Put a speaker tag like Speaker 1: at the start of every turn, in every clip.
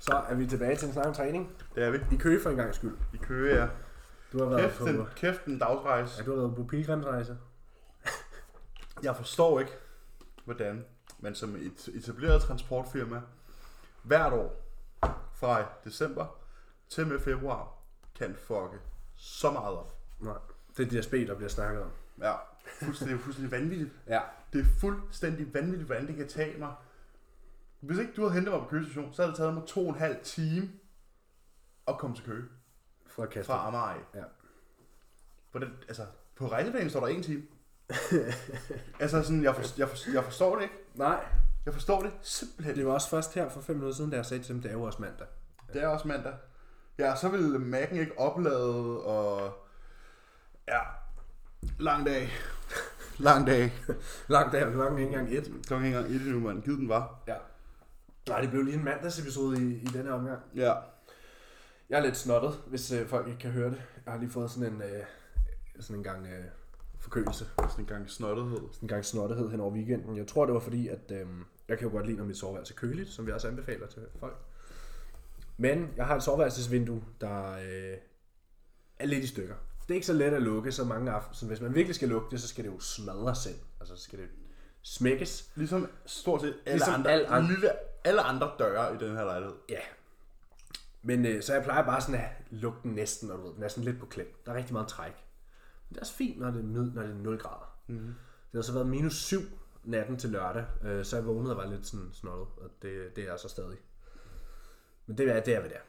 Speaker 1: Så er vi tilbage til en snak om træning.
Speaker 2: Det er vi.
Speaker 1: I Køge for en gang skyld.
Speaker 2: I Køge, ja.
Speaker 1: Du har været
Speaker 2: Kæft
Speaker 1: på,
Speaker 2: en, kæft en dagsrejse.
Speaker 1: ja, du har været på pilgrimsrejse.
Speaker 2: Jeg forstår ikke, hvordan man som et etableret transportfirma hvert år fra december til med februar kan fucke så meget op.
Speaker 1: Nej, det er DSB, der bliver snakket om.
Speaker 2: Ja, fuldstændig, det er fuldstændig vanvittigt.
Speaker 1: Ja.
Speaker 2: Det er fuldstændig vanvittigt, hvordan det kan tage mig. Hvis ikke du havde hentet mig på Køge station, så havde det taget mig to og en halv time at komme til Køge
Speaker 1: Fra Kastrup.
Speaker 2: fra Amager. af.
Speaker 1: Ja.
Speaker 2: Hvordan, altså, på rejseplanen står der en time. altså sådan, jeg, for, jeg, for, jeg forstår det ikke.
Speaker 1: Nej,
Speaker 2: Jeg forstår det simpelthen.
Speaker 1: det var også først her for fem minutter siden, da jeg sagde til dem, det er jo også mandag.
Speaker 2: Det er også mandag. Ja, så vil Mac'en ikke oplade, og... Ja, lang dag. lang dag.
Speaker 1: Langt dag, klokken er ikke engang et.
Speaker 2: Klokken er ikke engang 1 nu, mand. Gid den var.
Speaker 1: Ja. Nej, det blev lige en mandagsepisode i, i denne omgang.
Speaker 2: Ja.
Speaker 1: Jeg er lidt snottet, hvis øh, folk ikke kan høre det. Jeg har lige fået sådan en, øh, sådan en gang øh, forkølelse.
Speaker 2: Sådan en gang snottethed.
Speaker 1: Sådan en gang snottethed hen over weekenden. Jeg tror, det var fordi, at øh, jeg kan jo godt lide, når mit soveværelse er køligt, som vi også anbefaler til folk. Men jeg har et soveværelsesvindue, der øh, er lidt i stykker. Det er ikke så let at lukke så mange aftener. Så hvis man virkelig skal lukke det, så skal det jo smadres selv. Altså, så skal det smækkes.
Speaker 2: Ligesom stort set alle
Speaker 1: Ligesom
Speaker 2: andre,
Speaker 1: alle andre-
Speaker 2: Lille, alle andre døre i den her lejlighed.
Speaker 1: Ja. Men øh, så jeg plejer bare sådan at lukke den næsten, og du ved, den er sådan lidt på klem. Der er rigtig meget træk. Men det er også fint, når det er, mid, når det er 0 grader. Mm-hmm. Det har så været minus 7 natten til lørdag, øh, så jeg vågnede og var lidt sådan snottet, og det, det er jeg så stadig. Men det er, det er, hvad det er.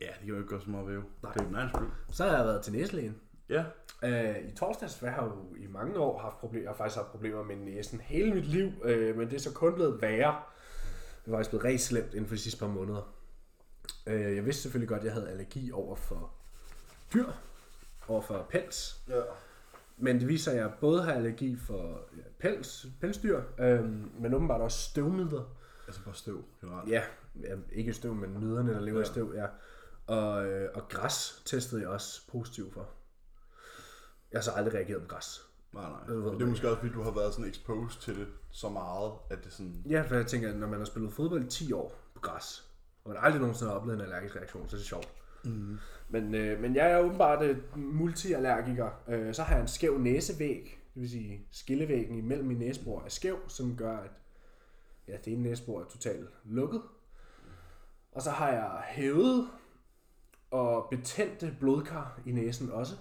Speaker 2: Ja, det kan jo ikke gøre så meget ved. jo. Det er jo en skyld.
Speaker 1: Så har jeg været til næselægen.
Speaker 2: Ja.
Speaker 1: Øh, I torsdags, for jeg har jo i mange år haft problemer, jeg har faktisk haft problemer med næsen hele mit liv, øh, men det er så kun blevet værre. Det var faktisk blevet rigtig slemt inden for de sidste par måneder. Øh, jeg vidste selvfølgelig godt, at jeg havde allergi over for dyr, over for pels,
Speaker 2: Ja.
Speaker 1: men det viser, at jeg både har allergi for ja, pels, pelsdyr, øh, men åbenbart også støvmider.
Speaker 2: Altså bare støv, generelt.
Speaker 1: Ja, ja, ikke støv, men nyderne, der lever ja. i
Speaker 2: Ja.
Speaker 1: støv, ja. Og, øh, og græs testede jeg også positiv for. Jeg har så aldrig reageret på græs.
Speaker 2: Nej, nej.
Speaker 1: ved
Speaker 2: Men det er måske også, fordi du har været sådan exposed til det så meget, at det sådan...
Speaker 1: Ja, for jeg tænker, at når man har spillet fodbold i 10 år på græs, og man aldrig nogensinde har oplevet en allergisk reaktion, så er det sjovt. Mm. Men, øh, men jeg er åbenbart øh, multiallergiker. Øh, så har jeg en skæv næsevæg, det vil sige skillevæggen imellem min næsebor er skæv, som gør, at ja, det ene næsebor er totalt lukket. Og så har jeg hævet og betændte blodkar i næsen også.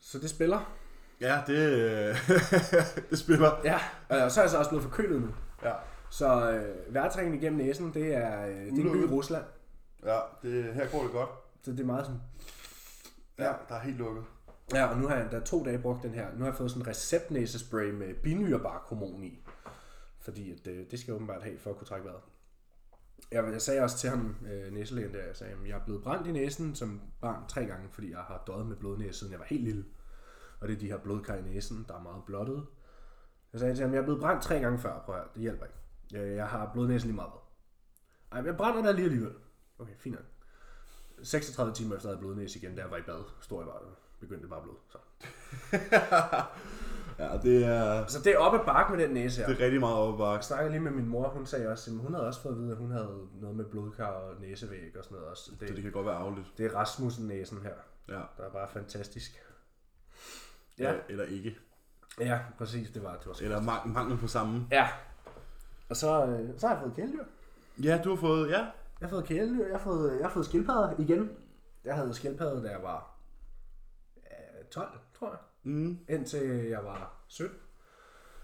Speaker 1: Så det spiller.
Speaker 2: Ja, det... øh, det spiller.
Speaker 1: Ja, og så er jeg så også blevet forkølet nu.
Speaker 2: Ja.
Speaker 1: Så øh, vejrtrækning igennem næsen, det er, øh, det er en by i
Speaker 2: Udelukket.
Speaker 1: Rusland.
Speaker 2: Ja, det, her går det godt.
Speaker 1: Så det er meget sådan...
Speaker 2: Ja, der er helt lukket.
Speaker 1: Ja, og nu har jeg endda to dage brugt den her. Nu har jeg fået sådan en receptnæsespray med binyrebarkhormon i. Fordi at, øh, det skal jeg åbenbart have for at kunne trække vejret. Jeg, jeg sagde også til ham, øh, næselægen der, jeg sagde, at jeg er blevet brændt i næsen som barn tre gange, fordi jeg har døjet med blodnæse, siden jeg var helt lille. Og det er de her blodkar i næsen, der er meget blottet. Jeg sagde til ham, jeg er blevet brændt tre gange før, prøv at høre, det hjælper ikke. Jeg, jeg har blodnæsen lige meget. Ej, men jeg brænder der lige alligevel. Okay, fint nok. 36 timer efter havde jeg blodnæse igen, da jeg var i bad, stod jeg bare og begyndte bare at bløde. Så.
Speaker 2: Ja, det er...
Speaker 1: Så Altså, det er op ad bakke med den næse her.
Speaker 2: Det er rigtig meget
Speaker 1: Jeg
Speaker 2: overbakst.
Speaker 1: snakkede lige med min mor, hun sagde også, at hun havde også fået at vide, at hun havde noget med blodkar og næsevæg og sådan noget også. Så
Speaker 2: Så det
Speaker 1: Det,
Speaker 2: kan godt være afligt.
Speaker 1: det er Rasmussen-næsen her,
Speaker 2: Ja.
Speaker 1: der er bare fantastisk. Ja.
Speaker 2: ja. Eller ikke.
Speaker 1: Ja, præcis, det var det. Var
Speaker 2: Eller mang- mangel på samme.
Speaker 1: ja. Og så, øh, så har jeg fået kæledyr.
Speaker 2: Ja, du har fået... Ja.
Speaker 1: Jeg har fået kæledyr, jeg har fået, jeg har fået skildpadder igen. Jeg havde skildpadder, da jeg var øh, 12, tror jeg.
Speaker 2: Mm.
Speaker 1: indtil jeg var 17,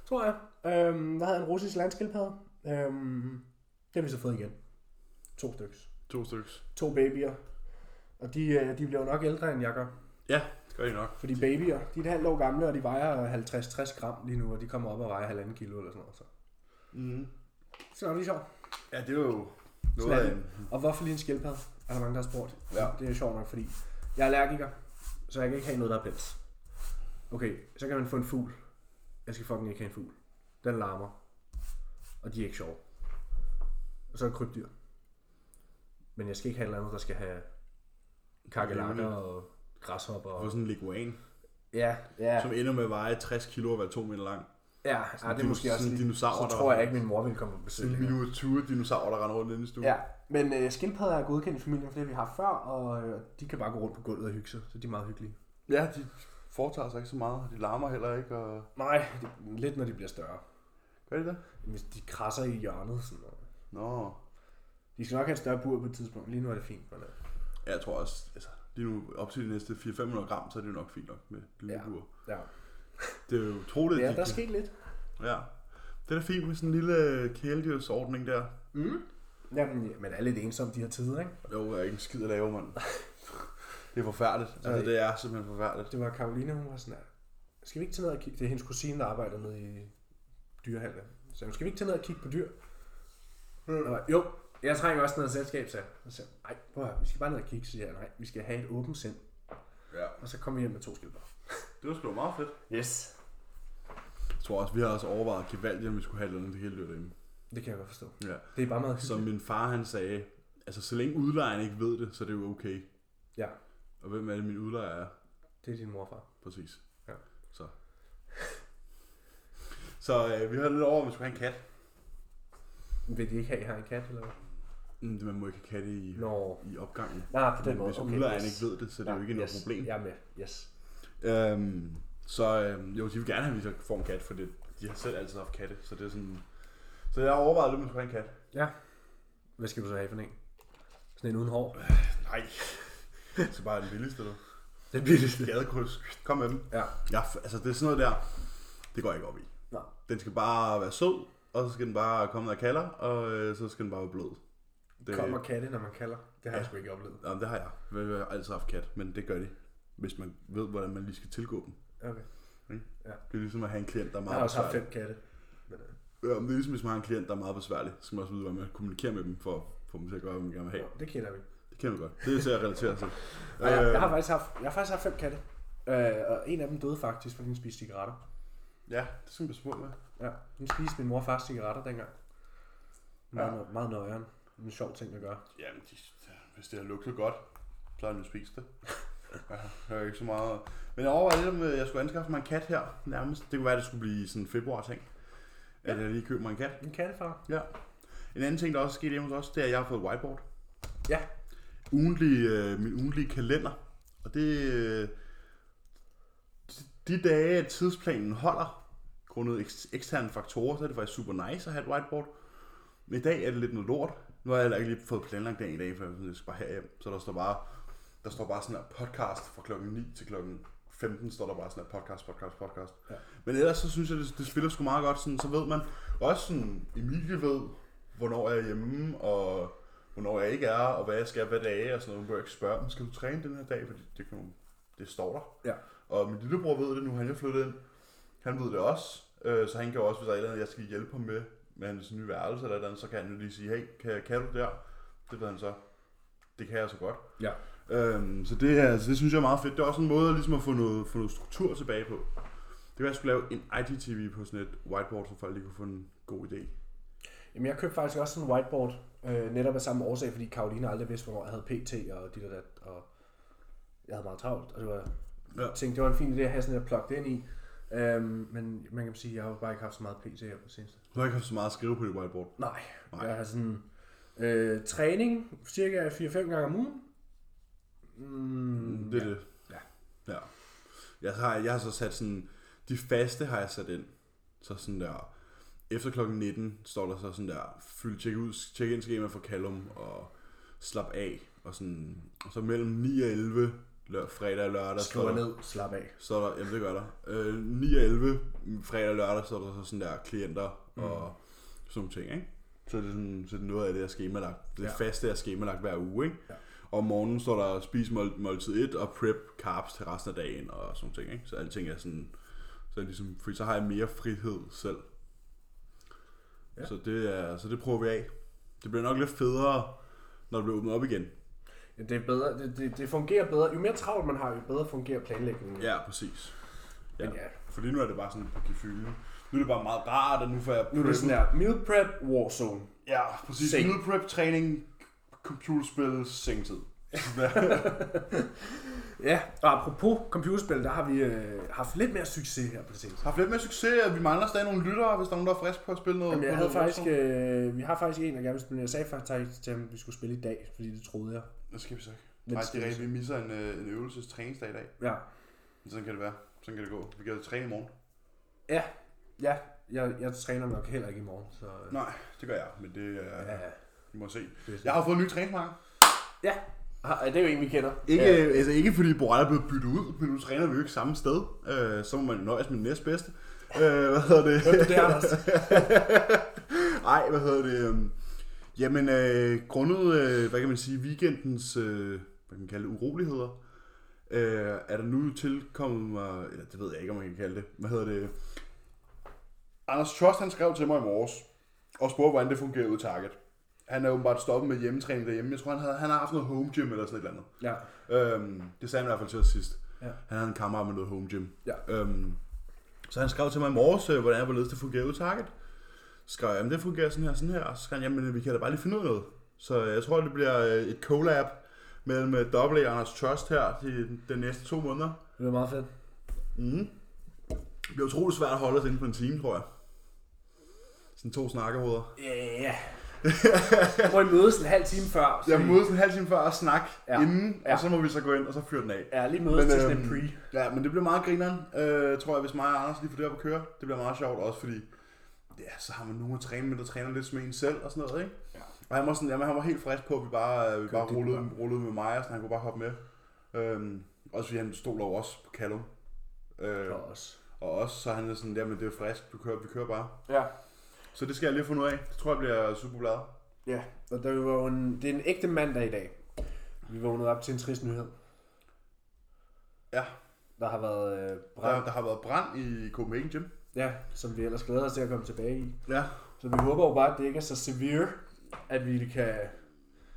Speaker 1: tror jeg. Øhm, der havde jeg en russisk landskildpadde. Øhm, det har vi så fået igen. To styks.
Speaker 2: To stykker.
Speaker 1: To babyer. Og de, øh, de bliver jo nok ældre, end jeg gør.
Speaker 2: Ja, det gør I nok.
Speaker 1: Fordi babyer, de er et halvt år gamle, og de vejer 50-60 gram lige nu, og de kommer op og vejer halvanden kilo eller sådan noget. Så,
Speaker 2: Mm.
Speaker 1: så er det sjovt.
Speaker 2: Ja, det er jo noget
Speaker 1: Sådan er
Speaker 2: af
Speaker 1: det.
Speaker 2: en...
Speaker 1: Og hvorfor lige en skildpadde? Er der mange, der har spurgt.
Speaker 2: øhm, Ja.
Speaker 1: Det er sjovt nok, fordi jeg er allergiker, så jeg kan ikke have noget, der er pels. Okay, så kan man få en fugl. Jeg skal fucking ikke have en fugl. Den larmer. Og de er ikke sjove. Og så er det krybdyr. Men jeg skal ikke have et eller andet, der skal have kakelakker og græshopper.
Speaker 2: Og
Speaker 1: Og...
Speaker 2: sådan en leguan,
Speaker 1: Ja, ja.
Speaker 2: som ender med at veje 60 kilo og være 2 meter lang.
Speaker 1: Ja, ja det er
Speaker 2: dino-
Speaker 1: måske også
Speaker 2: sådan
Speaker 1: lige,
Speaker 2: dinosaurer,
Speaker 1: så
Speaker 2: der
Speaker 1: tror jeg
Speaker 2: var-
Speaker 1: ikke, min mor ville komme på besøg længere.
Speaker 2: Miniature dinosaurer, der render rundt inde i stuen.
Speaker 1: Ja, men øh, skildpadder er godkendt i familien, for det har vi har haft før, og øh, de kan bare gå rundt på gulvet og hygge sig, så de er meget hyggelige.
Speaker 2: ja, de foretager sig ikke så meget. og De larmer heller ikke. Og...
Speaker 1: Nej, det, lidt når de bliver større.
Speaker 2: Gør de det?
Speaker 1: Hvis de krasser i hjørnet, sådan noget.
Speaker 2: Nå.
Speaker 1: De skal nok have et større bur på et tidspunkt. Lige nu er det fint, men øh,
Speaker 2: Ja, jeg tror også, altså, lige nu op til de næste 400-500 gram, så er det jo nok fint nok med lydbure. Ja.
Speaker 1: ja.
Speaker 2: Det er jo utroligt.
Speaker 1: ja,
Speaker 2: at de
Speaker 1: der er
Speaker 2: kan-
Speaker 1: sket lidt.
Speaker 2: Ja. Det er da fint med sådan en lille kæledyrsordning der.
Speaker 1: Mm. Jamen, ja, men er lidt ensomme de her tider, ikke?
Speaker 2: Jo, jeg er ikke en skid at lave, mand. Det er forfærdeligt.
Speaker 1: Ej.
Speaker 2: Altså, det er simpelthen forfærdeligt.
Speaker 1: Det var Karoline, hun var sådan her. Skal vi ikke tage ned og kigge? Det er hendes kusine, der arbejder nede i dyrehandlen. Så hun, skal vi ikke tage ned og kigge på dyr? Mm. Og, jo, jeg trænger også noget selskab, sagde jeg. Og så, nej, prøv at høre, vi skal bare ned og kigge, siger jeg. Nej, vi skal have et åbent sind.
Speaker 2: Ja.
Speaker 1: Og så kom vi hjem med to skildpadder.
Speaker 2: Det var sgu da meget fedt.
Speaker 1: Yes.
Speaker 2: Jeg tror også, vi har også overvejet gevaldigt, om vi skulle have et eller andet det hele derhjemme.
Speaker 1: Det kan jeg godt forstå.
Speaker 2: Ja.
Speaker 1: Det er bare meget
Speaker 2: Som
Speaker 1: hyggeligt.
Speaker 2: min far han sagde, altså så længe udlejeren ikke ved det, så er det jo okay.
Speaker 1: Ja,
Speaker 2: Og hvem er det, min udlejer er?
Speaker 1: det er din morfar.
Speaker 2: Præcis.
Speaker 1: Ja.
Speaker 2: Så. Så øh, vi hørte lidt over, om vi skulle have en kat.
Speaker 1: Vil de ikke have, at I har en kat, eller hvad?
Speaker 2: Mm, Man må ikke have katte i,
Speaker 1: Nå.
Speaker 2: i opgangen.
Speaker 1: Nej, på Ah, den
Speaker 2: Men
Speaker 1: måde.
Speaker 2: hvis udlejeren ikke ved det, så er det
Speaker 1: Ja,
Speaker 2: jo ikke noget
Speaker 1: yes.
Speaker 2: problem.
Speaker 1: Jeg er med, yes.
Speaker 2: Øhm, så øhm, jo, de vil gerne have, at vi så får en kat, for det, de har selv altid haft katte, så det er sådan... Så jeg har overvejet lidt, om jeg skulle have en kat.
Speaker 1: Ja. Hvad skal du så have for en? Sådan en uden hår?
Speaker 2: Øh, Nej. så bare den billigste, du.
Speaker 1: Det bliver det.
Speaker 2: Gadekryds. Kom med dem.
Speaker 1: Ja.
Speaker 2: Ja, f- altså det er sådan noget der, det går jeg ikke op i.
Speaker 1: Nå.
Speaker 2: Den skal bare være sød, og så skal den bare komme ned og kalder, og øh, så skal den bare være blød. Det,
Speaker 1: Kommer katte, når man kalder? Det har jeg
Speaker 2: Ja.
Speaker 1: sgu ikke oplevet.
Speaker 2: Jamen, det har jeg. Jeg har altid haft kat, men det gør de, hvis man ved, hvordan man lige skal tilgå dem.
Speaker 1: Okay.
Speaker 2: Det er ligesom at have en klient, der er
Speaker 1: Jeg
Speaker 2: meget
Speaker 1: har også haft
Speaker 2: besværlig.
Speaker 1: fem katte. Men, øh,
Speaker 2: Ja, men det er ligesom, hvis man har en klient, der er meget besværlig, så skal man også vide, hvordan man kommunikerer med dem, for at få dem til at gøre, hvad man gerne vil have.
Speaker 1: det kender vi.
Speaker 2: Det kan man godt. Det er til at relatere til. Øh,
Speaker 1: Og jeg, jeg, har faktisk haft, jeg har faktisk haft fem katte. Øh, og en af dem døde faktisk, fordi den spiste cigaretter.
Speaker 2: ja, det skal man passe på med.
Speaker 1: Ja, den spiste min mor og fars cigaretter dengang. Meget, ja. meget nøjeren. Det er en sjov ting at gøre.
Speaker 2: Jamen, de, hvis det har lugtet godt, så har den jo spist det. Jeg har ikke så meget... Men jeg overvejer lidt, om øh, jeg skulle anskaffe mig en kat her nærmest. Det kunne være, at det skulle blive sådan en februar-ting. At jeg lige køber mig en kat.
Speaker 1: En kattefar.
Speaker 2: Ja. En anden ting, der også er sket hjemme hos os, det er, at jeg har fået whiteboard.
Speaker 1: Ja.
Speaker 2: Ugentlig, øh, min ugentlige kalender. Og det... Øh, de dage, at tidsplanen holder, grundet eks- eksterne faktorer, så er det faktisk super nice at have et whiteboard. Men i dag er det lidt noget lort. Nu har jeg heller ikke lige fået planlagt dagen i dag, for jeg ved, jeg skal bare herhjem. Så der står bare, der står bare sådan her podcast fra klokken 9 til klokken 15, står der bare sådan her podcast, podcast, podcast.
Speaker 1: Ja.
Speaker 2: Ja. Men ellers så synes jeg, det, det spiller sgu meget godt, sådan, så ved man. Også sådan, Emilie ved, hvornår jeg er hjemme, og hvornår jeg ikke er, og hvad jeg skal hver dag, og sådan noget. Hun behøver ikke spørge, "Men skal du træne den her dag, fordi det, kan hun, det står der.
Speaker 1: Ja.
Speaker 2: Og min lillebror ved det nu, han er flyttet ind. Han ved det også, øh, så han kan jo også, hvis der er et eller andet, jeg skal hjælpe ham med, med hans nye værelse eller et eller andet, så kan han jo lige sige, hey, kan, kan du der? Det ved han så. Det kan jeg så godt.
Speaker 1: Ja.
Speaker 2: Øhm, så det, er- altså, det synes jeg er meget fedt. Det er også en måde at, ligesom at få, noget, få noget struktur tilbage på. Det var, at jeg skulle lave en IGTV på sådan et whiteboard, så folk lige kunne få en god idé.
Speaker 1: Jamen, jeg købte faktisk også sådan en whiteboard, øh, netop af samme årsag, fordi Karoline aldrig vidste, hvornår jeg havde PT og dit og dat, og jeg havde meget travlt, og det var,
Speaker 2: Ja.
Speaker 1: jeg tænkte, det var en fin idé at have sådan et at plukke det ind i. Øhm, men man kan sige, at jeg har jo bare ikke haft så meget PT her på det seneste.
Speaker 2: Du har ikke haft så meget at skrive på det whiteboard.
Speaker 1: Nej,
Speaker 2: Nej.
Speaker 1: jeg har sådan øh, træning cirka 4-5 gange om ugen. Mm,
Speaker 2: Det er det.
Speaker 1: Ja.
Speaker 2: ja. Jeg, har, jeg har så sat sådan, de faste har jeg sat ind. Så sådan der, efter klokken 19 står der så sådan der, fyld tjek ud, tjek ind schema for Callum og slap af. Og, sådan, og så mellem 9 og 11, lør, fredag og lørdag, står
Speaker 1: Skriver
Speaker 2: der-
Speaker 1: ned, slap af.
Speaker 2: så er der, jamen det gør der. Øh, 9 og 11, fredag og lørdag, så er der så sådan der klienter
Speaker 1: Mm.
Speaker 2: og sådan nogle ting, ikke? Så det er sådan, så det er noget af det her skemalagt. Det
Speaker 1: Ja.
Speaker 2: ja. faste er skemalagt hver uge, ikke?
Speaker 1: Ja.
Speaker 2: Og om morgenen står der spis mål- måltid 1 og prep carbs til resten af dagen og sådan nogle ting, ikke? Så alting er sådan, så er det ligesom, fordi så har jeg mere frihed selv.
Speaker 1: Ja.
Speaker 2: Ja. Så, det er, så det prøver vi af. Det bliver nok lidt federe, når det bliver åbnet op igen.
Speaker 1: Ja, Det, er bedre, det, det, det, fungerer bedre. Jo mere travlt man har, jo bedre fungerer planlægningen.
Speaker 2: Ja, præcis. Ja.
Speaker 1: Men ja.
Speaker 2: For lige nu er det bare sådan på kefylen. Nu er det bare meget rart, og nu får jeg...
Speaker 1: Nu er det sådan her, meal prep, warzone.
Speaker 2: Ja, præcis.
Speaker 1: Seng.
Speaker 2: Meal prep, træning, computerspil, sengtid.
Speaker 1: Ja, og apropos computerspil, der har vi øh, haft lidt mere succes her på det seneste.
Speaker 2: Har haft lidt mere succes, og vi mangler stadig nogle lyttere, hvis der er nogen, der er frisk på at spille noget.
Speaker 1: Jamen, jeg
Speaker 2: på
Speaker 1: havde
Speaker 2: noget
Speaker 1: faktisk,
Speaker 2: Warzone.
Speaker 1: øh, vi har faktisk en, der gerne vil spille. Jeg sagde faktisk til ham, at vi skulle spille i dag, fordi det troede jeg.
Speaker 2: Det skal vi så ikke.
Speaker 1: øh, Men
Speaker 2: Nej,
Speaker 1: det skal
Speaker 2: det
Speaker 1: vi
Speaker 2: er rigtigt. Vi misser en, øh, en øvelses træningsdag i dag.
Speaker 1: Ja,
Speaker 2: Men sådan kan det være. Sådan kan det gå. Vi kan jo træne i morgen.
Speaker 1: ja, ja jeg, jeg træner nok heller ikke i morgen, så... øh,
Speaker 2: Nej, det gør jeg, men det er...
Speaker 1: Ja,
Speaker 2: Øh,
Speaker 1: ja.
Speaker 2: vi må se.
Speaker 1: Det-
Speaker 2: Jeg har fået en ny træningsmarker.
Speaker 1: ja. Ah, det er jo en, vi kender.
Speaker 2: Ikke,
Speaker 1: Ja.
Speaker 2: ja. altså ikke fordi Borrell er blevet byttet ud, men nu træner vi jo ikke samme sted. Øh, så må man jo nøjes med den næstbedste. Øh, hvad hedder det?
Speaker 1: Hørte du det, Anders?
Speaker 2: Nej, hvad hedder det? øhm, Jamen, øh, grundet, øh, hvad kan man sige, weekendens, øh, hvad kan man kalde det, uroligheder, øh, er der nu tilkommet mig, eller det ved jeg ikke, om man kan kalde det, hvad hedder det? Anders Trost, han skrev til mig i morges, og spurgte, hvordan det fungerer ud i Target. Han er åbenbart stoppet med hjemmetræning derhjemme. Jeg tror, han, havde, han har haft noget home gym eller sådan et eller andet.
Speaker 1: Ja,
Speaker 2: Øhm, det sagde han i hvert fald til os sidst.
Speaker 1: Ja.
Speaker 2: Ja. Han havde en kammerat med noget home gym.
Speaker 1: Ja.
Speaker 2: Øhm, så han skrev til mig i morges, øh, hvordan og hvorledes det fungerer ud i Target. Så skrev jeg, jamen det fungerer sådan her sådan her. Og så skrev han, jamen vi kan da bare lige finde ud af noget. Så øh, jeg tror, det bliver øh, et collab mellem øh, Double A og Anders Trust her de, de næste to måneder.
Speaker 1: det var meget fedt.
Speaker 2: Mm. Det bliver utroligt svært at holde os inden for en time, tror jeg. Sådan to snakkehoveder.
Speaker 1: Ja. Yeah. Hvor I mødes en halv time før. så
Speaker 2: Jeg
Speaker 1: I-
Speaker 2: mødes en halv time før og snakke
Speaker 1: Ja.
Speaker 2: ja. inden,
Speaker 1: Ja.
Speaker 2: og så må vi så gå ind, og så fyre den af.
Speaker 1: Ja, lige mødes
Speaker 2: Men,
Speaker 1: til sådan
Speaker 2: øhm,
Speaker 1: en pre.
Speaker 2: Ja, men det bliver meget grineren, øh, tror jeg, hvis mig og Anders lige får det op at køre. Det bliver meget sjovt også, fordi ja, så har man nogen at træne med, der træner lidt som en selv og sådan noget, ikke?
Speaker 1: Ja.
Speaker 2: Ja. Og han var, sådan, jamen, han var helt frisk på, at vi bare, øh, vi bare
Speaker 1: dit
Speaker 2: rullede,
Speaker 1: program.
Speaker 2: rullede med mig, og sådan, han kunne bare hoppe med. Øhm, også fordi han stoler jo også på Callum. Øh,
Speaker 1: Og os.
Speaker 2: og også, så han er sådan, jamen det er frisk, du kører, vi kører bare.
Speaker 1: Ja.
Speaker 2: Så det skal jeg lige finde ud af. Det tror jeg bliver super populært.
Speaker 1: Ja, og der var jo en, det er en ægte mandag i dag. Vi vågnede op til en trist nyhed.
Speaker 2: Ja,
Speaker 1: Der har været øh,
Speaker 2: der,
Speaker 1: brand,
Speaker 2: der, har været brand i Copenhagen Gym.
Speaker 1: ja, som vi ellers glæder os til at komme tilbage i.
Speaker 2: Ja.
Speaker 1: Så vi håber jo bare, at det ikke er så severe, at vi kan...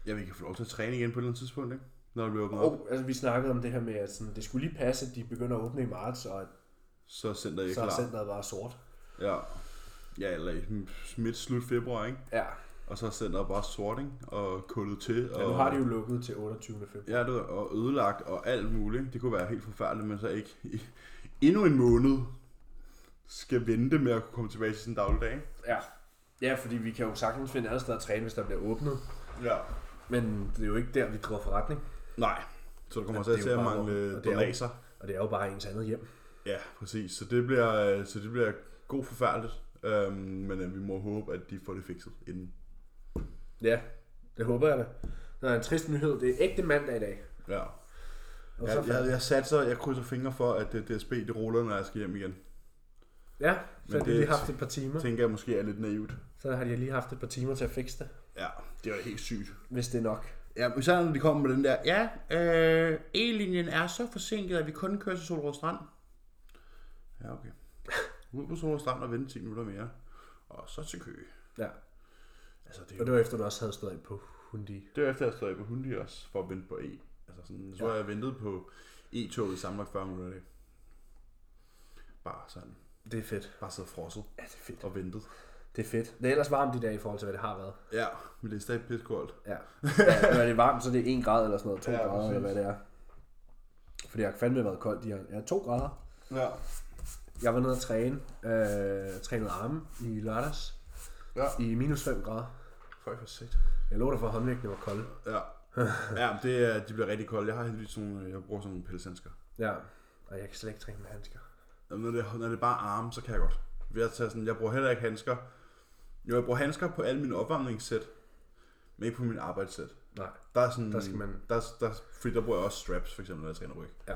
Speaker 2: Ja, vi kan få lov til at træne igen på et eller andet tidspunkt, ikke? Når det bliver åbnet op,
Speaker 1: Oh, altså, vi snakkede om det her med, at sådan, det skulle lige passe, at de begynder at åbne i marts, og at
Speaker 2: så er centeret ikke
Speaker 1: så er
Speaker 2: klar.
Speaker 1: centret bare sort.
Speaker 2: Ja. Ja, eller i midt slut februar, ikke?
Speaker 1: Ja,
Speaker 2: Og så sender jeg bare sort, ikke? Og kullet til. Og,
Speaker 1: men nu har de jo lukket til 28. februar.
Speaker 2: Ja, det og ødelagt og alt muligt. Det kunne være helt forfærdeligt, men så ikke i- endnu en måned skal vente med at kunne komme tilbage til sin dagligdag. ikke?
Speaker 1: Ja. ja, fordi vi kan jo sagtens finde andet sted at træne, hvis der bliver åbnet.
Speaker 2: Ja.
Speaker 1: Men det er jo ikke der, vi driver forretning.
Speaker 2: Nej. Så der kommer
Speaker 1: Ja,
Speaker 2: så
Speaker 1: det er
Speaker 2: til
Speaker 1: jo
Speaker 2: at
Speaker 1: bare
Speaker 2: mangle
Speaker 1: hvor- og det er jo-
Speaker 2: donaser.
Speaker 1: Og det er jo bare ens andet hjem.
Speaker 2: Ja, præcis. Så det bliver, øh, så det bliver god forfærdeligt. Øhm, men øh, vi må håbe, at de får det fikset inden.
Speaker 1: Ja, det håber jeg da. Der er en trist nyhed. Det er ægte mandag i dag.
Speaker 2: Ja.
Speaker 1: Og
Speaker 2: Jeg,
Speaker 1: så,
Speaker 2: jeg, jeg satser, jeg krydser fingre for, at øh, DSB det ruller, når jeg skal hjem igen.
Speaker 1: ja, så
Speaker 2: Men
Speaker 1: har de
Speaker 2: det-
Speaker 1: lige haft et par timer.
Speaker 2: tænker jeg måske er lidt naivt.
Speaker 1: Så har de lige haft et par timer til at fikse det,
Speaker 2: Ja, det var helt sygt.
Speaker 1: hvis det er nok.
Speaker 2: Ja, men især når de kom med den der, ja, øh, E-linjen er så forsinket, at vi kun kører til Solrød Strand. Ja, okay. Ud på Solrød Strand og vente 10 minutter mere. Og så til Køge.
Speaker 1: Ja,
Speaker 2: Altså, det er
Speaker 1: og
Speaker 2: jo...
Speaker 1: det var efter, du også havde stået ind på Hundi.
Speaker 2: Det var efter, jeg stod på Hundi også, for at vente på E. Altså sådan, så
Speaker 1: Ja.
Speaker 2: ja. jeg ventet på E-toget i sammenlagt 40 minutter i dag. Bare sådan,
Speaker 1: Det er fedt.
Speaker 2: bare siddet frosset
Speaker 1: Ja, det er fedt.
Speaker 2: og ventet.
Speaker 1: Det er fedt. Det er ellers varmt i dag i forhold til, hvad det har været.
Speaker 2: Ja, men det er stadig pissekoldt.
Speaker 1: Ja. ja når det er varmt, så er det 1 grad eller sådan noget. 2 ja,
Speaker 2: Ja,
Speaker 1: grader eller hvad
Speaker 2: præcis.
Speaker 1: det er. For det har fandme været koldt. De har, ja, 2 grader.
Speaker 2: Ja,
Speaker 1: Jeg var nede og træne. Øh, trænede arme i lørdags.
Speaker 2: ja.
Speaker 1: I minus 5 grader.
Speaker 2: Fuck, hvor sigt.
Speaker 1: Jeg lå der for, at håndvægtene var kolde.
Speaker 2: Ja. ja, det er, de bliver rigtig kolde. Jeg har heldigvis sådan, nogle- jeg bruger sådan nogle pelshandsker.
Speaker 1: Ja. Og jeg kan slet ikke træne med handsker.
Speaker 2: Når det, når det er bare arme, så kan jeg godt. Ved at tage sådan, jeg bruger heller ikke handsker. Jo, jeg bruger handsker på alle mine opvarmningssæt, men ikke på min arbejdssæt.
Speaker 1: Nej.
Speaker 2: Der er sådan,
Speaker 1: Der skal man-
Speaker 2: Der, der, fordi der bruger jeg også straps, for eksempel, når jeg træner ryg.
Speaker 1: Ja.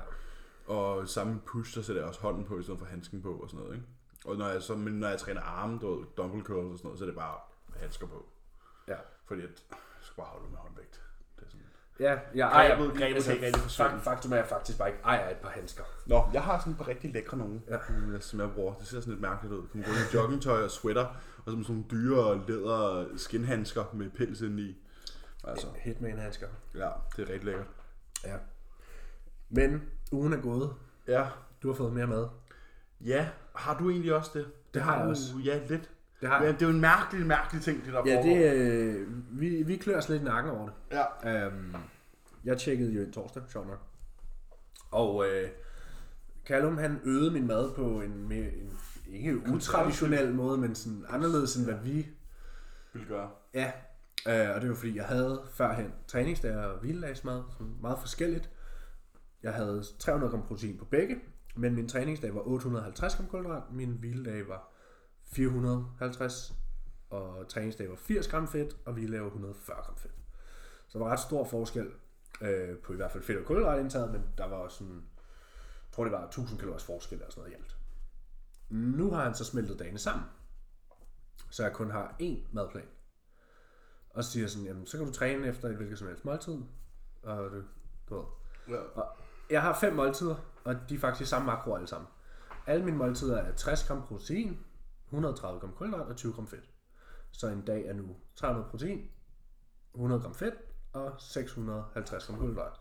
Speaker 2: Og samme push, der sætter jeg også hånden på, i stedet for handsken på og sådan noget, ikke? Og når jeg, så, men når jeg træner arme, du ved, dumbbell curls og sådan noget, så er det bare handsker på.
Speaker 1: Ja.
Speaker 2: Fordi at, jeg skal bare holde med håndvægt. Det er sådan.
Speaker 1: Ja, jeg
Speaker 2: Grebet- grebet kan ikke rigtig forsvinde.
Speaker 1: fak- Faktum er, at jeg faktisk bare ikke ejer et par handsker.
Speaker 2: Nå, jeg har sådan et par rigtig lækre nogle,
Speaker 1: Ja.
Speaker 2: ja. som jeg bruger. Det ser sådan lidt mærkeligt ud. Kan man gå i joggingtøj og sweater, og så med sådan nogle dyre læder skinhandsker med pels indeni. Altså,
Speaker 1: Hitman handsker.
Speaker 2: ja, det er rigtig lækkert.
Speaker 1: Ja. Men ugen er gået.
Speaker 2: Ja.
Speaker 1: Du har fået mere mad.
Speaker 2: Ja, har du egentlig også det? Det,
Speaker 1: har jeg
Speaker 2: du-
Speaker 1: også.
Speaker 2: Ja, lidt.
Speaker 1: Det har
Speaker 2: Men
Speaker 1: jeg.
Speaker 2: det er jo en mærkelig, mærkelig ting, det der
Speaker 1: Ja,
Speaker 2: foregår.
Speaker 1: det, øh, vi, vi klør os lidt i nakken over det.
Speaker 2: Ja.
Speaker 1: Øhm, jeg tjekkede jo ind torsdag, sjovt nok. Og øh, Callum, han øgede min mad på en, mere, en ikke utraditionel måde, men sådan anderledes end hvad vi...
Speaker 2: Vil gøre.
Speaker 1: Ja, øh, og det var fordi, jeg havde førhen træningsdag og hviledagsmad, sådan meget forskelligt. Jeg havde 300 gram protein på begge, men min træningsdag var 850 gram kulhydrat, min hviledag var 450, og træningsdag var 80 gram fedt, og hviledag var 140 gram fedt. Så der var ret stor forskel øh, på i hvert fald fedt og kulhydratindtaget, men der var også sådan, jeg tror det var 1000 kalorier forskel eller sådan noget i alt. Nu har han så smeltet dagene sammen, så jeg kun har én madplan. Og siger sådan, jamen så kan du træne efter et hvilket som helst måltid, og du, du ved,
Speaker 2: Ja.
Speaker 1: og jeg har fem måltider, og de er faktisk samme makro alle sammen. Alle mine måltider er 60 gram protein, 130 gram kulhydrat og 20 gram fedt. Så en dag er nu 300 protein, 100 gram fedt og 650 gram kulhydrat.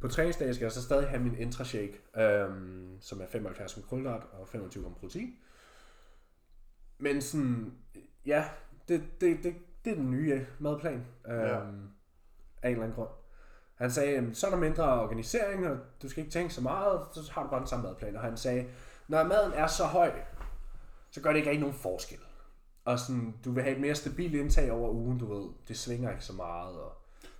Speaker 1: På træningsdagen skal jeg så stadig have min intrashake, øhm, som er 75 gram kulhydrat og 25 gram protein. Men sådan, ja, det, det, det, det er den nye madplan. Øhm,
Speaker 2: Ja.
Speaker 1: Af en eller anden grund. Han sagde, "Jamen, så er der mindre organisering, og du skal ikke tænke så meget, så har du bare den samme madplan. Og han sagde, når maden er så høj, så gør det ikke rigtig nogen forskel. Og sådan, du vil have et mere stabilt indtag over ugen, du ved. Det svinger ikke så meget, og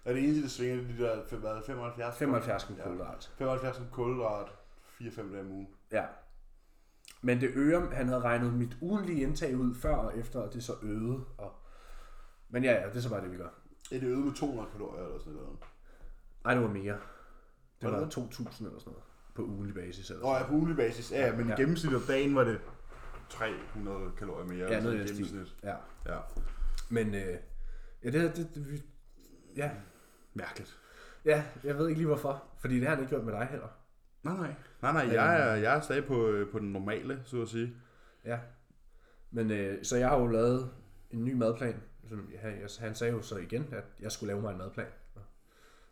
Speaker 2: Er det eneste, der svinger, det er de der fem- hvad, 75?
Speaker 1: 75 gram
Speaker 2: Ja.
Speaker 1: kulhydrat.
Speaker 2: 75 som kulhydrat, 4-5 dage om ugen.
Speaker 1: altså. Ja. Men det øger, han havde regnet mit ugenlige indtag ud før og efter, og det er så øget. Og... Men ja, ja, det er så bare det, vi gør.
Speaker 2: Er det øget med 200 kalorier eller sådan noget?
Speaker 1: Ej, det var mere. Det var
Speaker 2: Hvordan?
Speaker 1: 2.000 eller sådan noget på ugenlig basis. Eller
Speaker 2: Nå ja, på ugenlig basis. Ja, men
Speaker 1: Ja.
Speaker 2: ja. gennemsnit om dagen var det 300 kalorier mere.
Speaker 1: ja,
Speaker 2: altså
Speaker 1: noget i den stil.
Speaker 2: gennemsnit.
Speaker 1: Ja.
Speaker 2: Ja.
Speaker 1: Men øh, ja, det, her, det, det vi, ja.
Speaker 2: Mærkeligt.
Speaker 1: ja, jeg ved ikke lige hvorfor. Fordi det har han ikke gjort med dig heller.
Speaker 2: Nej, nej. Nej, nej, jeg er, jeg er stadig på, øh, på den normale, så at sige.
Speaker 1: Ja. Men øh, så jeg har jo lavet en ny madplan. Som jeg, jeg, han sagde jo så igen, at jeg skulle lave mig en madplan. Og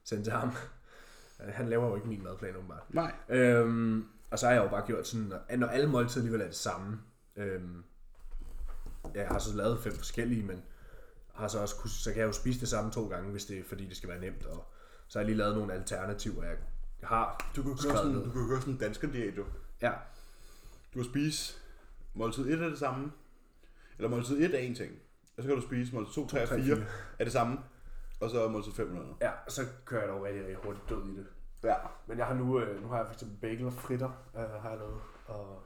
Speaker 1: sende til ham. Øh, Han laver jo ikke min madplan, åbenbart.
Speaker 2: Nej.
Speaker 1: Øhm, og så har jeg jo bare gjort sådan, at når alle måltider alligevel er det samme. Øhm, ja, jeg har så lavet fem forskellige, men har så også kunne, så kan jeg jo spise det samme to gange, hvis det er, fordi det skal være nemt. Og så har jeg lige lavet nogle alternativer, jeg har.
Speaker 2: Du kan
Speaker 1: Skrevet
Speaker 2: gøre sådan,
Speaker 1: ned.
Speaker 2: du kan gøre sådan en dansker diæt, jo.
Speaker 1: Ja,
Speaker 2: Du kan spise måltid 1 af det samme. Eller måltid 1 er en ting. Og så kan du spise måltid 2, 3 og
Speaker 1: tre,
Speaker 2: 4
Speaker 1: fire.
Speaker 2: af det samme. Og så måltid 5 eller noget.
Speaker 1: ja, så kører jeg dog rigtig, rigtig hurtigt død i det.
Speaker 2: Ja.
Speaker 1: Men jeg har nu, øh, nu har jeg for eksempel bagel og fritter, øh, har jeg lavet. Og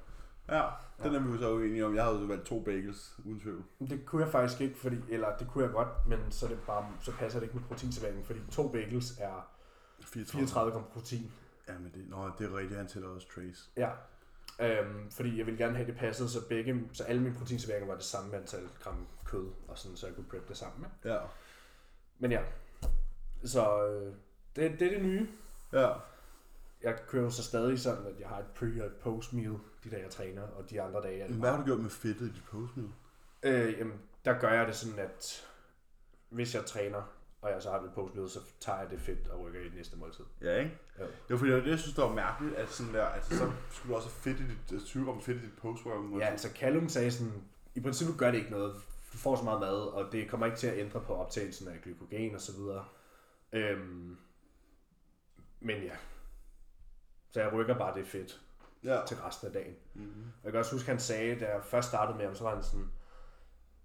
Speaker 2: Ja, den er vi jo så uenige om. Jeg havde jo valgt to bagels, uden tvivl.
Speaker 1: det kunne jeg faktisk ikke, fordi, eller det kunne jeg godt, men så, er det bare, så passer det ikke med proteinserveringen, fordi to bagels er 34 gram protein.
Speaker 2: Ja, men det, nå, det er rigtigt, han tæller også Trace.
Speaker 1: Ja. Øhm, fordi jeg ville gerne have det passet, så, begge, så alle mine proteinserveringer var det samme antal gram kød, og sådan, så jeg kunne prep det sammen. ikke?
Speaker 2: Ja.
Speaker 1: Men ja, så øh, det, det er det nye.
Speaker 2: Ja.
Speaker 1: Jeg kører jo så stadig sådan, at jeg har et pre- og et post-meal, de dage jeg træner, og de andre dage er det
Speaker 2: Hvad har du gjort med fedtet i dit postmeal?
Speaker 1: Øh, jamen, der gør jeg det sådan, at hvis jeg træner, og jeg så har det postbillede, så tager jeg det fedt og rykker i det næste måltid.
Speaker 2: Ja, ikke?
Speaker 1: Jo.
Speaker 2: Jo, fordi det var det, jeg synes, der var mærkeligt, at sådan der, altså, så skulle du også have fedt i dit, altså, 20 gram fedt i dit post-workout.
Speaker 1: Ja, altså Callum sagde sådan, i princippet gør det ikke noget. Du får så meget mad, og det kommer ikke til at ændre på optagelsen af glykogen og så videre. Øhm, men ja. Så jeg rykker bare det fedt
Speaker 2: Ja.
Speaker 1: til resten af dagen.
Speaker 2: Mm-hmm.
Speaker 1: Jeg kan også huske, han sagde, da jeg først startede med ham, så var han sådan,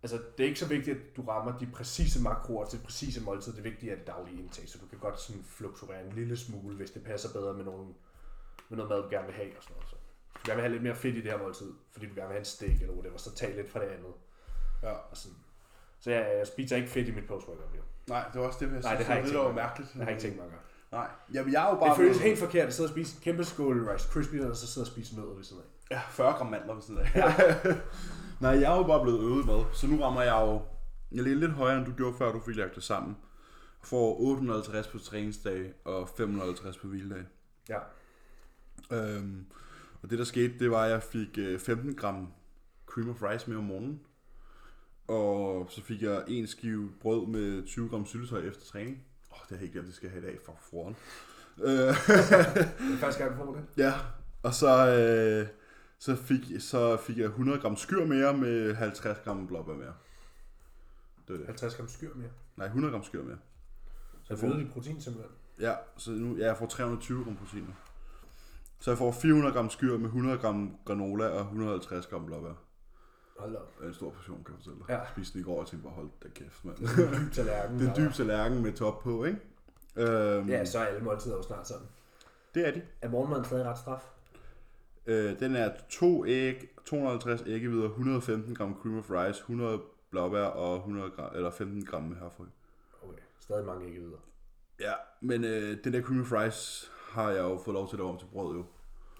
Speaker 1: altså det er ikke så vigtigt, at du rammer de præcise makroer til det præcise måltid, det vigtige er det daglige indtag, så du kan godt sådan fluktuere en lille smule, hvis det passer bedre med, nogle, med noget mad, du gerne vil have og sådan noget. Så hvis du gerne vil have lidt mere fedt i det her måltid, fordi du gerne vil have en stik eller whatever, så tag lidt fra det andet.
Speaker 2: Ja.
Speaker 1: Og sådan. Så jeg, jeg spiser ikke fedt i mit post-workout. jo.
Speaker 2: Nej, det var også det, jeg synes,
Speaker 1: Nej, det har jeg
Speaker 2: var
Speaker 1: ikke
Speaker 2: lidt
Speaker 1: tænkt
Speaker 2: over
Speaker 1: mig.
Speaker 2: mærkeligt.
Speaker 1: Det har jeg ikke tænkt mig at gøre.
Speaker 2: Nej, jamen jeg er jo bare...
Speaker 1: Det føles helt forkert at sidde og spise en kæmpe skål Rice Krispies, og så sidde og spise noget ved siden af.
Speaker 2: Ja, 40 gram mandler ved siden af. Nej, jeg er jo bare blevet øvet med, så nu rammer jeg jo... Jeg ligger lidt højere, end du gjorde, før du fik lagt det sammen. Jeg Får 850 på træningsdag og 550 på hviledag.
Speaker 1: Ja.
Speaker 2: Øhm, og det der skete, det var, at jeg fik øh, 15 gram cream of rice med om morgenen. Og så fik jeg en skive brød med 20 gram syltetøj efter træning. Åh, oh, det har jeg ikke glemt, det skal jeg have i dag for foran. Øh,
Speaker 1: Det er første gang, du får det.
Speaker 2: ja, og så, øh, så, fik, så fik jeg 100 gram skyr mere med 50 gram blåbær mere. Det var det.
Speaker 1: 50 gram skyr mere.
Speaker 2: Nej, 100 gram skyr mere.
Speaker 1: Så øgede de protein simpelthen.
Speaker 2: Ja, så nu, ja, jeg får 320 gram protein nu. Så jeg får 400 gram skyr med 100 gram granola og 150 gram blåbær.
Speaker 1: Hold op.
Speaker 2: Det er en stor portion, kan jeg fortælle dig.
Speaker 1: Ja.
Speaker 2: Jeg spiste den i går og tænkte bare, hold da kæft, mand.
Speaker 1: Det er en dyb tallerken.
Speaker 2: Det er en
Speaker 1: eller-
Speaker 2: dyb tallerken med top på, ikke? Øhm,
Speaker 1: Ja, altså. så er alle måltider jo snart sådan.
Speaker 2: Det er de.
Speaker 1: Er morgenmaden stadig ret straf?
Speaker 2: Øh, den er to æg, 250 æggehvider, 115 gram cream of rice, 100 blåbær og 100 gram, eller 15 gram med herfrø.
Speaker 1: Okay, stadig mange ikke videre.
Speaker 2: Ja, men øh, den der cream of rice har jeg jo fået lov til at lave om til brød jo.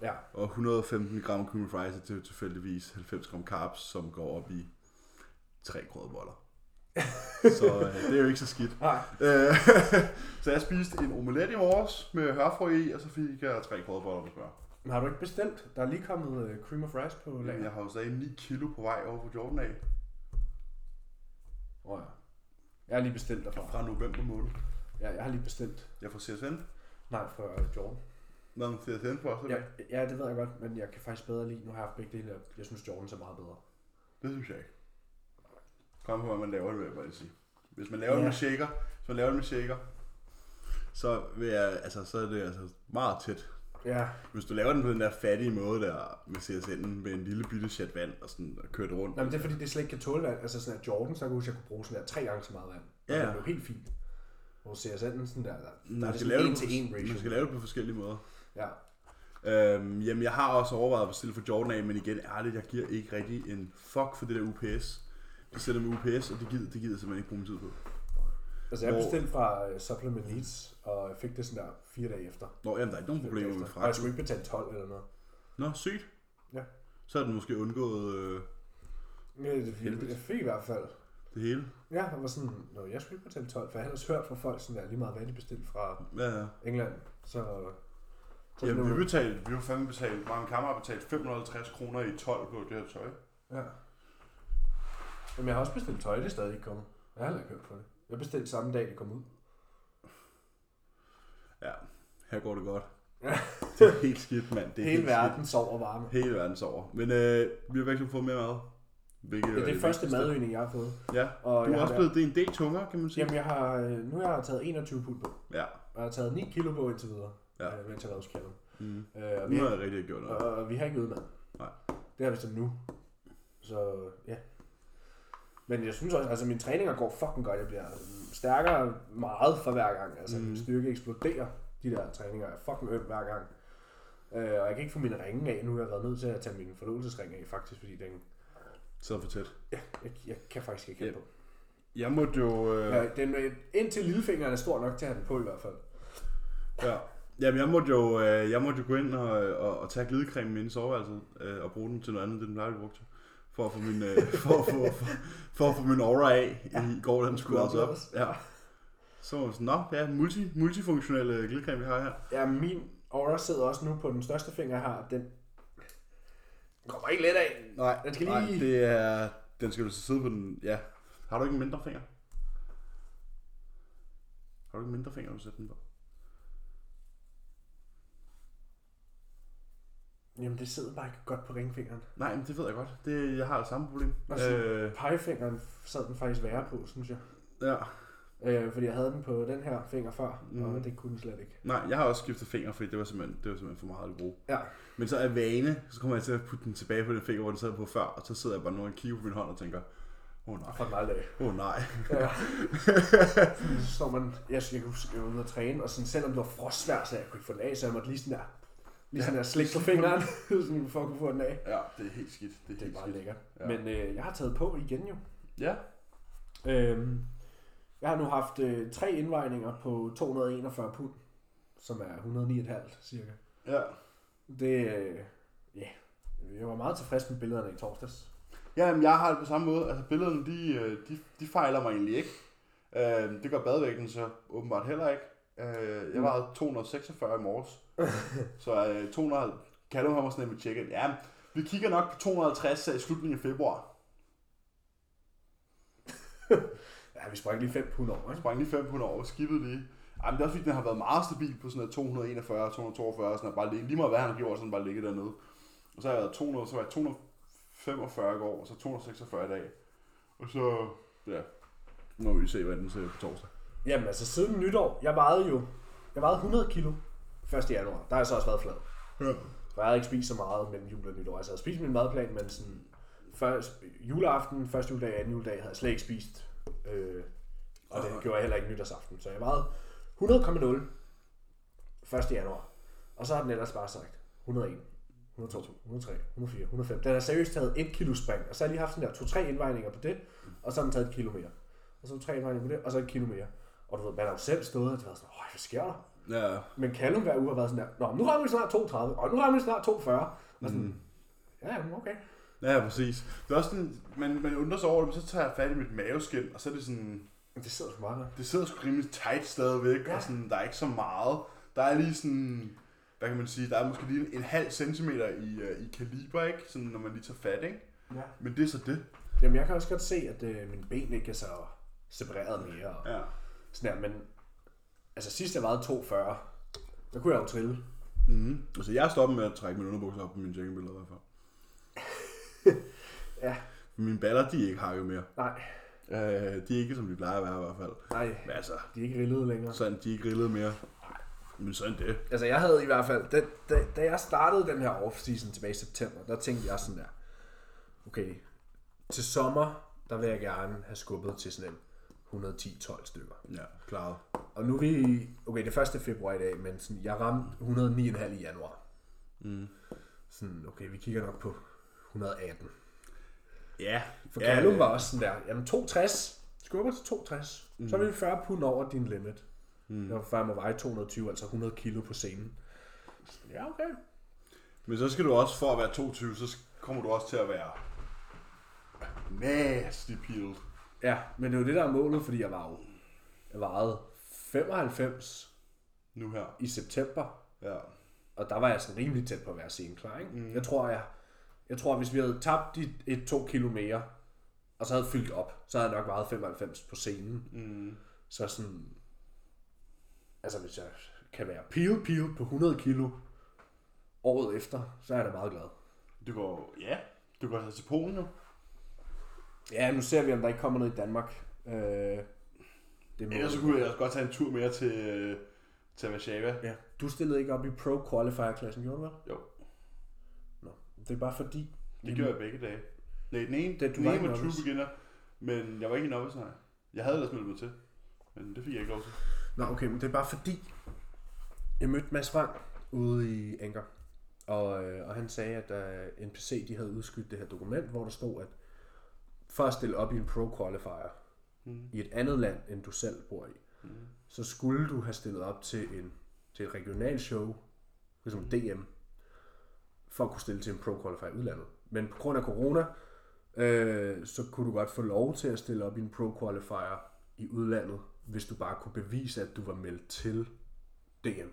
Speaker 1: Ja,
Speaker 2: Og 115 gram cream of rice er til- tilfældigvis 90 gram carbs, som går op i tre grødboller. så øh, det er jo ikke så skidt.
Speaker 1: Nej.
Speaker 2: Øh, så jeg spiste en omelet i morges med hørfrø i, og så fik jeg tre grødboller med smør.
Speaker 1: men har du ikke bestilt? Der er lige kommet øh, cream of rice på lager.
Speaker 2: Jeg har jo stadig 9 kilo på vej over på Jordan af
Speaker 1: Åh, ja. Jeg har lige bestilt derfra.
Speaker 2: fra november måned.
Speaker 1: Ja, jeg har lige bestilt.
Speaker 2: Jeg får CSN.
Speaker 1: Nej, fra øh, Jordan.
Speaker 2: Nå, men CSN for os,
Speaker 1: Ja,
Speaker 2: ja.
Speaker 1: ja, det ved jeg godt, men jeg kan faktisk bedre lide, nu har jeg haft begge dele. Jeg synes, Jordan er meget bedre.
Speaker 2: det synes jeg ikke. Kom på, hvad man laver det, vil jeg bare lige sige. Hvis man laver
Speaker 1: Ja.
Speaker 2: det med shaker, hvis man laver det med shaker, så, vil jeg, altså, så er det altså meget tæt.
Speaker 1: Ja,
Speaker 2: Hvis du laver den på den der fattige måde der med CSN'en med en lille bitte chat vand og sådan og kører det rundt.
Speaker 1: Nej, men det er fordi, det slet ikke kan tåle vand. Altså sådan at Jordan, så kan jeg huske, at jeg kunne bruge sådan der tre gange så meget vand. Og
Speaker 2: Ja.
Speaker 1: Det blev helt fint. Hvor CSN'en sådan der, der, der er
Speaker 2: man
Speaker 1: det
Speaker 2: skal,
Speaker 1: sådan
Speaker 2: lave
Speaker 1: en
Speaker 2: det på,
Speaker 1: til en ratio.
Speaker 2: man skal lave det på forskellige måder.
Speaker 1: Ja.
Speaker 2: Øhm, jamen, jeg har også overvejet at bestille for Jordan af, men igen, ærligt, jeg giver ikke rigtig en fuck for det der UPS. Jeg sætter med UPS, og det gider, det gider jeg simpelthen ikke bruge min tid på.
Speaker 1: Altså jeg
Speaker 2: Hvor-
Speaker 1: bestilte fra øh, Supplement Needs, og jeg fik det sådan der fire dage efter.
Speaker 2: Nå, jamen, der er ikke nogen
Speaker 1: Fem
Speaker 2: problemer
Speaker 1: dage
Speaker 2: med
Speaker 1: efter. Og jeg
Speaker 2: fragt.
Speaker 1: skulle ikke betale 12 eller noget.
Speaker 2: Nå, sygt.
Speaker 1: Ja.
Speaker 2: Så har den måske undgået øh,
Speaker 1: Men det fik,
Speaker 2: Helvede.
Speaker 1: jeg fik i hvert fald.
Speaker 2: det hele.
Speaker 1: Ja, jeg var sådan, Nå, jeg skulle ikke betale 12, for jeg havde ellers hørt fra folk sådan der, lige meget hvad de bestilte fra
Speaker 2: Ja, ja.
Speaker 1: England. Så, så
Speaker 2: Jamen,
Speaker 1: blev
Speaker 2: vi
Speaker 1: det-
Speaker 2: betalte, vi har fandme betalt, mange kammerat betalte 550 kroner i 12 på det her tøj.
Speaker 1: Ja. Jamen, jeg har også bestilt tøj, det er stadig ikke kommet. Jeg har heller ikke hørt for det. Jeg bestilte samme dag, det kom ud.
Speaker 2: Ja, her går det godt. det er helt skidt, mand. Det er
Speaker 1: Hele
Speaker 2: helt
Speaker 1: verden sover varme.
Speaker 2: Skidt. Hele verden sover. Men øh, vi har begge to fået mere mad. Hvilket
Speaker 1: Det
Speaker 2: jo
Speaker 1: er det
Speaker 2: det
Speaker 1: første
Speaker 2: vigtigste.
Speaker 1: madøgning, jeg har fået.
Speaker 2: Ja,
Speaker 1: Og
Speaker 2: du
Speaker 1: jeg
Speaker 2: er
Speaker 1: har
Speaker 2: også
Speaker 1: været-
Speaker 2: blevet det er en del tungere, kan man sige.
Speaker 1: Jamen, jeg har, øh, nu har jeg taget 21 pund på,
Speaker 2: Ja.
Speaker 1: og jeg har taget 9 kilo på indtil videre,
Speaker 2: Ja.
Speaker 1: ja. øh, mens jeg lavede skærmen.
Speaker 2: Mm.
Speaker 1: Øh, og, vi,
Speaker 2: Nu har jeg rigtig gjort noget.
Speaker 1: og, og vi har ikke ydet mad.
Speaker 2: Nej.
Speaker 1: Det har vi så nu. Så ja. Men jeg synes også, altså mine træninger går fucking godt. Jeg bliver øh, stærkere meget for hver gang. Altså
Speaker 2: Mm.
Speaker 1: min styrke eksploderer. De der træninger er fucking øm hver gang. Øh, og jeg kan ikke få mine ringe af. Nu har jeg været nødt til at tage min forlovelsesring af, faktisk, fordi den,
Speaker 2: Så for tæt.
Speaker 1: jeg, jeg kan faktisk ikke have
Speaker 2: Ja.
Speaker 1: på.
Speaker 2: Jeg måtte jo... Øh,
Speaker 1: Ja, den, med- indtil lillefingeren er stor nok til at have den på i hvert fald.
Speaker 2: ja. Jamen, jeg måtte jo, øh, jeg måtte jo gå ind og, og, og tage glidecremen ind i soveværelset øh, og bruge den til noget andet, end den plejer at bruge til. For at få min, øh, for, at få, for, for at få min aura af i går, da den skulle
Speaker 1: Skulle
Speaker 2: også op.
Speaker 1: oplades.
Speaker 2: Ja. Så var jeg sådan, nå, ja, multi, multifunktionel øh, glidecreme, vi har her.
Speaker 1: Ja, min aura sidder også nu på den største finger, jeg har. Den kommer ikke let af.
Speaker 2: Nej,
Speaker 1: den skal
Speaker 2: Nej,
Speaker 1: lige-
Speaker 2: det er... Den skal jo sidde på den... Ja. Har du ikke en mindre finger? Har du ikke en mindre finger, du sætter den på?
Speaker 1: Jamen, det sidder bare ikke godt på ringfingeren.
Speaker 2: Nej, men det ved jeg godt. Det, jeg har det samme problem.
Speaker 1: Altså-
Speaker 2: Øh,
Speaker 1: Pegefingeren sad den faktisk værre på, synes jeg.
Speaker 2: ja.
Speaker 1: Øh, fordi jeg havde den på den her finger før, mm.
Speaker 2: Mhm.
Speaker 1: og det kunne den slet ikke.
Speaker 2: Nej, jeg har også skiftet fingre, fordi det var simpelthen, det var simpelthen for meget at bruge.
Speaker 1: Ja,
Speaker 2: Men så af vane, så kommer jeg til at putte den tilbage på den finger, hvor den sad på før, og så sidder jeg bare nu og kigger på min hånd og tænker, åh oh, nej,
Speaker 1: for den aldrig.
Speaker 2: åh oh, nej.
Speaker 1: Ja. så står man, jeg skal huske, jeg var ude at træne, og sådan, selvom det var frostvær, så jeg kunne ikke få den af, så jeg måtte lige sådan der, lige sådan der slik på fingeren, sådan, for at kunne få den af.
Speaker 2: Ja, det er helt skidt. Det er
Speaker 1: Det er
Speaker 2: helt
Speaker 1: bare
Speaker 2: skidt.
Speaker 1: lækkert.
Speaker 2: Ja.
Speaker 1: Ja. Men øh, jeg har taget på igen jo.
Speaker 2: Ja,
Speaker 1: Øhm, jeg har nu haft øh, tre indvejninger på 241 pund, som er 109,5 cirka.
Speaker 2: ja.
Speaker 1: Det, øh, ja, jeg var meget tilfreds med billederne i torsdags.
Speaker 2: Ja, jamen, jeg har det på samme måde. Altså, billederne, de, øh, de, de fejler mig egentlig ikke. Øh, det gør badevægten så åbenbart heller ikke. Øh, jeg var 246 i morges. så øh, 200... Kan du have mig sådan en med check Ja, vi kigger nok på 250 i slutningen af februar.
Speaker 1: Ja, vi sprang lige 5 pund over, ikke?
Speaker 2: Sprang lige 500 over, skippede lige. Ej, men det er også fordi, den har været meget stabil på sådan noget 241, 242, sådan har bare ligget, lige meget hvad han har gjort, så har den bare ligget dernede. Og så har jeg været 200, så var jeg 245 i går, og så 246 i dag. Og så, ja, nu må vi se, hvad den ser på torsdag.
Speaker 1: Jamen altså, siden nytår, jeg vejede jo, jeg vejede 100 kilo 1. januar. Der har jeg så også været flad.
Speaker 2: Ja.
Speaker 1: For jeg havde ikke spist så meget mellem jul og nytår. Altså, jeg havde spist min madplan, men sådan, først, juleaften, første juledag, anden juledag, havde jeg slet ikke spist. Øh, og det gjorde jeg heller ikke nytårsaften. Så jeg vejede 100,0 1. januar. Og så har den ellers bare sagt 101, 102, 103, 104, 105. Den har seriøst taget et kilo spring, og så har jeg lige haft sådan der to-tre indvejninger på det, og så har den taget et kilo mere. Og så tre indvejninger på det, og så et kilo mere. Og du ved, man har jo selv stået og været sådan, åh, hvad sker der?
Speaker 2: ja.
Speaker 1: Men Callum hver uge har været sådan der, Nå, men nu rammer vi snart 32, og nu rammer vi snart 42. Og sådan, mm. ja, men okay.
Speaker 2: Ja, præcis. Det er også sådan, man, man undrer sig over det, men så tager jeg fat i mit maveskin, og så er det sådan,
Speaker 1: Men det sidder for meget der.
Speaker 2: det sidder sgu rimelig tight stadigvæk,
Speaker 1: Ja.
Speaker 2: og sådan, der er ikke så meget. Der er lige sådan, hvad kan man sige, der er måske lige en, en halv centimeter i, øh, i kaliber, ikke? Sådan, når man lige tager fat, ikke?
Speaker 1: Ja.
Speaker 2: Men det er så det.
Speaker 1: Jamen, jeg kan også godt se, at øh, mine ben ikke er så separeret mere. Og
Speaker 2: Ja.
Speaker 1: sådan der, men altså sidst jeg vejede 42, der kunne jeg jo trille.
Speaker 2: Mm. Altså, jeg stopper med at trække mine underbukser op på mine joggingbilleder i hvert fald.
Speaker 1: Ja,
Speaker 2: Mine baller, de er ikke hakket mere.
Speaker 1: nej,
Speaker 2: Øh, de er ikke, som de plejer at være i hvert fald.
Speaker 1: nej,
Speaker 2: Men altså,
Speaker 1: de er ikke rillede længere.
Speaker 2: sådan, de er ikke grillet mere. Men sådan det.
Speaker 1: Altså jeg havde i hvert fald, da, da, da jeg startede den her off-season tilbage i september, der tænkte jeg sådan der, okay, til sommer, der vil jeg gerne have skubbet til sådan en 110-12 stykker.
Speaker 2: Ja, klaret.
Speaker 1: Og nu er vi... Okay, det er 1. februar i dag, men sådan, jeg ramte 109,5 i januar.
Speaker 2: Mm.
Speaker 1: Sådan, okay, vi kigger nok på 118.
Speaker 2: Ja.
Speaker 1: For ja, Callum var også sådan der, jamen 62, skubber til 62. Mm. Så er vi 40 pund over din limit. Mm. Jeg var før at veje 220, altså 100 kilo på scenen. Sådan, Ja, okay.
Speaker 2: Men så skal du også, for at være 22, så sk- kommer du også til at være nasty peeled.
Speaker 1: Ja, men det er jo det, der er målet, fordi jeg var jo... Jeg vejede 95
Speaker 2: Nu her.
Speaker 1: i september,
Speaker 2: Ja.
Speaker 1: Og der var jeg sådan rimelig tæt på at være senklar, ikke? Mm. Jeg tror, jeg, jeg tror, hvis vi havde tabt de et to kilo mere, og så havde fyldt op, så havde jeg nok vejet 95 på scenen.
Speaker 2: Mm.
Speaker 1: Så sådan... Altså, hvis jeg kan være peel peel på 100 kilo året efter, så er jeg da meget glad.
Speaker 2: Du går, ja, du går altså til Polen nu.
Speaker 1: Ja, nu ser vi, om der ikke kommer noget i Danmark. Øh, det må
Speaker 2: Ellers så kunne jeg også godt tage en tur mere til, øh, til Warszawa.
Speaker 1: ja. Du stillede ikke op i Pro Qualifier-klassen, gjorde du vel?
Speaker 2: Jo,
Speaker 1: Nå, det er bare fordi...
Speaker 2: det gjorde jeg begge dage. Nej, den ene,
Speaker 1: Det- du
Speaker 2: den
Speaker 1: var
Speaker 2: ene
Speaker 1: ikke
Speaker 2: var true
Speaker 1: novice.
Speaker 2: beginner, men jeg var ikke en novice, nej. Jeg havde ellers meldt mig til, men det fik jeg ikke lov til.
Speaker 1: Nå, okay, men det er bare fordi, jeg mødte Mads Frank ude i Anker, og, øh, og han sagde, at øh, NPC de havde udskydt det her dokument, hvor der stod, at for at stille op i en pro-qualifier mm. i et andet land, end du selv bor i, mm. så skulle du have stillet op til, en, til et regionalt show, ligesom
Speaker 2: Mm.
Speaker 1: DM, for at kunne stille til en pro-qualifier i udlandet. Men på grund af corona, øh, så kunne du godt få lov til at stille op i en pro-qualifier i udlandet, hvis du bare kunne bevise, at du var meldt til DM.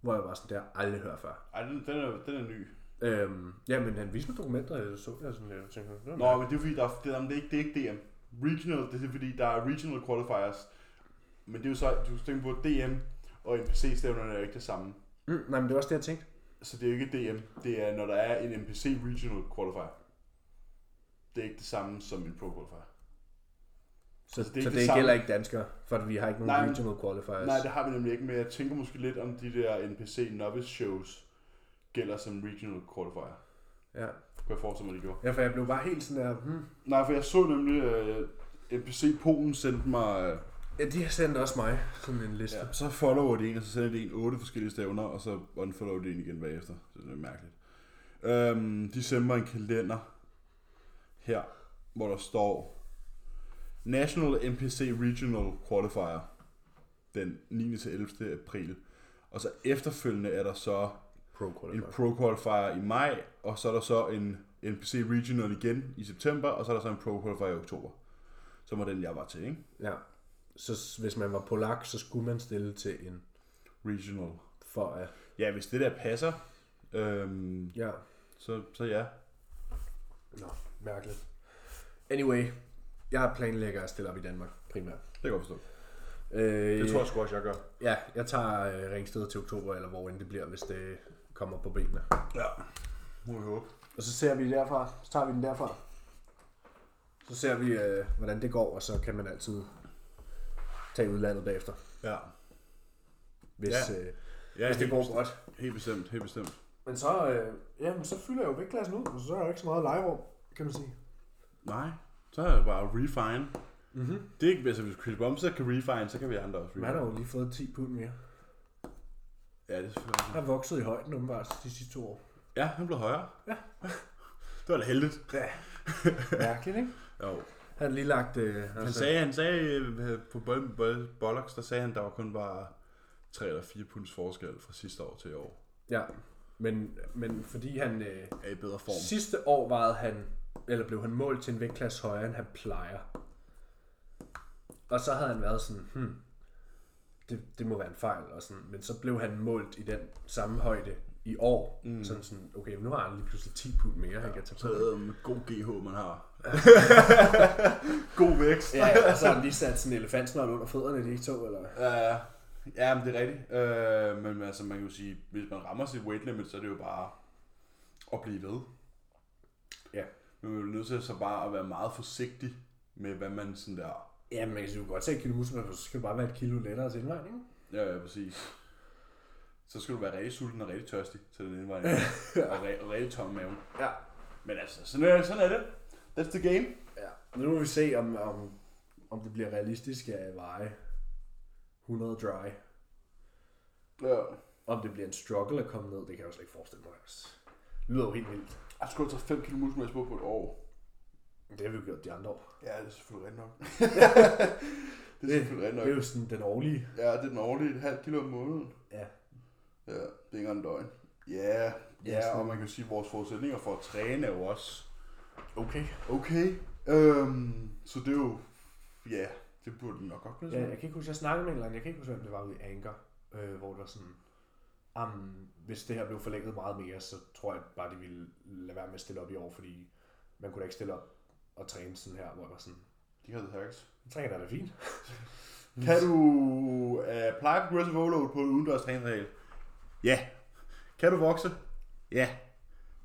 Speaker 1: Hvor jeg var sådan der, aldrig hørt før.
Speaker 2: Ej, den, den, er, den er ny.
Speaker 1: Øhm, ja, men han viste mig dokumenter, og jeg så jeg sådan, jeg tænkte, det var
Speaker 2: Nå, men det er fordi, der er, det, er, det, er ikke, det er ikke DM. Regional, det er fordi, der er regional qualifiers. Men det er jo så, du skal tænke på, at DM og NPC-stævnerne er jo ikke det samme.
Speaker 1: Mm, nej, men det var også det, jeg tænkte.
Speaker 2: Så det er jo ikke DM, det er når der er en NPC regional qualifier. Det er ikke det samme som en pro qualifier.
Speaker 1: Så,
Speaker 2: Altså,
Speaker 1: så
Speaker 2: det er
Speaker 1: det, så
Speaker 2: ikke
Speaker 1: det
Speaker 2: det
Speaker 1: gælder
Speaker 2: samme.
Speaker 1: ikke danskere, for vi har ikke nogen
Speaker 2: Nej,
Speaker 1: nej,
Speaker 2: men-
Speaker 1: regional qualifiers.
Speaker 2: Nej, det har vi nemlig ikke, men jeg tænker måske lidt om de der NPC novice shows gælder som regional qualifier.
Speaker 1: ja.
Speaker 2: Kunne jeg forestille mig, de gjorde.
Speaker 1: ja, for jeg blev bare helt sådan der, hmm.
Speaker 2: Nej, for jeg så nemlig, uh, NPC Polen sendte mig øh,
Speaker 1: ja, de har sendt også mig sådan en liste.
Speaker 2: Ja. Så follower de en, og så sender de en otte forskellige stævner, og så unfollower de en igen bagefter. Så det er mærkeligt. Øhm, de sender mig en kalender her, hvor der står National NPC Regional Qualifier den 9. til 11. april. Og så efterfølgende er der så
Speaker 1: Pro
Speaker 2: en
Speaker 1: qualifier.
Speaker 2: Pro Qualifier i maj, og så er der så en NPC Regional igen i september, og så er der så en Pro Qualifier i oktober. Som var den, jeg var til, ikke?
Speaker 1: Ja. Så s- hvis man var polak, så skulle man stille til en
Speaker 2: Regional.
Speaker 1: for at...
Speaker 2: Ja, hvis det der passer, øhm,
Speaker 1: Ja,
Speaker 2: så, så ja.
Speaker 1: Nå, mærkeligt. Anyway, jeg planlægger at stille op i Danmark primært.
Speaker 2: Det kan jeg godt forstå.
Speaker 1: Øh,
Speaker 2: Det tror jeg sgu også, jeg gør.
Speaker 1: Ja, jeg tager øh, Ringsted til oktober, eller hvor end det bliver, hvis det kommer på benene.
Speaker 2: Ja. Må vi håbe.
Speaker 1: Og så ser vi derfra, så tager vi den derfra. Så ser vi, øh, hvordan det går, og så kan man altid tage udlandet bagefter.
Speaker 2: Ja.
Speaker 1: Hvis, ja. øh,
Speaker 2: Ja,
Speaker 1: hvis det
Speaker 2: helt,
Speaker 1: går godt.
Speaker 2: helt bestemt, helt bestemt.
Speaker 1: Men så, øh, jamen, så fylder jeg jo vægtklassen ud, og så er der ikke så meget lejerum, kan man sige.
Speaker 2: Nej, så er det bare refine.
Speaker 1: Mm-hmm.
Speaker 2: Det er ikke bedst, hvis Chris Bumstead kan refine, så kan vi andre også
Speaker 1: Man har
Speaker 2: refine.
Speaker 1: da jo lige fået 10 pund mere.
Speaker 2: Ja, det er selvfølgelig.
Speaker 1: Jeg har vokset i højden åbenbart de sidste to år.
Speaker 2: Ja, han blev højere.
Speaker 1: Ja.
Speaker 2: det var da heldigt.
Speaker 1: Ja. Mærkeligt, ikke?
Speaker 2: Jo.
Speaker 1: Han har lige lagt... Øh,
Speaker 2: Han sagde, han sagde øh, på Boll- Boll- Bollocks, der sagde han, der var kun bare 3 eller 4 punds forskel fra sidste år til i år.
Speaker 1: Ja, men, men fordi han... Øh,
Speaker 2: Er i bedre form.
Speaker 1: sidste år vejede han, eller blev han målt til en vægtklasse højere, end han plejer. Og så havde han været sådan, hmm, det, det må være en fejl, og sådan, men så blev han målt i den samme højde i år. Mm. Sådan sådan, okay, nu har han lige pludselig 10 pund mere, ja, han kan tage
Speaker 2: Så
Speaker 1: på.
Speaker 2: er det med god GH, man har. god vækst.
Speaker 1: Ja, ja, og så har han lige sat sådan en elefantsnøgle under fødderne, de ikke to, eller?
Speaker 2: Uh, ja, men det er rigtigt. Uh, men altså, man kan jo sige, hvis man rammer sit weight limit, så er det jo bare at blive ved.
Speaker 1: Ja.
Speaker 2: Men man er jo nødt til så bare at være meget forsigtig med, hvad man sådan der...
Speaker 1: Ja, men man kan sige, du kan godt tage et kilo muskelmasse, men så skal du bare være et kilo lettere til indvejning. ikke?
Speaker 2: Ja, ja, præcis. Så skal du være rigtig sulten og rigtig tørstig til den indvejning. og, re- og rigtig tom i maven.
Speaker 1: Ja.
Speaker 2: Men altså, sådan er, sådan er det. That's the game.
Speaker 1: ja. Nu må vi se, om, om, om det bliver realistisk at veje 100 dry.
Speaker 2: Ja.
Speaker 1: Om det bliver en struggle at komme ned, det kan jeg jo slet ikke forestille mig. Altså. Det lyder jo helt vildt.
Speaker 2: Jeg skulle have taget 5 kilo muskelmasse på på et år.
Speaker 1: Men det har vi jo gjort de andre år.
Speaker 2: Ja, det er selvfølgelig rent nok. det er selvfølgelig rent
Speaker 1: Det er
Speaker 2: nok.
Speaker 1: jo sådan den årlige.
Speaker 2: Ja, det er den årlige et halvt kilo om måneden.
Speaker 1: Ja.
Speaker 2: Ja, det er ikke engang døgn. Ja,
Speaker 1: sådan.
Speaker 2: ja, og man kan jo sige, at vores forudsætninger for at træne er jo også
Speaker 1: Okay.
Speaker 2: okay. Øhm, så det er jo, ja, det burde den nok godt kunne. ligesom.
Speaker 1: Ja,
Speaker 2: Ja.
Speaker 1: jeg kan ikke huske, jeg snakkede med en eller anden. Jeg kan ikke huske, hvem det var ude i Anker. Øh, hvor der sådan... Um, hvis det her blev forlænget meget mere, så tror jeg bare, de ville lade være med at stille op i år, fordi man kunne da ikke stille op og træne sådan her, hvor jeg var sådan,
Speaker 2: De kan det takkes.
Speaker 1: "Jeg træner der da fint. Mm.
Speaker 2: Kan du øh, pleje progressive overload på en udendørs træningsregel? Ja. Kan du vokse? Ja.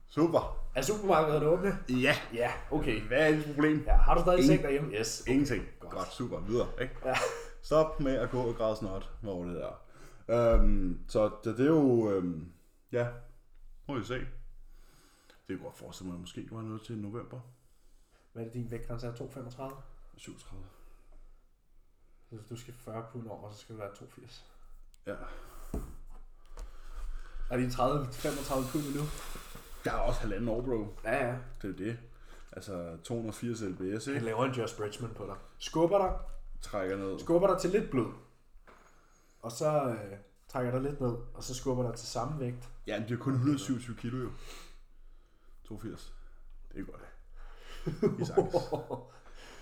Speaker 2: Super.
Speaker 1: Er supermarkedet åbne?
Speaker 2: Ja.
Speaker 1: Ja, okay.
Speaker 2: Hvad er dit problem?
Speaker 1: Ja, har du stadig en
Speaker 2: Ingen-
Speaker 1: seng derhjemme? Yes.
Speaker 2: Ingenting.
Speaker 1: Godt.
Speaker 2: Godt. Godt, super. Videre, ikke?
Speaker 1: Ja.
Speaker 2: Stop med at gå og græde snot over det der. Øhm, så det, det er jo... Øhm, ja, må vi se. Det kunne jeg godt forestille mig, at måske var noget til november.
Speaker 1: Hvad er det, din vægtgrænse er? 2,35?
Speaker 2: 37.
Speaker 1: Hvis Altså, du skal 40 pund over, så skal du være 280.
Speaker 2: Ja.
Speaker 1: Er de 30, 35 pund nu?
Speaker 2: Der er også halvanden år, bro.
Speaker 1: Ja, ja.
Speaker 2: Det er jo det. Altså 280 LBS,
Speaker 1: Han
Speaker 2: ikke?
Speaker 1: laver en Josh Bridgman på dig. Skubber dig,
Speaker 2: Trækker ned.
Speaker 1: skubber dig til lidt blod. Og så øh, trækker dig lidt ned, og så skubber dig til samme vægt.
Speaker 2: Ja, men det er kun 127 kilo jo. 82. Det er godt. I sagtens.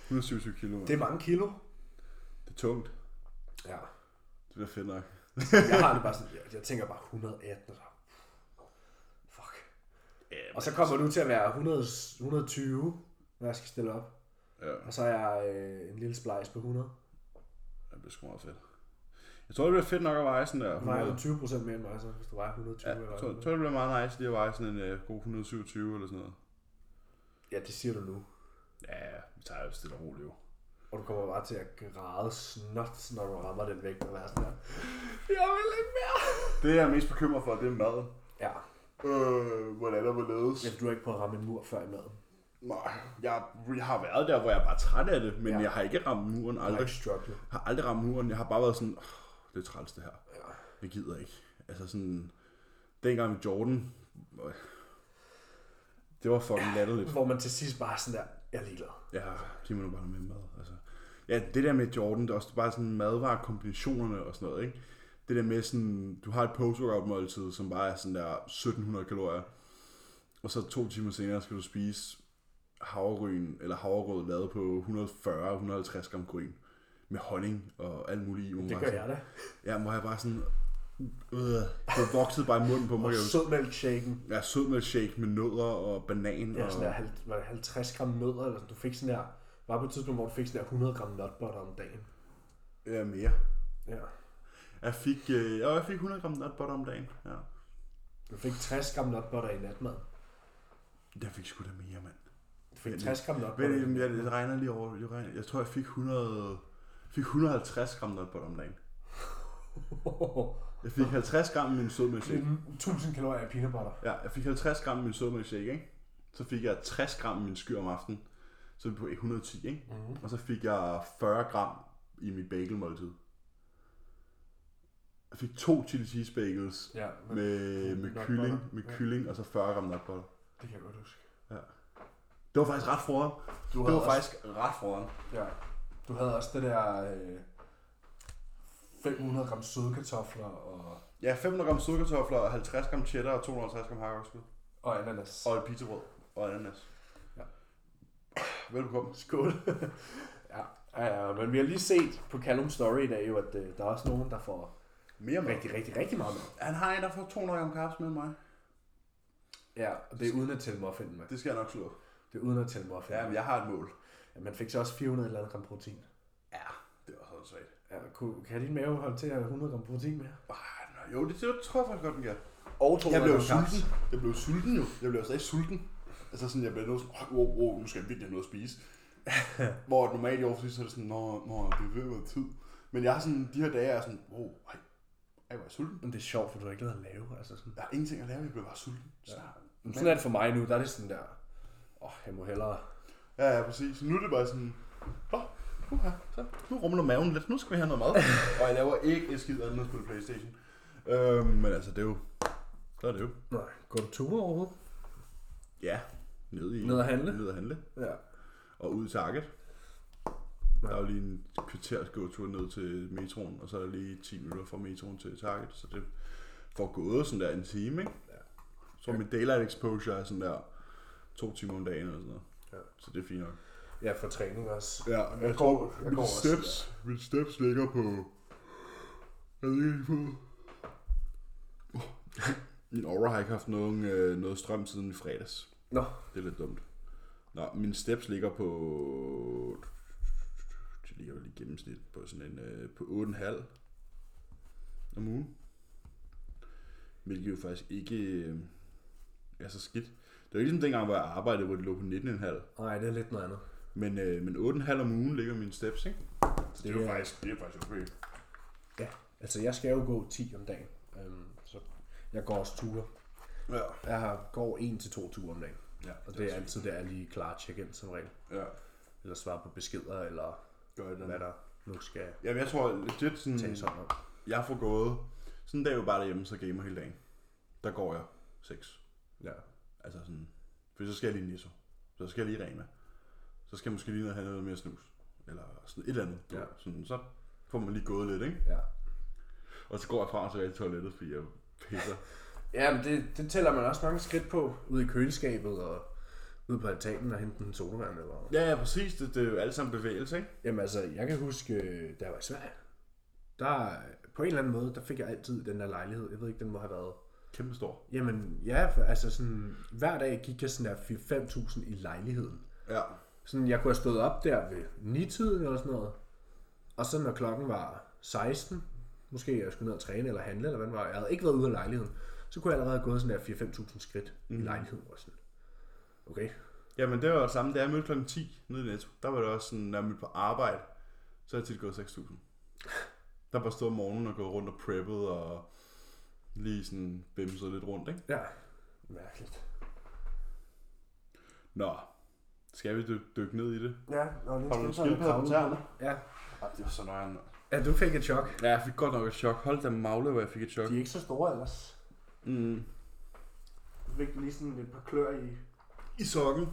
Speaker 2: 127 kilo.
Speaker 1: Det
Speaker 2: Det,
Speaker 1: er mange kilo.
Speaker 2: det er tungt.
Speaker 1: Ja.
Speaker 2: Det bliver fedt nok.
Speaker 1: Jeg har det bare sådan, jeg, jeg tænker bare 118. og så- Fuck.
Speaker 2: Ja,
Speaker 1: Og så kommer du til at være 100, 120, når jeg skal stille op.
Speaker 2: ja.
Speaker 1: Og så er jeg øh, en lille splice på 100.
Speaker 2: Det bliver sgu meget fedt. Jeg tror, det bliver fedt nok at veje sådan der.
Speaker 1: Du vejer
Speaker 2: 100.
Speaker 1: 20 procent mere end mig, så hvis du vejer 120
Speaker 2: Ja,
Speaker 1: eller
Speaker 2: jeg tror, jeg
Speaker 1: 100.
Speaker 2: tror, det bliver meget nice lige at veje sådan en øh, god 127 eller sådan noget.
Speaker 1: Ja, det siger du nu.
Speaker 2: Ja, vi tager jo stille og roligt jo.
Speaker 1: Og du kommer bare til at græde snot, når du rammer den vægt og være sådan der. Jeg vil ikke mere.
Speaker 2: Det, jeg er mest bekymret for, det er maden.
Speaker 1: Ja,
Speaker 2: Øh, hvordan og hvorledes.
Speaker 1: men du har ikke prøvet at ramme en mur før i maden.
Speaker 2: Nej, jeg, jeg har været der, hvor jeg er bare træt af det, men
Speaker 1: Ja.
Speaker 2: ja. jeg har ikke ramt muren
Speaker 1: Du har
Speaker 2: aldrig.
Speaker 1: ikke strugglet.
Speaker 2: Jeg har aldrig ramt muren. Jeg har bare været sådan, "Åh, det er træls det her. Jeg gider ikke. Altså sådan, dengang med Jordan, øh, det var fucking latterligt.
Speaker 1: Hvor man til sidst bare er sådan der, jeg er ligeglad.
Speaker 2: Ja, giv mig nu bare noget mere mad. Altså. Ja, det der med Jordan, det er også bare sådan madvarekombinationerne og sådan noget, ikke? Det der med sådan, du har et post-workout måltid, som bare er sådan der 1700 kalorier, og så to timer senere skal du spise havregryn, eller havregrød lavet på 140-150 gram gryn med honning og alt muligt i. hvor man
Speaker 1: Det
Speaker 2: bare
Speaker 1: gør
Speaker 2: sådan-
Speaker 1: jeg da.
Speaker 2: Ja, hvor jeg bare sådan... Øh, det voksede bare i munden på mig.
Speaker 1: Og
Speaker 2: Jeg var-
Speaker 1: sød milkshaken.
Speaker 2: Ja, sødmælkshake med nødder og banan.
Speaker 1: Ja,
Speaker 2: og...
Speaker 1: sådan der halv- var det 50 gram nødder, eller sådan. du fik sådan der, var på et tidspunkt, hvor du fik sådan der 100 gram nutbutter om dagen.
Speaker 2: Ja, mere.
Speaker 1: Ja.
Speaker 2: Jeg fik, øh, ja, jeg fik 100 gram nut butter om dagen. Ja.
Speaker 1: Du fik 60 gram nutbutter i natmad.
Speaker 2: Jeg fik sgu da mere, mand.
Speaker 1: Du fik
Speaker 2: Men-
Speaker 1: 60 gram
Speaker 2: Vent,
Speaker 1: nutbutter.
Speaker 2: jeg, jeg, jeg regner lige over. Jeg, regner, jeg tror, jeg fik, 100, fik 150 gram nut butter om dagen. Jeg fik 50 gram i min sødmilkshake.
Speaker 1: 1000 kalorier af peanut butter.
Speaker 2: Ja, jeg fik 50 gram i min sødmilkshake, ikke? Så fik jeg 60 gram i min skyr om aftenen. Så er vi på 110, ikke?
Speaker 1: Mhm.
Speaker 2: Og så fik jeg 40 gram i mit bagelmåltid. Jeg fik to chili cheese bagels
Speaker 1: Ja, men
Speaker 2: med, med
Speaker 1: Nut
Speaker 2: kylling,
Speaker 1: butter.
Speaker 2: med
Speaker 1: Ja.
Speaker 2: kylling og så 40 gram nut butter.
Speaker 1: det kan jeg godt huske.
Speaker 2: Det var faktisk ret foran.
Speaker 1: Du
Speaker 2: Det var faktisk ret foran.
Speaker 1: Ja. Du havde også det der øh, 500 gram søde kartofler og,
Speaker 2: Ja, 500 gram sødkartofler, og 50 gram cheddar og 250 gram hakkekødskud.
Speaker 1: og ananas.
Speaker 2: Og et pizzabrød og ananas.
Speaker 1: Ja.
Speaker 2: Velbekomme.
Speaker 1: Skål. ja. Ja, ja, men vi har lige set på Callum Story i dag jo, at øh, der er også nogen, der får
Speaker 2: Mere mad.
Speaker 1: rigtig, rigtig, rigtig meget med.
Speaker 2: Han har en, der får 200 gram carbs med mig.
Speaker 1: Ja, og det er uden at tælle muffinen med.
Speaker 2: Det skal jeg nok slå.
Speaker 1: Det er uden at tælle muffinen.
Speaker 2: Ja, men jeg har et mål.
Speaker 1: Ja, man fik så også 400 eller andet gram protein.
Speaker 2: Ja, det var sådan svært.
Speaker 1: Ja, kunne, kan din mave holde til at have 100 gram protein mere?
Speaker 2: Ah, jo, det, det tror jeg faktisk godt, den gør.
Speaker 1: Og 200
Speaker 2: Jeg blev jo
Speaker 1: gram carbs.
Speaker 2: sulten. Jeg blev sulten jo. Jeg blev stadig sulten. Altså sådan, jeg blev noget sådan, åh, oh, oh, nu skal jeg virkelig have noget at spise. Hvor at normalt i år, så er det sådan, nå, nå det er ved at være tid. Men jeg har sådan, de her dage, jeg er sådan, åh, oh, ej, ej, hvor er jeg sulten.
Speaker 1: Men det er sjovt, for du har ikke noget at lave. Altså sådan.
Speaker 2: Jeg har ingenting at lave, jeg bliver bare sulten. Snart.
Speaker 1: Men sådan er det for mig nu. Der er det sådan der, åh, oh, jeg må hellere...
Speaker 2: Ja, ja, præcis. Så nu er det bare sådan, åh, oh, så nu rumler maven lidt, nu skal vi have noget mad. og jeg laver ikke et skid andet end at spille Playstation. Øhm, men altså, det er jo, så er det jo.
Speaker 1: Nej, går du ture overhovedet?
Speaker 2: Ja, ned i,
Speaker 1: Ned at handle.
Speaker 2: Ned at handle.
Speaker 1: Ja.
Speaker 2: og ud i Target.
Speaker 1: Ja.
Speaker 2: Der er jo lige en kvarters gåtur ned til metroen, og så er der lige 10 minutter fra metroen til Target, så det får gået sådan der en time, ikke?
Speaker 1: Ja.
Speaker 2: Så mit daylight exposure er sådan der to timer om dagen eller sådan noget.
Speaker 1: Ja.
Speaker 2: Så det er fint nok.
Speaker 1: Ja, for træning også.
Speaker 2: Ja,
Speaker 1: jeg Jeg tror, går- jeg mine går også,
Speaker 2: steps,
Speaker 1: steps-
Speaker 2: ja. mine steps ligger på... Jeg ved ikke på... Min aura har ikke haft nogen, øh, noget strøm siden i fredags.
Speaker 1: Nå,
Speaker 2: Det er lidt dumt. Nå, mine steps ligger på... De ligger vel i gennemsnit på sådan en... Øh, på 8,5 om ugen. Hvilket jo faktisk ikke øh, er så skidt. Det var ikke ligesom dengang, hvor jeg arbejdede, hvor det lå på 19,5.
Speaker 1: nej, det er lidt noget andet.
Speaker 2: Men, øh, men 8,5 om ugen ligger mine steps, ikke? Så
Speaker 1: Det er-
Speaker 2: faktisk, det er faktisk okay.
Speaker 1: Ja, altså jeg skal jo gå 10 om dagen, øhm, så jeg går også ture.
Speaker 2: Ja.
Speaker 1: Jeg har, går 1 til to ture om dagen,
Speaker 2: Ja,
Speaker 1: og det er altid der, jeg lige klarer at tjekke ind som regel.
Speaker 2: ja.
Speaker 1: Eller svare på beskeder, eller
Speaker 2: Gør et eller
Speaker 1: hvad
Speaker 2: andet.
Speaker 1: der nu skal
Speaker 2: Jamen, jeg tror legit sådan...
Speaker 1: tages hånd om.
Speaker 2: Jeg får gået... Sådan en dag er jo bare derhjemme, så gamer hele dagen. Der går jeg 6.
Speaker 1: Ja.
Speaker 2: Altså sådan, for så skal jeg lige i Netto. Så skal jeg lige i Rema. Så skal jeg måske lige ned og have noget mere snus. Eller sådan et eller andet.
Speaker 1: Ja.
Speaker 2: Sådan, så får man lige gået lidt, ikke?
Speaker 1: Ja,
Speaker 2: Og så går jeg frem og tilbage til toilettet, fordi jeg pisser.
Speaker 1: ja men det, det tæller man også mange skridt på, ude i køleskabet og ude på altanen og hente en sodavand eller...
Speaker 2: ja, ja, præcis. Det, det er jo alle sammen bevægelse, ikke?
Speaker 1: Jamen altså, jeg kan huske, øh, da jeg var i Sverige, der øh, på en eller anden måde, der fik jeg altid den der lejlighed. Jeg ved ikke, den må have været
Speaker 2: Kæmpe stor.
Speaker 1: Jamen ja, for, altså sådan, hver dag gik jeg sådan der 4-5.000 i lejligheden.
Speaker 2: Ja.
Speaker 1: Sådan, jeg kunne have stået op der ved 9-tiden eller sådan noget. Og så når klokken var 16, måske jeg skulle ned og træne eller handle, eller hvad det var, jeg havde ikke været ude af lejligheden, så kunne jeg allerede have gået sådan der 4-5.000 skridt mm. i lejligheden. Og sådan. Okay,
Speaker 2: Jamen, det var det samme. Da jeg mødte klokken 10 nede i Netto, der var det også sådan, når jeg mødte på arbejde, så havde jeg tit gået 6.000. Der var stået om morgenen og gået rundt og preppet og lige sådan bimset lidt rundt, ikke?
Speaker 1: ja, mærkeligt.
Speaker 2: Nå, skal vi dykke, dykke ned i det?
Speaker 1: Ja, og
Speaker 2: Har du nogle skildpadder på tæerne?
Speaker 1: Ja.
Speaker 2: Ej, det var så nøjeren.
Speaker 1: ja, du fik et chok.
Speaker 2: Ja, jeg fik godt nok et chok. Hold da magle, hvor jeg fik et chok.
Speaker 1: De er ikke så store ellers.
Speaker 2: Mm.
Speaker 1: Fik lige sådan et par klør i.
Speaker 2: I sokken.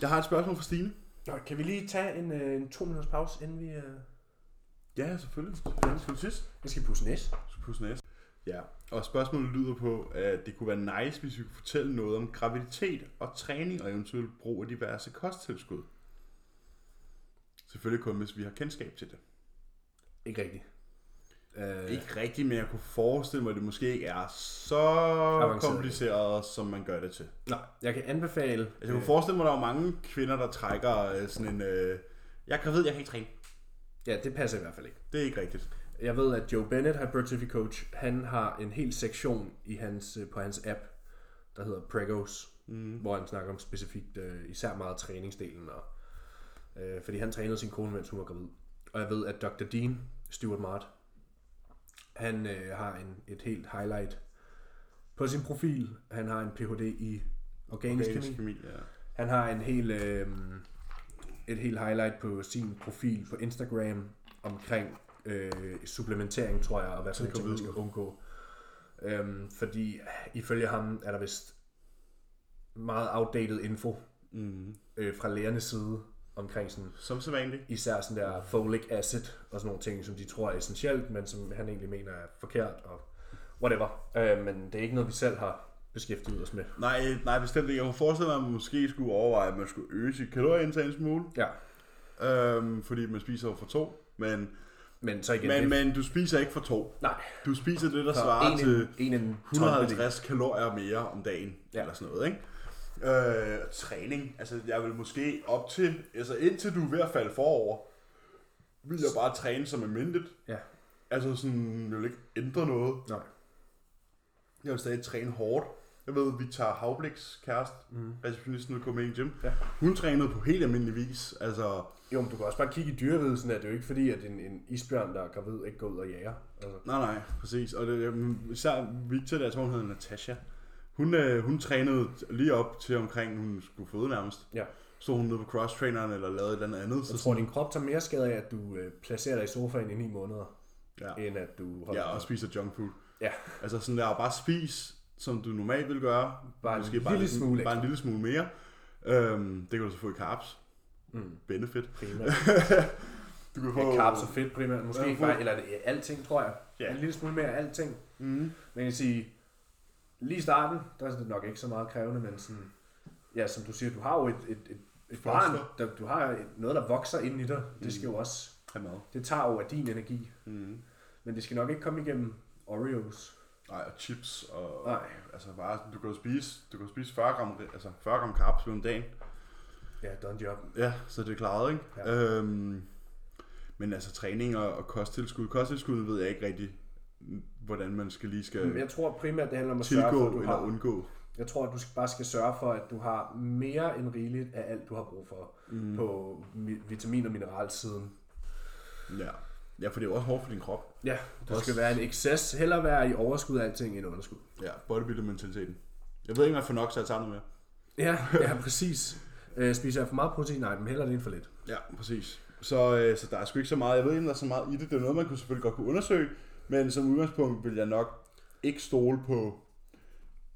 Speaker 2: jeg har et spørgsmål fra Stine.
Speaker 1: Nå, kan vi lige tage en, øh, en to minutters pause, inden vi... Øh
Speaker 2: Ja, selvfølgelig. Selvfølgelig skal du tisse.
Speaker 1: Jeg skal pusse næs.
Speaker 2: Du skal pusse næse. Ja, og spørgsmålet lyder på, at det kunne være nice, hvis vi kunne fortælle noget om graviditet og træning og eventuelt brug af diverse kosttilskud. Selvfølgelig kun, hvis vi har kendskab til det.
Speaker 1: Ikke rigtigt. Øh,
Speaker 2: Ikke rigtigt, men jeg kunne forestille mig, at det måske ikke er så
Speaker 1: Avanceret.
Speaker 2: kompliceret, som man gør det til.
Speaker 1: Nej, jeg kan anbefale...
Speaker 2: Altså, jeg kunne forestille mig, at der er mange kvinder, der trækker øh, sådan en... Øh, jeg er gravid, jeg kan ikke træne.
Speaker 1: ja, det passer i hvert fald ikke.
Speaker 2: Det er ikke rigtigt.
Speaker 1: Jeg ved, at Joe Bennett, hypertrophy coach, han har en hel sektion i hans, øh, på hans app, der hedder Pregos, mm. hvor han snakker om specifikt øh, især meget træningsdelen. Og, øh, fordi han trænede sin kone, mens hun var gravid. Og jeg ved, at Dr. Dean, Stuart Mart, Han øh, har en, et helt highlight på sin profil. Han har en Ph.D. i organisk
Speaker 2: Organisk
Speaker 1: kemi.
Speaker 2: kemi, ja.
Speaker 1: Han har en hel, øh, et helt highlight på sin profil på Instagram omkring øh, supplementering, tror jeg, og hvad for nogle ting, man skal undgå. Øhm, fordi ifølge ham er der vist meget outdated info
Speaker 2: Mm.
Speaker 1: øh, fra lærernes side omkring sådan,
Speaker 2: Som sædvanligt.
Speaker 1: især sådan der folic acid og sådan nogle ting, som de tror er essentielt, men som han egentlig mener er forkert og whatever. Øh, men det er ikke noget, vi selv har beskæftiget os med.
Speaker 2: Nej, nej, bestemt ikke. Jeg kunne forestille mig, at man måske skulle overveje, at man skulle øge sit kalorieindtag en smule.
Speaker 1: Ja,
Speaker 2: Øhm, fordi man spiser jo for to. Men,
Speaker 1: men så igen...
Speaker 2: men,
Speaker 1: det,
Speaker 2: men du spiser ikke for to.
Speaker 1: nej,
Speaker 2: Du spiser det, der
Speaker 1: Så
Speaker 2: svarer til
Speaker 1: en, en
Speaker 2: 150 kalorier mere om dagen,
Speaker 1: Ja.
Speaker 2: ja. eller sådan noget, ikke? Øh, træning, altså jeg vil måske op til, altså indtil du er ved at falde forover, vil jeg bare træne som almindeligt.
Speaker 1: Ja,
Speaker 2: Altså sådan, jeg vil ikke ændre noget.
Speaker 1: nej.
Speaker 2: Jeg vil stadig træne hårdt. Jeg ved, vi tager Havbliks kæreste, mm. receptionisten ved Copenhagen Gym.
Speaker 1: Ja.
Speaker 2: Ja. Hun trænede på helt almindelig vis, altså
Speaker 1: Jo, men du kan også bare kigge i dyreriget, sådan at det er jo ikke fordi, at en, en isbjørn, der er gravid, ikke går ud og jager. Altså,
Speaker 2: Nej, nej, præcis. Og det, mm, især Victor, der jeg tror, hun hedder Natasha. Hun, øh, hun trænede lige op til omkring, hun skulle føde nærmest.
Speaker 1: ja.
Speaker 2: Så hun nede på cross-traineren eller lavede et eller andet andet.
Speaker 1: Jeg
Speaker 2: Så,
Speaker 1: tror, din krop tager mere skade af, at du øh, placerer dig i sofaen i 9 måneder,
Speaker 2: ja,
Speaker 1: end at du holder...
Speaker 2: ja, og spiser junk food.
Speaker 1: ja.
Speaker 2: Altså sådan der, bare spis, som du normalt vil gøre.
Speaker 1: Bare en lille
Speaker 2: lidt-
Speaker 1: smule
Speaker 2: Bare en lille smule mere. Øhm, det kan du så få i carbs.
Speaker 1: Mm.
Speaker 2: Benefit.
Speaker 1: Primært.
Speaker 2: Du kan
Speaker 1: Ja, carbs og fedt primært. Måske
Speaker 2: Ja,
Speaker 1: ikke
Speaker 2: fod.
Speaker 1: bare, eller det er alting, tror jeg.
Speaker 2: Ja.
Speaker 1: En lille smule mere af alting.
Speaker 2: Mm.
Speaker 1: Men jeg kan sige, lige i starten, der er det nok ikke så meget krævende, men sådan, ja, som du siger, du har jo et, et, et, et barn,
Speaker 2: Foster. Mm.
Speaker 1: der, du har et, noget, der vokser ind i dig. Det skal jo også
Speaker 2: Have mad.
Speaker 1: Det tager over din energi,
Speaker 2: Mm.
Speaker 1: men det skal nok ikke komme igennem Oreos.
Speaker 2: Nej, og chips og...
Speaker 1: Nej.
Speaker 2: Altså bare, du kan jo spise, du kan jo spise 40 gram, altså 40 gram carbs om dagen.
Speaker 1: Ja, done job.
Speaker 2: Ja, så det er klaret, ikke?
Speaker 1: Ja.
Speaker 2: Ja. Øhm, men altså træning og, og kosttilskud. Kosttilskud ved jeg ikke rigtig, hvordan man skal lige skal
Speaker 1: Men jeg tror primært, det handler om at sørge for,
Speaker 2: Øh, tilgå
Speaker 1: at du
Speaker 2: eller
Speaker 1: har,
Speaker 2: undgå.
Speaker 1: jeg tror, at du bare skal sørge for, at du har mere end rigeligt af alt, du har brug for mm. på mi- vitamin- og mineralsiden.
Speaker 2: Ja. ja, for det er jo også hårdt for din krop.
Speaker 1: Ja, der
Speaker 2: Også-
Speaker 1: skal være en excess. Hellere være i overskud af alting end underskud.
Speaker 2: Ja, bodybuilder-mentaliteten. Jeg ved ikke, om jeg får nok sat sammen med.
Speaker 1: Ja, ja præcis. Øh, spiser jeg for meget protein? Nej, men hellere det end for lidt.
Speaker 2: Ja, præcis. Så, øh, så der er sgu ikke så meget, jeg ved ikke, om der er så meget i det. Det er noget, man kunne selvfølgelig godt kunne undersøge, men som udgangspunkt vil jeg nok ikke stole på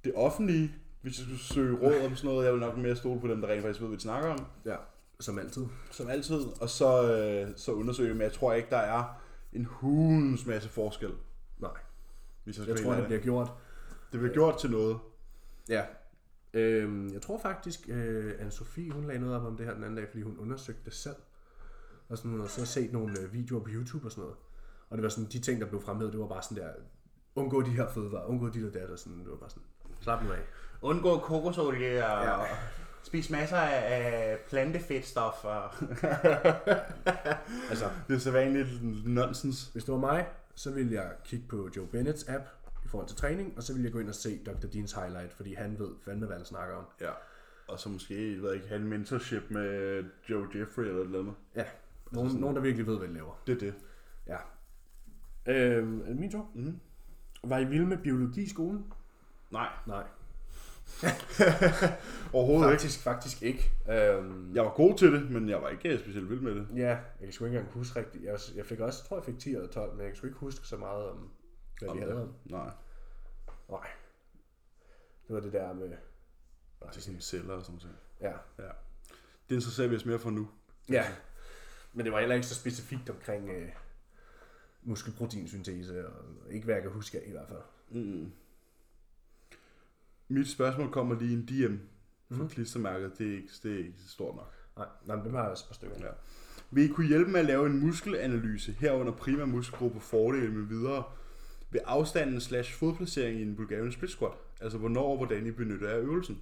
Speaker 2: det offentlige, hvis jeg skulle søge råd om sådan noget. Jeg vil nok mere stole på dem, der rent faktisk ved, hvad de snakker om.
Speaker 1: Ja, som altid.
Speaker 2: Som altid, og så, øh, så undersøge, men jeg tror ikke, der er en hulens masse forskel,
Speaker 1: Nej,
Speaker 2: hvis jeg skal
Speaker 1: jeg tror,
Speaker 2: vælge
Speaker 1: det bliver gjort.
Speaker 2: det bliver gjort til noget.
Speaker 1: Ja. Øhm, jeg tror faktisk, øh, anne Sofie hun lagde noget op om det her den anden dag, fordi hun undersøgte det selv. Og sådan, hun havde så set nogle øh, videoer på YouTube og sådan noget. Og det var sådan, de ting, der blev fremhævet, det var bare sådan der, undgå de her fødevarer, undgå de der datter, sådan, det var bare sådan, slap nu af.
Speaker 3: Undgå kokosolie og
Speaker 1: Ja.
Speaker 3: ja. spis masser af plantefedtstof. Og...
Speaker 1: Altså,
Speaker 2: Det er så vanligt nonsens.
Speaker 1: hvis det var mig, så ville jeg kigge på Joe Bennett's app i forhold til træning, og så ville jeg gå ind og se Dr. Deans highlight, fordi han ved fandme, hvad han snakker om.
Speaker 2: Ja. Og så måske, jeg ved ikke, have en mentorship med Joe Jeffrey eller et eller andet.
Speaker 1: Ja, nogen, nogen der virkelig ved, hvad de laver.
Speaker 2: Det er det.
Speaker 1: Ja. Øhm, er det min tur?
Speaker 2: Mhm.
Speaker 1: Var I vilde med biologi i skolen?
Speaker 2: Nej,
Speaker 1: Nej,
Speaker 2: overhovedet ikke.
Speaker 1: faktisk, faktisk ikke. Øhm, ja.
Speaker 2: Jeg var god til det, men jeg var ikke specielt vild med det.
Speaker 1: ja, jeg kan sgu ikke engang huske rigtigt. Jeg, jeg fik også, tror jeg fik 10 eller 12, men jeg kan sgu ikke huske så meget om, hvad vi
Speaker 2: Om
Speaker 1: havde om.
Speaker 2: Nej,
Speaker 1: Nej. Det var det der med... Nej,
Speaker 2: det er sådan celler og sådan noget.
Speaker 1: ja.
Speaker 2: Ja. Det interesserer vi os mere for nu.
Speaker 1: ja. Men det var heller ikke så specifikt omkring øh, muskelproteinsyntese, og ikke hvad jeg kan huske af, i hvert fald.
Speaker 2: Mm. Mit spørgsmål kommer lige i en DM fra mm. klistermærket. Det er, ikke, det er ikke stort nok.
Speaker 1: Nej, nej men dem har jeg også et par stykker.
Speaker 2: Ja. Vil I kunne hjælpe med at lave en muskelanalyse herunder primær muskelgruppe, fordele med videre ved afstanden slash fodplacering i en Bulgarian split squat? Altså hvornår og hvordan I benytter jer af øvelsen?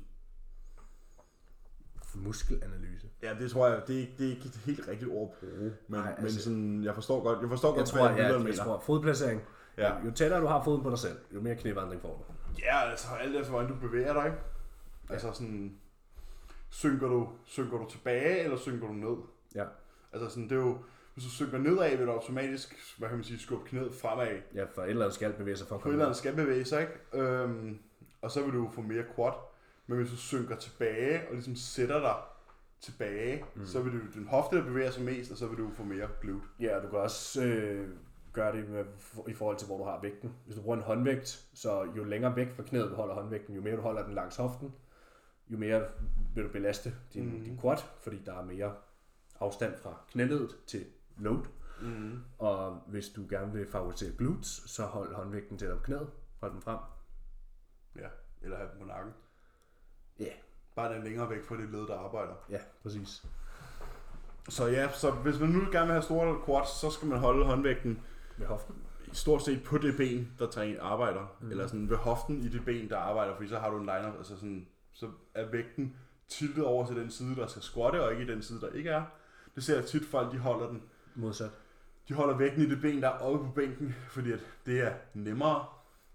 Speaker 1: Muskelanalyse.
Speaker 2: Ja, det tror jeg, det er, ikke- det er ikke et helt rigtigt ord at bruge, men,
Speaker 1: Nej,
Speaker 2: Nej,
Speaker 1: altså-
Speaker 2: altså, men sådan, jeg forstår godt, jeg forstår
Speaker 1: Jeg
Speaker 2: godt,
Speaker 1: tror, jeg,
Speaker 2: lytteren
Speaker 1: jeg, jeg tror fodplacering.
Speaker 2: Ja.
Speaker 1: Jo tættere du har foden på dig selv, jo mere knævandring får du.
Speaker 2: Ja, altså alt efter, hvordan du bevæger dig, ikke? Altså sådan, synker du, synker du tilbage, eller synker du ned?
Speaker 1: Ja.
Speaker 2: Altså sådan, det er jo, Hvis du cykler nedad, vil du automatisk, hvad kan man sige, skubbe knæet fremad.
Speaker 1: Ja, for et eller andet skal bevæge sig for at
Speaker 2: På en
Speaker 1: komme
Speaker 2: eller
Speaker 1: ned.
Speaker 2: anden skalbevægelse, ikke? Øhm, og så vil du få mere quad. Men hvis du synker tilbage og ligesom sætter dig tilbage, mm. så vil du din hofte, der bevæger sig mest, og så vil du få mere glute.
Speaker 1: Ja, og du kan også øh, gøre det med, i forhold til, hvor du har vægten. Hvis du bruger en håndvægt, så jo længere væk fra knæet du holder håndvægten, jo mere du holder den langs hoften, jo mere vil du belaste din, mm. din quad, fordi der er mere afstand fra knæledet til load.
Speaker 2: Mm.
Speaker 1: Og hvis du gerne vil favorisere glutes, så hold håndvægten tæt op knæet. Hold den frem.
Speaker 2: Ja, eller have den på nakken.
Speaker 1: Ja, yeah.
Speaker 2: Bare den er længere væk fra det led, der arbejder.
Speaker 1: ja, præcis.
Speaker 2: Så ja, så hvis man nu gerne vil have store quads, så skal man holde håndvægten
Speaker 1: Med hoften.
Speaker 2: stort set på det ben, der træner arbejder, mm. eller sådan ved hoften i det ben, der arbejder, fordi så har du en liner, altså sådan, så er vægten tiltet over til den side, der skal squatte, og ikke i den side, der ikke er. Det ser jeg tit folk, de holder den.
Speaker 1: Modsat.
Speaker 2: De holder vægten i det ben, der er oppe på bænken, fordi at det er nemmere.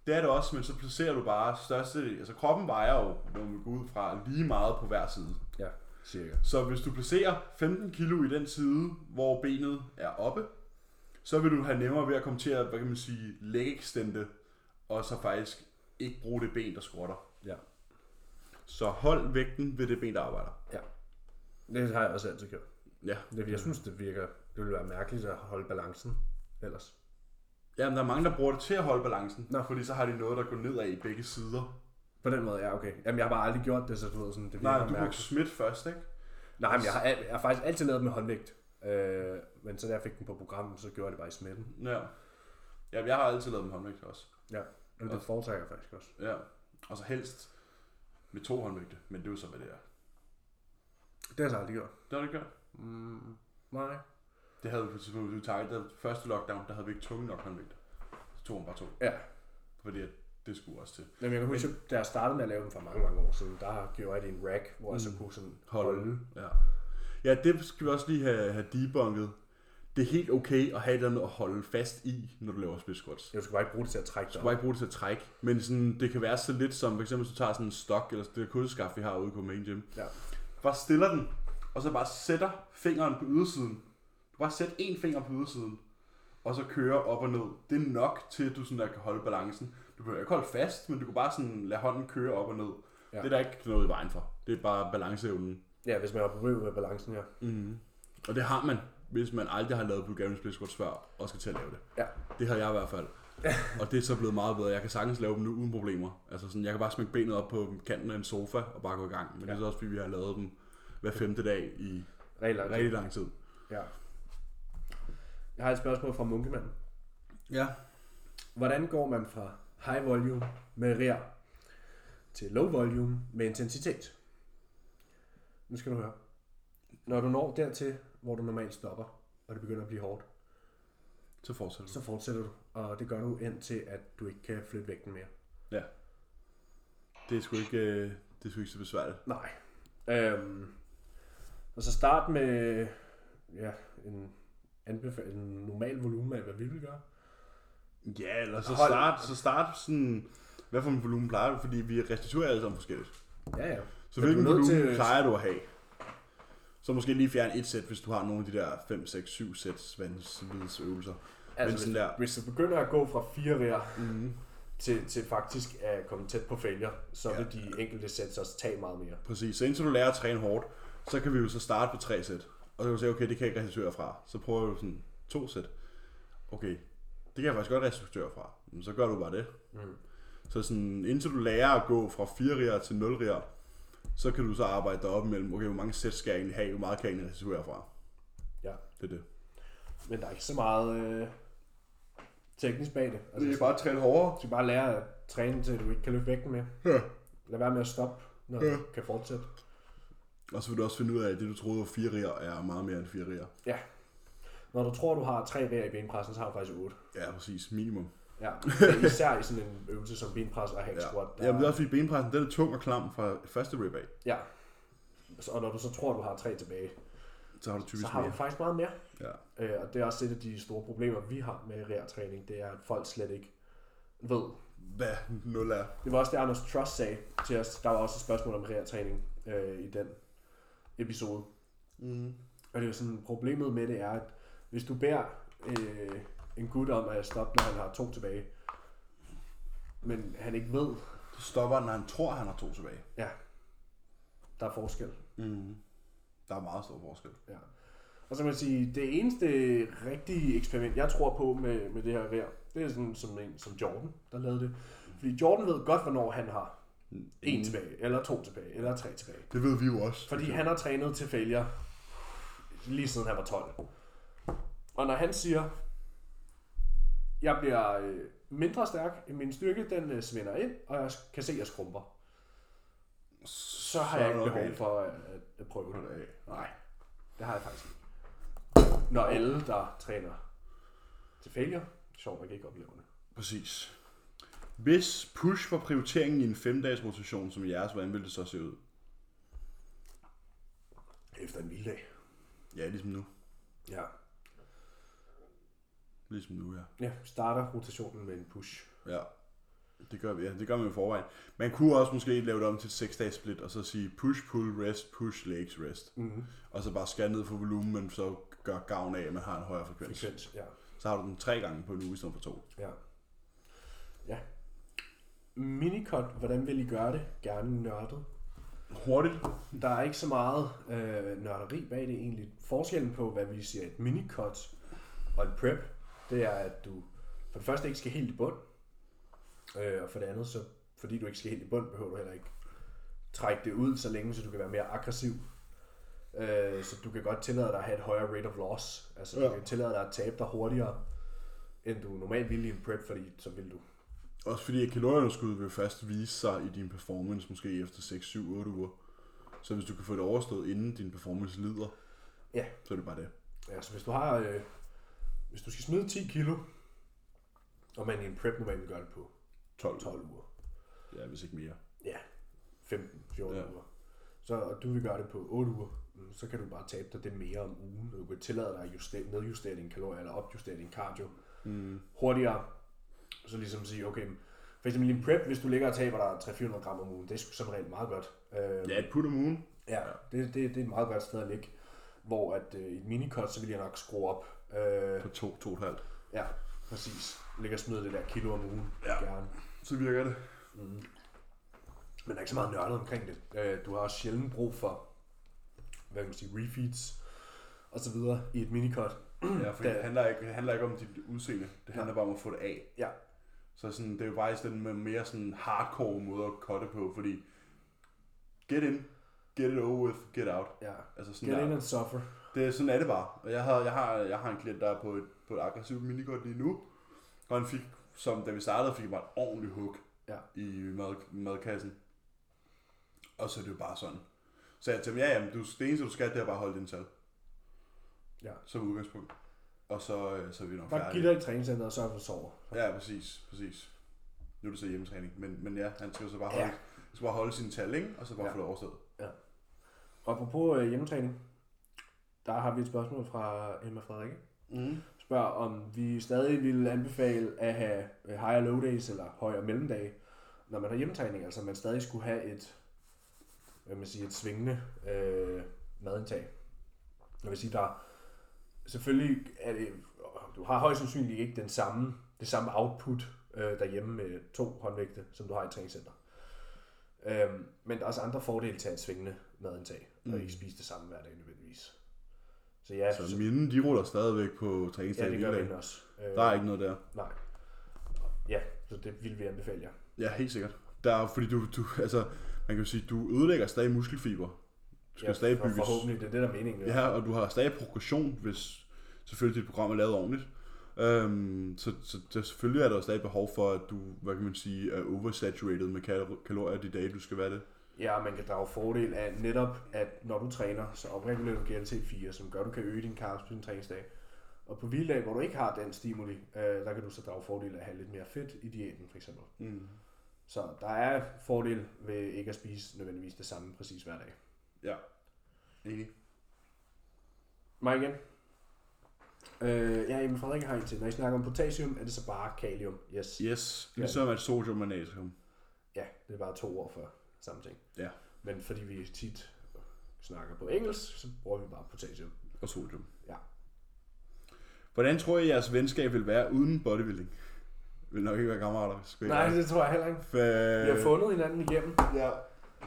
Speaker 2: Det er det også, men så placerer du bare største, altså kroppen vejer jo, når man går ud fra, lige meget på hver side.
Speaker 1: Ja, cirka.
Speaker 2: Så hvis du placerer 15 kilo i den side, hvor benet er oppe, så vil du have nemmere ved at komme til at, hvad kan man sige, leg extende, og så faktisk ikke bruge det ben, der squatter.
Speaker 1: Ja.
Speaker 2: Så hold vægten ved det ben, der arbejder.
Speaker 1: ja. Det har jeg også altid gjort.
Speaker 2: Ja.
Speaker 1: Det, jeg synes, det virker. Det ville være mærkeligt at holde balancen ellers.
Speaker 2: Jamen, der er mange, der bruger det til at holde balancen,
Speaker 1: Nå.
Speaker 2: Nå. fordi så har de noget, der går nedad i begge sider.
Speaker 1: På den måde, ja, okay. Jamen, jeg har bare aldrig gjort det, så du ved sådan, det virker
Speaker 2: Nej, du
Speaker 1: mærkeligt.
Speaker 2: kunne smidt først, ikke?
Speaker 1: Nej, men jeg har, al- jeg har faktisk altid lavet det med håndvægt. Øh, men så da jeg fik den på programmet, så gjorde jeg det bare i smitten.
Speaker 2: Ja. Ja, jeg har altid lavet med håndvægt også.
Speaker 1: Ja. Men det foretrækker jeg faktisk også.
Speaker 2: Ja. Og så helst med to håndvægte, men det er jo så, hvad det er.
Speaker 1: Det har jeg så aldrig gjort.
Speaker 2: Det har du gjort.
Speaker 1: Mm, nej.
Speaker 2: Det havde vi på et tidspunkt, vi tager den første lockdown, der havde vi ikke tunge nok håndvægter. Så tog hun bare to,
Speaker 1: Ja.
Speaker 2: fordi at det skulle også til.
Speaker 1: Jamen, jeg kan huske, da jeg startede med at lave dem for mange, mange år siden, der gjorde jeg det i en rack, hvor jeg så kunne sådan holde.
Speaker 2: Ja. ja, det skal vi også lige have, have debunket. Det er helt okay at have et eller andet at holde fast i, når du laver split squats.
Speaker 1: Jeg skulle bare ikke bruge det til at trække
Speaker 2: Du
Speaker 1: dig
Speaker 2: må
Speaker 1: op.
Speaker 2: ikke bruge det til at trække, men sådan, det kan være så lidt som, for eksempel hvis du tager sådan en stok, eller det kuldeskaft, vi har ude på main gym.
Speaker 1: Ja.
Speaker 2: Bare stiller den, og så bare sætter fingeren på ydersiden. Du bare sæt en finger på ydersiden, og så kører op og ned. Det er nok til, at du sådan der kan holde balancen. Du behøver ikke holde fast, men du kan bare sådan lade hånden køre op og ned.
Speaker 1: Ja.
Speaker 2: Ja. Det er der ikke noget i vejen for. Det er bare balanceevnen.
Speaker 1: ja, hvis man har problemer med balancen her.
Speaker 2: Mm-hmm. Og det har man, hvis man aldrig har lavet Bulgarian Split Squats før, og skal til at lave det.
Speaker 1: Ja.
Speaker 2: Det havde jeg i hvert fald. og det er så blevet meget bedre. Jeg kan sagtens lave dem nu uden problemer. Altså sådan, jeg kan bare smække benet op på kanten af en sofa og bare gå i gang. Men ja. det er så også, fordi vi har lavet dem hver femte dag i
Speaker 1: Rigtig langt.
Speaker 2: rigtig lang tid.
Speaker 1: Ja. Jeg har et spørgsmål fra Munkemanden.
Speaker 2: Ja.
Speaker 1: Hvordan går man fra high volume med rær til low volume med intensitet? Nu skal du høre. Når du når dertil, hvor du normalt stopper, og det begynder at blive hårdt,
Speaker 2: Så fortsætter du.
Speaker 1: så fortsætter du, og det gør du indtil, at du ikke kan flytte vægten mere.
Speaker 2: Ja. Det er sgu ikke, øh, det er sgu ikke så besværligt.
Speaker 1: Nej. Øhm, og så start med ja, en, anbefale, en normal volumen af, hvad vi vil gøre.
Speaker 2: Ja, eller så
Speaker 1: Hold-
Speaker 2: start, så start sådan, hvad for en volumen plejer du? Fordi vi restituerer alle sammen forskelligt.
Speaker 1: Ja, ja.
Speaker 2: Så
Speaker 1: Men
Speaker 2: hvilken
Speaker 1: du er nødt
Speaker 2: volumen
Speaker 1: til-
Speaker 2: til... plejer du at have? Så måske lige fjerne et sæt, hvis du har nogle af de der 5, 6, 7 sæt vanvidsøvelser.
Speaker 1: Altså,
Speaker 2: sådan
Speaker 1: hvis,
Speaker 2: der-
Speaker 1: hvis du begynder at gå fra fire vejr
Speaker 2: Mm-hmm.
Speaker 1: til, til faktisk at komme tæt på failure, så ja.
Speaker 2: Ja.
Speaker 1: vil de enkelte sæt også tage meget mere.
Speaker 2: Præcis. Så indtil du lærer at træne hårdt, så kan vi jo så starte på tre sæt. Og så kan du sige, okay, det kan jeg ikke restituere fra. Så prøver du sådan to sæt. Okay, det kan jeg faktisk godt restituere fra. Men så gør du bare det.
Speaker 1: Mm.
Speaker 2: Så sådan, indtil du lærer at gå fra 4 riger til 0 riger, så kan du så arbejde deroppe mellem, okay, hvor mange sæt skal jeg egentlig have, hvor meget kan jeg egentlig restituere fra.
Speaker 1: Ja.
Speaker 2: Det er det.
Speaker 1: Men der er ikke så meget øh, teknisk bag det. Altså,
Speaker 2: bare at træne hårdere.
Speaker 1: Du skal bare lære at træne til, at du ikke kan løfte vægten mere.
Speaker 2: Ja.
Speaker 1: Lad være med at stoppe, når
Speaker 2: Ja.
Speaker 1: du kan fortsætte.
Speaker 2: Og så vil du også finde ud af, at det du troede var fire riger, er meget mere end fire riger.
Speaker 1: Ja. Når du tror, du har tre vejr i benpressen, så har du faktisk otte.
Speaker 2: Ja, præcis. Minimum.
Speaker 1: Ja. Men Især i sådan en øvelse som benpres og hack
Speaker 2: Ja.
Speaker 1: squat.
Speaker 2: ja, men det er også fordi benpressen, den er tung og klam fra første rib af.
Speaker 1: ja. Så- Og når du så tror, du har tre tilbage,
Speaker 2: Så har du typisk
Speaker 1: så har du
Speaker 2: mere.
Speaker 1: faktisk meget mere.
Speaker 2: Ja.
Speaker 1: Øh, og det er også et af de store problemer, vi har med rærtræning, det er, at folk slet ikke ved,
Speaker 2: Hvad? Nul er.
Speaker 1: Det var også det, Anders Truss sagde til os. Der var også et spørgsmål om reatræning øh, i den episode.
Speaker 2: Mm.
Speaker 1: Og det er jo sådan, problemet med det er, at Hvis du beder øh, en gut om at stoppe, når han har to tilbage, men han ikke ved,
Speaker 2: Du stopper, når han tror, han har to tilbage.
Speaker 1: ja, der er forskel.
Speaker 2: Mm. Der er meget stor forskel.
Speaker 1: Ja. Og så kan man sige, det eneste rigtige eksperiment, jeg tror på med, med det her vejr, det er sådan som en som Jordan, der lavede det. Fordi Jordan ved godt, hvornår han har
Speaker 2: Mm.
Speaker 1: en tilbage, eller to tilbage, eller tre tilbage.
Speaker 2: Det ved vi jo også.
Speaker 1: Fordi han har trænet til failure lige siden han var 12. Og når han siger, jeg bliver øh, mindre stærk, min styrke den øh, svinder ind, og jeg kan se, at jeg skrumper, så har
Speaker 2: Så er
Speaker 1: jeg ikke
Speaker 2: der noget
Speaker 1: behov
Speaker 2: galt.
Speaker 1: for at, at, at prøve det.
Speaker 2: Nej.
Speaker 1: Nej, det har jeg faktisk ikke. Når alle, der træner til failure, sjovt nok ikke oplever det.
Speaker 2: Præcis. Hvis push var prioriteringen i en 5-dages rotation som jeres, hvordan ville det så se ud?
Speaker 1: Efter en vild dag.
Speaker 2: Ja, ligesom nu.
Speaker 1: Ja.
Speaker 2: Ligesom nu, ja.
Speaker 1: ja, starter rotationen med en push.
Speaker 2: Ja. Det gør vi, ja. Det gør man jo i forvejen. Man kunne også måske lave det om til et 6 dages split, og så sige push, pull, rest, push, legs, rest.
Speaker 1: Mm-hmm.
Speaker 2: Og så bare skære ned for volumen, men så gør gavn af, at man har en højere frekvens. Okay.
Speaker 1: Frekvens, ja.
Speaker 2: Så har du den tre gange på en uge, i stedet for to.
Speaker 1: Ja. Ja. Minicot, hvordan vil I gøre det? Gerne nørdet.
Speaker 2: Hurtigt.
Speaker 1: Der er ikke så meget øh, nørderi bag det egentlig. Forskellen på, hvad vi siger, et minicot og en prep, det er, at du for det første ikke skal helt i bund, øh, og for det andet, så fordi du ikke skal helt i bund, behøver du heller ikke trække det ud så længe, så du kan være mere aggressiv. Øh, så du kan godt tillade dig at have et højere rate of loss. Altså, ja. du
Speaker 2: Ja.
Speaker 1: kan tillade dig at tabe dig hurtigere, end du normalt ville i en prep, fordi så vil du
Speaker 2: Også fordi at kalorieunderskuddet vil først vise sig i din performance, måske efter 6, 7, 8 uger. Så hvis du kan få det overstået, inden din performance lider,
Speaker 1: Ja.
Speaker 2: så er det bare det.
Speaker 1: Ja, så hvis du har... Øh, hvis du skal smide 10 kilo, og man i en prep normalt gør det på
Speaker 2: 12,
Speaker 1: 12 uger.
Speaker 2: ja, hvis ikke mere.
Speaker 1: Ja, 15-14 ja.
Speaker 2: Ja.
Speaker 1: uger. Så og du vil gøre det på 8 uger, mm, så kan du bare tabe dig det mere om ugen. Du kan tillade dig at justere, nedjustere dine kalorier, eller opjustere din cardio mm. hurtigere. Så ligesom sige, okay, men for eksempel i en prep, hvis du ligger og taber dig 300-400 gram om ugen, det er sgu som regel meget godt. Øh,
Speaker 2: Ja, et put om ugen.
Speaker 1: Ja, det, det, det er et meget godt sted at ligge. Hvor at øh, i et minicot, så vil jeg nok skrue op. Øh,
Speaker 2: På 2, 2,5.
Speaker 1: Ja, præcis. Ligger og smider det der kilo om ugen.
Speaker 2: Ja.
Speaker 1: Gerne.
Speaker 2: Så virker det.
Speaker 1: Men der er ikke så meget nørdet omkring det. Øh, Du har også sjældent brug for, hvad kan man sige, refeeds og så videre i et minicot.
Speaker 2: Ja, for det
Speaker 1: Mm. Det-
Speaker 2: handler ikke, det handler ikke om dit udseende. Det handler bare om at få det af.
Speaker 1: Ja,
Speaker 2: Så sådan, det er jo faktisk den med mere sådan hardcore måde at cutte på, fordi get in, get it over with, get out.
Speaker 1: ja.
Speaker 2: Altså sådan
Speaker 1: Get
Speaker 2: der.
Speaker 1: in and suffer.
Speaker 2: Det, er- sådan er det bare. Og jeg, havde, jeg, har, jeg har en klient, der er på et, på et aggressivt minikort lige nu. Og han fik, som da vi startede, fik han bare et ordentligt hug
Speaker 1: Ja.
Speaker 2: i mad, madkassen. Og så er det jo bare sådan. Så jeg tænkte, ja, jamen, du, det eneste, du skal, det er bare at holde din tal.
Speaker 1: Ja.
Speaker 2: Som udgangspunkt. Og så, øh, så er vi nok
Speaker 1: Bare giv dig i træningscenteret og sørg for at sove.
Speaker 2: Ja, præcis, præcis. Nu er det så hjemmetræning, men, men ja, han skal jo så bare
Speaker 1: Ja.
Speaker 2: holde, ja. skal bare holde sin tal, ikke? Og så bare
Speaker 1: Ja.
Speaker 2: ja. få det overstået.
Speaker 1: Og apropos øh, hjemmetræning, der har vi et spørgsmål fra Emma Frederikke.
Speaker 2: Mm.
Speaker 1: Spørger, om vi stadig ville anbefale at have øh, high og low days, eller høj og mellemdage, når man har hjemmetræning. Altså, man stadig skulle have et, hvad man siger, et svingende øh, madindtag. Jeg vil sige, der selvfølgelig er det, du har højst sandsynligt ikke den samme, det samme output øh, derhjemme med to håndvægte, som du har i et træningscenter. Øhm, men der er også andre fordele til at have et svingende madindtag, og ikke spise det samme hver dag nødvendigvis. Så ja,
Speaker 2: Mm. Så Altså, mine, de ruller stadigvæk på
Speaker 1: ja, det
Speaker 2: træningsdagen.
Speaker 1: gør
Speaker 2: Ja,
Speaker 1: vi også. Øh,
Speaker 2: der er ikke noget der.
Speaker 1: Nej. Ja, så det vil vi anbefale jer.
Speaker 2: Ja, helt sikkert. Der er, fordi du, du, altså, man kan jo sige, du ødelægger stadig muskelfiber. Du skal
Speaker 1: Ja,
Speaker 2: ja, stadig
Speaker 1: og
Speaker 2: bygges.
Speaker 1: Forhåbentlig, det er det, der er meningen.
Speaker 2: Ja, og du har stadig progression, hvis selvfølgelig dit program er lavet ordentligt. Øhm, så, så, så, selvfølgelig er der jo stadig behov for, at du, hvad kan man sige, er oversaturated med kal- kalorier de dage, du skal være det.
Speaker 1: ja, og man kan drage fordel af netop, at når du træner, så opregulerer du GLT-4, som gør, at du kan øge din carbs på din træningsdag. Og på hviledag, hvor du ikke har den stimuli, øh, der kan du så drage fordel af at have lidt mere fedt i diæten, for eksempel.
Speaker 2: Mm.
Speaker 1: Så der er fordel ved ikke at spise nødvendigvis det samme præcis hver dag.
Speaker 2: Ja. Enig.
Speaker 1: Mig igen. Øh, ja, Emil Frederik har en til. Når I snakker om potassium, er det så bare kalium. Yes.
Speaker 2: Yes, ligesom at sodium og natrium.
Speaker 1: Ja, det er bare to ord for samme ting.
Speaker 2: Ja,
Speaker 1: Men fordi vi tit snakker på engelsk, så bruger vi bare potassium.
Speaker 2: og sodium.
Speaker 1: Ja.
Speaker 2: Hvordan tror I, jeres venskab vil være uden bodybuilding? Vil nok ikke være Øh, kammerater, hvis vi
Speaker 1: Nej, det tror jeg heller ikke. Vi har
Speaker 2: Fæ...
Speaker 1: fundet hinanden igennem.
Speaker 2: Ja,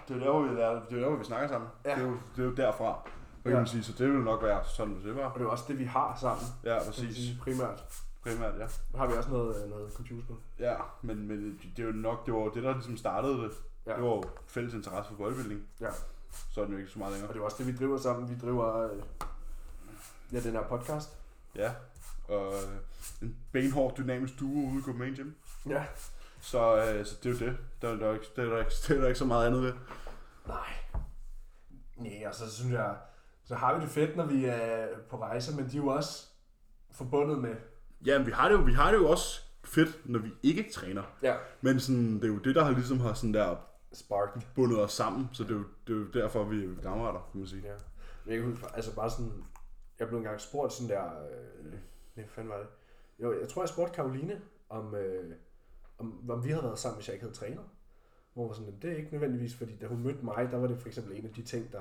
Speaker 2: det er jo der, hvor vi, lærer, det er jo der, hvor vi snakker sammen.
Speaker 1: Ja.
Speaker 2: Det, er jo, det er jo derfra. Hvad kan
Speaker 1: Ja.
Speaker 2: man sige? Så det vil nok være sådan, hvis det
Speaker 1: Og
Speaker 2: var.
Speaker 1: det er jo også det, vi har sammen.
Speaker 2: Ja,
Speaker 1: kan man
Speaker 2: præcis.
Speaker 1: sige, Primært.
Speaker 2: Primært, ja.
Speaker 1: Nu har vi også noget, øh, noget computer på.
Speaker 2: Ja, men, men det er jo nok, det var jo det, der ligesom startede det.
Speaker 1: Ja.
Speaker 2: Ja. Det var jo fælles interesse for bodybuilding.
Speaker 1: Ja.
Speaker 2: Så er den jo ikke så meget
Speaker 1: Og
Speaker 2: længere.
Speaker 1: det er også det, vi driver sammen. Vi driver øh, ja, den her podcast.
Speaker 2: Ja, og øh, en benhård dynamisk duo ude i Copenhagen Gym.
Speaker 1: Ja.
Speaker 2: Så, øh, så det er jo det. Der er der ikke, der er der ikke, der er der ikke så meget andet ved.
Speaker 1: Nej. Nej, og så synes jeg, så har vi det fedt, når vi er på rejse, men de er jo også forbundet med...
Speaker 2: Ja, men vi har det jo, vi har det jo også fedt, når vi ikke træner.
Speaker 1: Ja.
Speaker 2: Men sådan, det er jo det, der har ligesom har sådan der
Speaker 1: Spark.
Speaker 2: bundet os sammen, så det er jo, det er jo derfor, vi er kammerater, kan man sige.
Speaker 1: Ja. Jeg kan huske, altså bare sådan... Jeg blev engang spurgt sådan der... Øh, hvad fanden var det? Jo, jeg tror, jeg spurgte Karoline, om, øh, om, om vi havde været sammen, hvis jeg ikke havde trænet. Hvor hun var sådan, "Jamen, det er ikke nødvendigvis, fordi da hun mødte mig, der var det for eksempel en af de ting, der...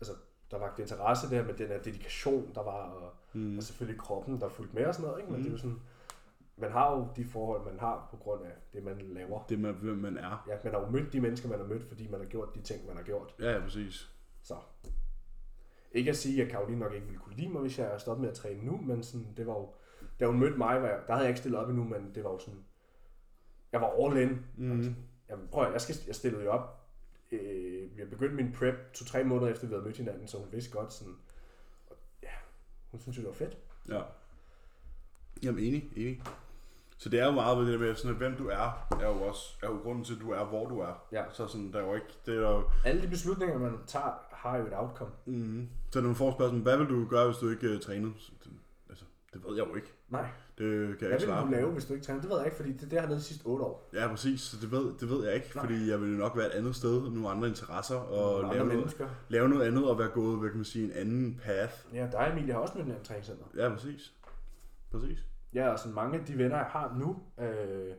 Speaker 1: Altså, der var interesse der med den her dedikation, der var, og,
Speaker 2: Mm.
Speaker 1: Og selvfølgelig kroppen, der fulgte med og sådan noget, ikke? Men mm. det er jo sådan, man har jo de forhold, man har på grund af det, man laver.
Speaker 2: Det med, hvem man er.
Speaker 1: Ja, man har jo mødt de mennesker, man har mødt, fordi man har gjort de ting, man har gjort.
Speaker 2: Ja, ja præcis.
Speaker 1: Så. Ikke at sige, at Karoline nok ikke ville kunne lide mig, hvis jeg stoppede med at træne nu, men sådan, det var jo... Da hun mødte mig, var jeg, der havde jeg ikke stillet op endnu, men det var jo sådan... Jeg var all in. Altså,
Speaker 2: Mm.
Speaker 1: Jamen, prøv at, jeg, skal, jeg stillede jo op. Øh, jeg begyndte min prep to-tre måneder efter, vi havde mødt hinanden, så hun vidste godt sådan... Ja, hun syntes jo, det var fedt.
Speaker 2: Ja. Jamen enig, enig. Så det er jo meget ved det der med, sådan, at hvem du er, er jo også er jo grunden til, at du er, hvor du er.
Speaker 1: Ja.
Speaker 2: Så sådan, der er jo ikke, det er der jo,
Speaker 1: Alle de beslutninger, man tager, har jo et outcome.
Speaker 2: mm. Så når man får spørgsmålet, hvad vil du gøre, hvis du ikke uh, trænede? Så det, altså, det ved jeg jo ikke.
Speaker 1: Nej,
Speaker 2: Det kan jeg
Speaker 1: hvad
Speaker 2: ikke
Speaker 1: ville
Speaker 2: svare
Speaker 1: du
Speaker 2: på.
Speaker 1: lave, hvis du ikke trænede? Det ved jeg ikke, fordi det er det, jeg har lavet de sidste 8 år.
Speaker 2: Ja, præcis. Så det ved, det ved jeg ikke,
Speaker 1: Nej.
Speaker 2: fordi jeg ville nok være et andet sted, med nogle andre interesser, og
Speaker 1: Nogle
Speaker 2: lave
Speaker 1: andre
Speaker 2: noget,
Speaker 1: mennesker.
Speaker 2: lave noget andet, og være gået, hvad kan man sige, en anden path.
Speaker 1: Ja, dig Emilie har også mødt hinanden i træningscenter.
Speaker 2: Ja, præcis. Præcis.
Speaker 1: Ja, og sådan mange af de venner, jeg har nu, øh,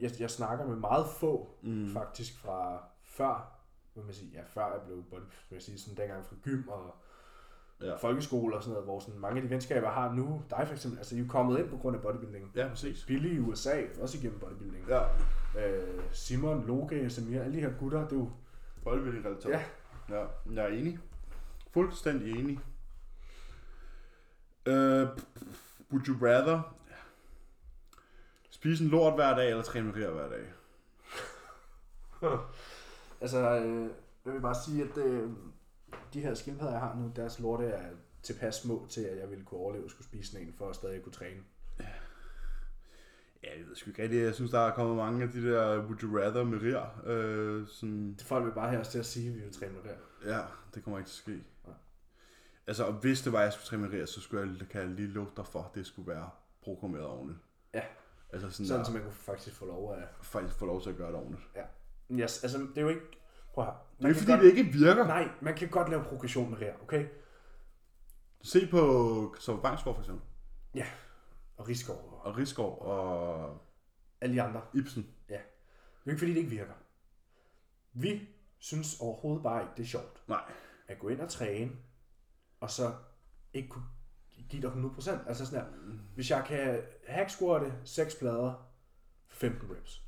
Speaker 1: jeg, jeg snakker med meget få, mm. faktisk fra før, hvad man sige, ja, før jeg blev body, vil jeg sige, sådan dengang fra gym og
Speaker 2: Ja.
Speaker 1: ja. folkeskole og sådan noget, hvor sådan mange af de venskaber, jeg har nu, dig for eksempel, altså, I er jo kommet ind på grund af bodybuilding.
Speaker 2: Ja, præcis.
Speaker 1: Billy i USA, også igennem bodybuilding.
Speaker 2: Ja,
Speaker 1: Øh, Simon, Loke, Samir, alle de her gutter, det er jo,
Speaker 2: bodybuilding relateret.
Speaker 1: ja,
Speaker 2: Ja, jeg er enig. Fuldstændig enig. Uh, would you rather spise en lort hver dag, eller træne rier hver dag?
Speaker 1: Altså, øh, jeg vil bare sige, at øh, de her skildpadder, jeg har nu, deres lorte er tilpas små til, at jeg ville kunne overleve at skulle spise sådan en, for at stadig kunne træne.
Speaker 2: Ja, jeg ved sgu ikke rigtigt. Jeg synes, der er kommet mange af de der would you rather med rier. Øh, sådan,
Speaker 1: Det folk vil bare have os til at sige, at vi vil træne med der.
Speaker 2: ja, det kommer ikke til at ske.
Speaker 1: Nej.
Speaker 2: Altså, og hvis det var, at jeg skulle træne med rier, så skulle jeg, kan jeg lige lukke dig for, at det skulle være programmeret ordentligt.
Speaker 1: Ja,
Speaker 2: Altså sådan,
Speaker 1: sådan
Speaker 2: sådan
Speaker 1: så
Speaker 2: der,
Speaker 1: man kunne faktisk få lov at...
Speaker 2: faktisk få lov til at gøre det ordentligt.
Speaker 1: Ja. Yes, altså, det er jo ikke... Prøv her.
Speaker 2: Det er ikke, fordi det ikke virker.
Speaker 1: Nej, man kan godt lave progression med her, okay?
Speaker 2: Se på Sofie Bangsgaard for eksempel.
Speaker 1: Ja. Og Rigsgaard og
Speaker 2: og Rigsgaard og
Speaker 1: alle de andre.
Speaker 2: Ibsen.
Speaker 1: Ja. Det er jo ikke, fordi det ikke virker. Vi synes overhovedet bare ikke, det er sjovt.
Speaker 2: Nej.
Speaker 1: at gå ind og træne, og så ikke kunne give dig 100%. Altså sådan her, hvis jeg kan hack squatte 6 plader, 15 reps,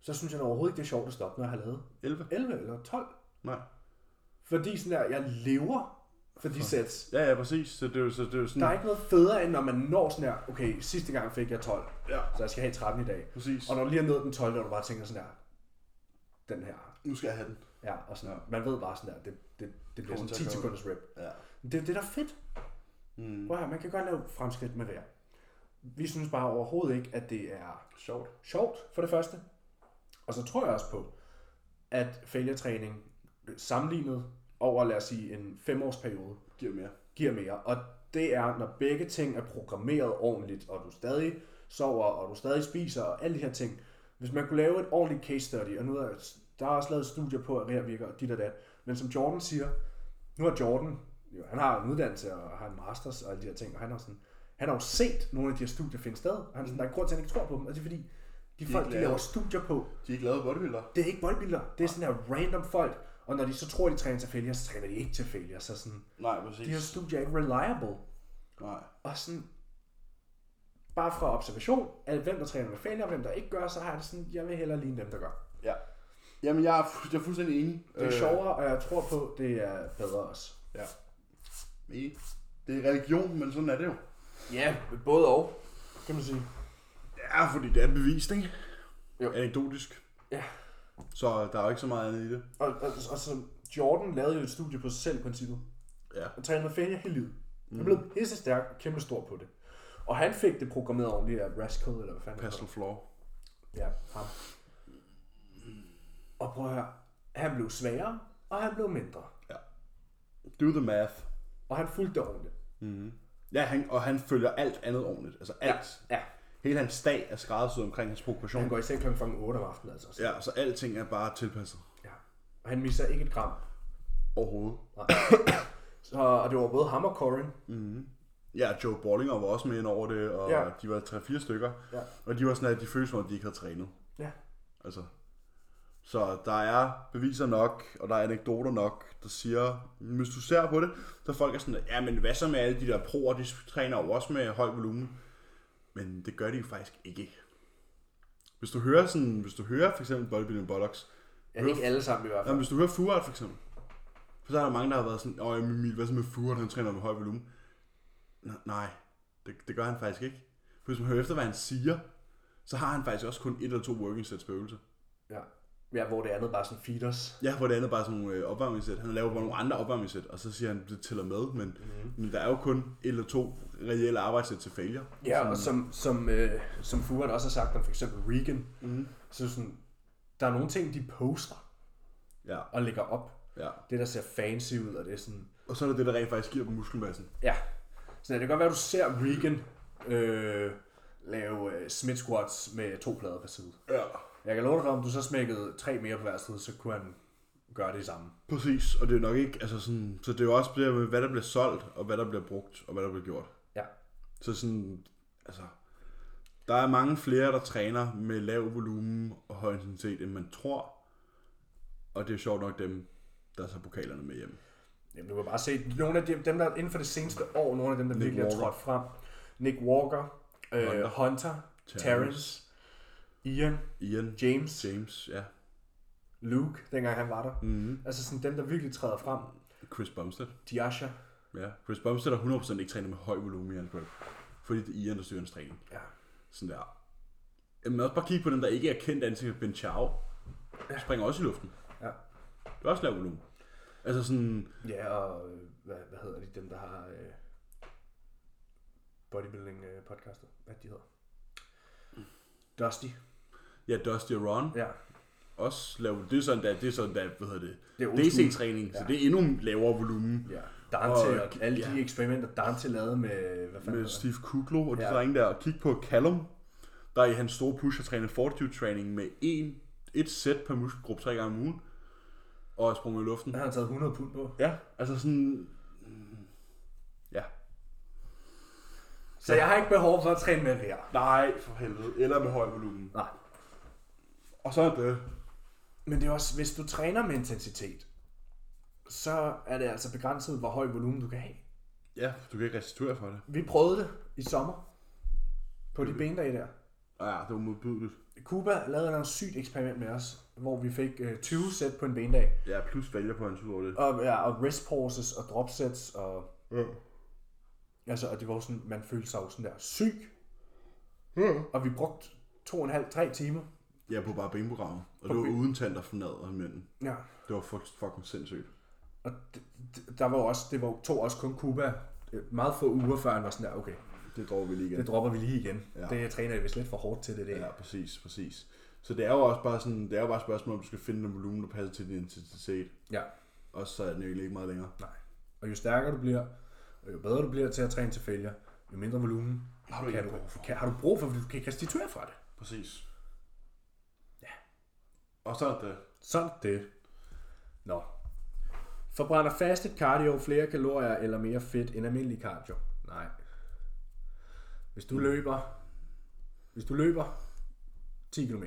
Speaker 1: så synes jeg overhovedet ikke, det er sjovt at stoppe, når jeg har lavet
Speaker 2: 11?
Speaker 1: 11 eller 12.
Speaker 2: Nej.
Speaker 1: Fordi sådan der, jeg lever for de sæt.
Speaker 2: Ja, ja, præcis. Så det er jo, så det er jo sådan...
Speaker 1: Der er ikke noget federe, end når man når sådan her, okay, sidste gang fik jeg 12,
Speaker 2: Ja,
Speaker 1: så jeg skal have 13 i dag.
Speaker 2: præcis.
Speaker 1: Og når du lige har nået den 12, og du bare tænker sådan her, den her,
Speaker 2: nu skal jeg have den.
Speaker 1: ja, og sådan, man ved bare sådan der, det, det, det bliver
Speaker 2: Kommer
Speaker 1: sådan
Speaker 2: til
Speaker 1: 10
Speaker 2: at gøre
Speaker 1: sekunders rep.
Speaker 2: Ja.
Speaker 1: Det er jo det, der er fedt. Mm. Prøv at, høre, man kan godt lave fremskridt med hver. Vi synes bare overhovedet ikke, at det er
Speaker 2: Sjovt.
Speaker 1: sjovt, for det første. Og så tror jeg også på, at failure-træning øh, sammenlignet over, lad os sige, en femårsperiode,
Speaker 2: Giver mere.
Speaker 1: giver mere. Og det er, når begge ting er programmeret ordentligt, og du stadig sover, og du stadig spiser, og alle de her ting. Hvis man kunne lave et ordentligt case study, og nu er der er også lavet studier på, at rehab virker, og dit og dat. Men som Jordan siger, nu har Jordan, jo, han har en uddannelse, og har en masters, og alle de her ting, og han har sådan, han har jo set nogle af de her studier finde sted, og han er sådan, der er en grund til, at han ikke tror på dem, og det er fordi, de folk, de
Speaker 2: lavet.
Speaker 1: laver studier på,
Speaker 2: De er ikke lavet bodybuilder.
Speaker 1: det er ikke bodybuildere, det er sådan her random folk, og når de så tror, de træner til failure, så træner de ikke til failure, så sådan,
Speaker 2: Nej, præcis.
Speaker 1: de her studier er ikke reliable.
Speaker 2: Nej.
Speaker 1: Og sådan, bare fra observation af, hvem der træner med failure, og hvem der ikke gør, så har jeg det sådan, jeg vil hellere ligne dem, der gør.
Speaker 2: Ja. Jamen, jeg er, fu- jeg er fuldstændig enig.
Speaker 1: Det er øh. sjovere, og jeg tror på, det er bedre også.
Speaker 2: Ja. Enig. Det er religion, men sådan er det jo.
Speaker 1: Ja, både og, kan man sige.
Speaker 2: Ja, fordi det er bevist, ikke?
Speaker 1: Jo.
Speaker 2: Anekdotisk.
Speaker 1: Ja.
Speaker 2: Så der er jo ikke så meget andet i det.
Speaker 1: Og, og, og så Jordan lavede jo et studie på sig selv i princippet.
Speaker 2: Ja.
Speaker 1: Og trænede med failure hele livet. Han blev pisse stærk og kæmpe stor på det. Og han fik det programmeret ordentligt af Rascal, eller hvad fanden han
Speaker 2: Personal flaw.
Speaker 1: Ja, ham. Og prøv at høre, han blev sværere, og han blev mindre.
Speaker 2: Do the math.
Speaker 1: Og han fulgte det ordentligt.
Speaker 2: Ja, han, og han følger alt andet ordentligt. Altså alt.
Speaker 1: Ja.
Speaker 2: Hele hans dag er skræddersyet omkring hans progression.
Speaker 1: Han går i seng kl. klokken 8 om aftenen, altså. Ja.
Speaker 2: Ja, så alting er bare tilpasset.
Speaker 1: ja. Og han misser ikke et gram.
Speaker 2: Overhovedet.
Speaker 1: Så, og det var både ham og Corin.
Speaker 2: Ja, Joe Bollinger var også med ind over det, og
Speaker 1: Ja.
Speaker 2: ja. de var 3-4 stykker.
Speaker 1: Ja.
Speaker 2: Og de var sådan, at de følte som om, de ikke havde trænet.
Speaker 1: Ja.
Speaker 2: Altså. Så der er beviser nok, og der er anekdoter nok, der siger, hvis du ser på det, så folk er sådan, ja, men hvad så med alle de der proer, de træner jo også med høj volumen. Men det gør de jo faktisk ikke. Hvis du hører sådan, hvis du hører for eksempel bodybuilding bollocks,
Speaker 1: Ja, ikke alle sammen i hvert
Speaker 2: ja,
Speaker 1: fald.
Speaker 2: hvis du hører Furat for eksempel, så er der mange, der har været sådan, åh, jamen, Emil, hvad så med Furat, han træner med høj volumen. N- nej, det, det, gør han faktisk ikke. For hvis man hører efter, hvad han siger, så har han faktisk også kun et eller to working sets på øvelse.
Speaker 1: Ja. ja, hvor det andet bare er sådan feeders.
Speaker 2: Ja, hvor det andet bare er sådan nogle øh, opvarmningssæt. Han laver bare nogle andre opvarmningssæt, og så siger han, det tæller med, men, mm-hmm. men der er jo kun et eller to reelle arbejdssæt til failure.
Speaker 1: Ja, og som, som, øh, som Furen også har sagt om for eksempel Regan, mm. så sådan, der er nogle ting, de poster
Speaker 2: Ja,
Speaker 1: og lægger op.
Speaker 2: ja.
Speaker 1: Det, der ser fancy ud, og det er sådan,
Speaker 2: Og så er det det, der rent faktisk giver på muskelmassen.
Speaker 1: Ja. Så det kan godt være, at du ser Regan øh, lave øh, Smith squats med to plader per side.
Speaker 2: Ja.
Speaker 1: Jeg kan love dig, for, om du så smækkede tre mere på hver side, så kunne han gøre det samme.
Speaker 2: Præcis, og det er nok ikke, altså sådan, så det er jo også det her med, hvad der bliver solgt, og hvad der bliver brugt, og hvad der bliver gjort.
Speaker 1: Ja.
Speaker 2: Så sådan, altså, der er mange flere, der træner med lav volumen og høj intensitet, end man tror. Og det er sjovt nok dem, der tager pokalerne med hjem.
Speaker 1: Jamen, du kan bare se, nogle af de, dem, der inden for det seneste år, nogle af dem, der Nick virkelig
Speaker 2: Walker.
Speaker 1: er trådt frem. Nick Walker, øh, Hunter, Terrence, Ian,
Speaker 2: Ian,
Speaker 1: James,
Speaker 2: James, ja.
Speaker 1: Luke, dengang han var der. Mm-hmm. Altså sådan dem, der virkelig træder frem.
Speaker 2: Chris Bumstead.
Speaker 1: Diasha.
Speaker 2: Ja, Chris Bumstead har 100% ikke trænet med høj volumen i hans prep. Fordi det er Ian, der styrer hans træning.
Speaker 1: Ja.
Speaker 2: Sådan der. Men også bare kigge på den, der ikke er kendt ansigt. Ben Chao springer også i luften.
Speaker 1: Ja.
Speaker 2: Det er også lav volumen. Altså sådan,
Speaker 1: Ja, og øh, hvad, hvad hedder de, dem der har øh, bodybuilding øh, podcastet? Hvad de hedder? Dusty.
Speaker 2: ja, Dusty og Ron
Speaker 1: Ja.
Speaker 2: også lav Det er sådan der, det er sådan der, hvad hedder det,
Speaker 1: Det er old school.
Speaker 2: DC-træning. Så det er endnu lavere volumen.
Speaker 1: ja. Dante og,
Speaker 2: Og-
Speaker 1: og alle de
Speaker 2: ja.
Speaker 1: eksperimenter, Dante lavede med, hvad fanden
Speaker 2: Med
Speaker 1: hedder
Speaker 2: Steve Kuglo og de
Speaker 1: Ja.
Speaker 2: ja. drenge der. Og kig på Callum, der i hans store push har trænet fortitude training med en, et sæt per muskelgruppe tre gange om ugen. Og sprunget i luften.
Speaker 1: det? Han har taget 100 pund på.
Speaker 2: Ja, altså sådan... Ja.
Speaker 1: Så jeg har ikke behov for at træne med her.
Speaker 2: Nej, for helvede. Eller med høj volumen.
Speaker 1: Nej.
Speaker 2: Og så er det...
Speaker 1: Men det er også, hvis du træner med intensitet, så er det altså begrænset, hvor høj volumen du kan have.
Speaker 2: Ja, du kan ikke restituere for det.
Speaker 1: Vi prøvede det Mm. i sommer på de benedage der.
Speaker 2: Ja, det var modbydeligt.
Speaker 1: Cuba lavede et sygt eksperiment med os, hvor vi fik øh, 20 sæt på en benedag.
Speaker 2: Ja, plus vælger på hans ud over det.
Speaker 1: Og, ja, og wrist pauses og drop sets og...
Speaker 2: Ja.
Speaker 1: Altså, og det var sådan, man følte sig jo sådan der syg. Og vi brugte to og en halv, tre timer.
Speaker 2: Ja, på bare benprogrammet. Og det var uden tand og fornad og mænden.
Speaker 1: Ja.
Speaker 2: Det var fuck- fucking sindssygt.
Speaker 1: Og det, det, der var jo også, det var jo to også kun Cuba øh, meget få uger før, han var sådan der, okay,
Speaker 2: Det dropper vi lige igen.
Speaker 1: det dropper vi lige igen. Ja.
Speaker 2: Ja.
Speaker 1: Det træner jeg vist lidt for hårdt til det der.
Speaker 2: Ja, præcis, præcis. Så det er jo også bare sådan, det er jo bare et spørgsmål, om du skal finde en volumen, der passer til din intensitet.
Speaker 1: ja.
Speaker 2: Og så er den jo egentlig ikke meget længere.
Speaker 1: Nej. Og jo stærkere du bliver, og jo bedre du bliver til at træne til failure, jo mindre volumen
Speaker 2: Har du
Speaker 1: kan
Speaker 2: ikke
Speaker 1: du,
Speaker 2: brug for.
Speaker 1: kan, har du brug for, fordi du kan ikke restituere fra det.
Speaker 2: Præcis. Ja. Og så er det...
Speaker 1: Sådan det. Nå. Forbrænder fastet cardio flere kalorier eller mere fedt end almindelig cardio? Nej. Hvis du løber, hvis du løber 10 km,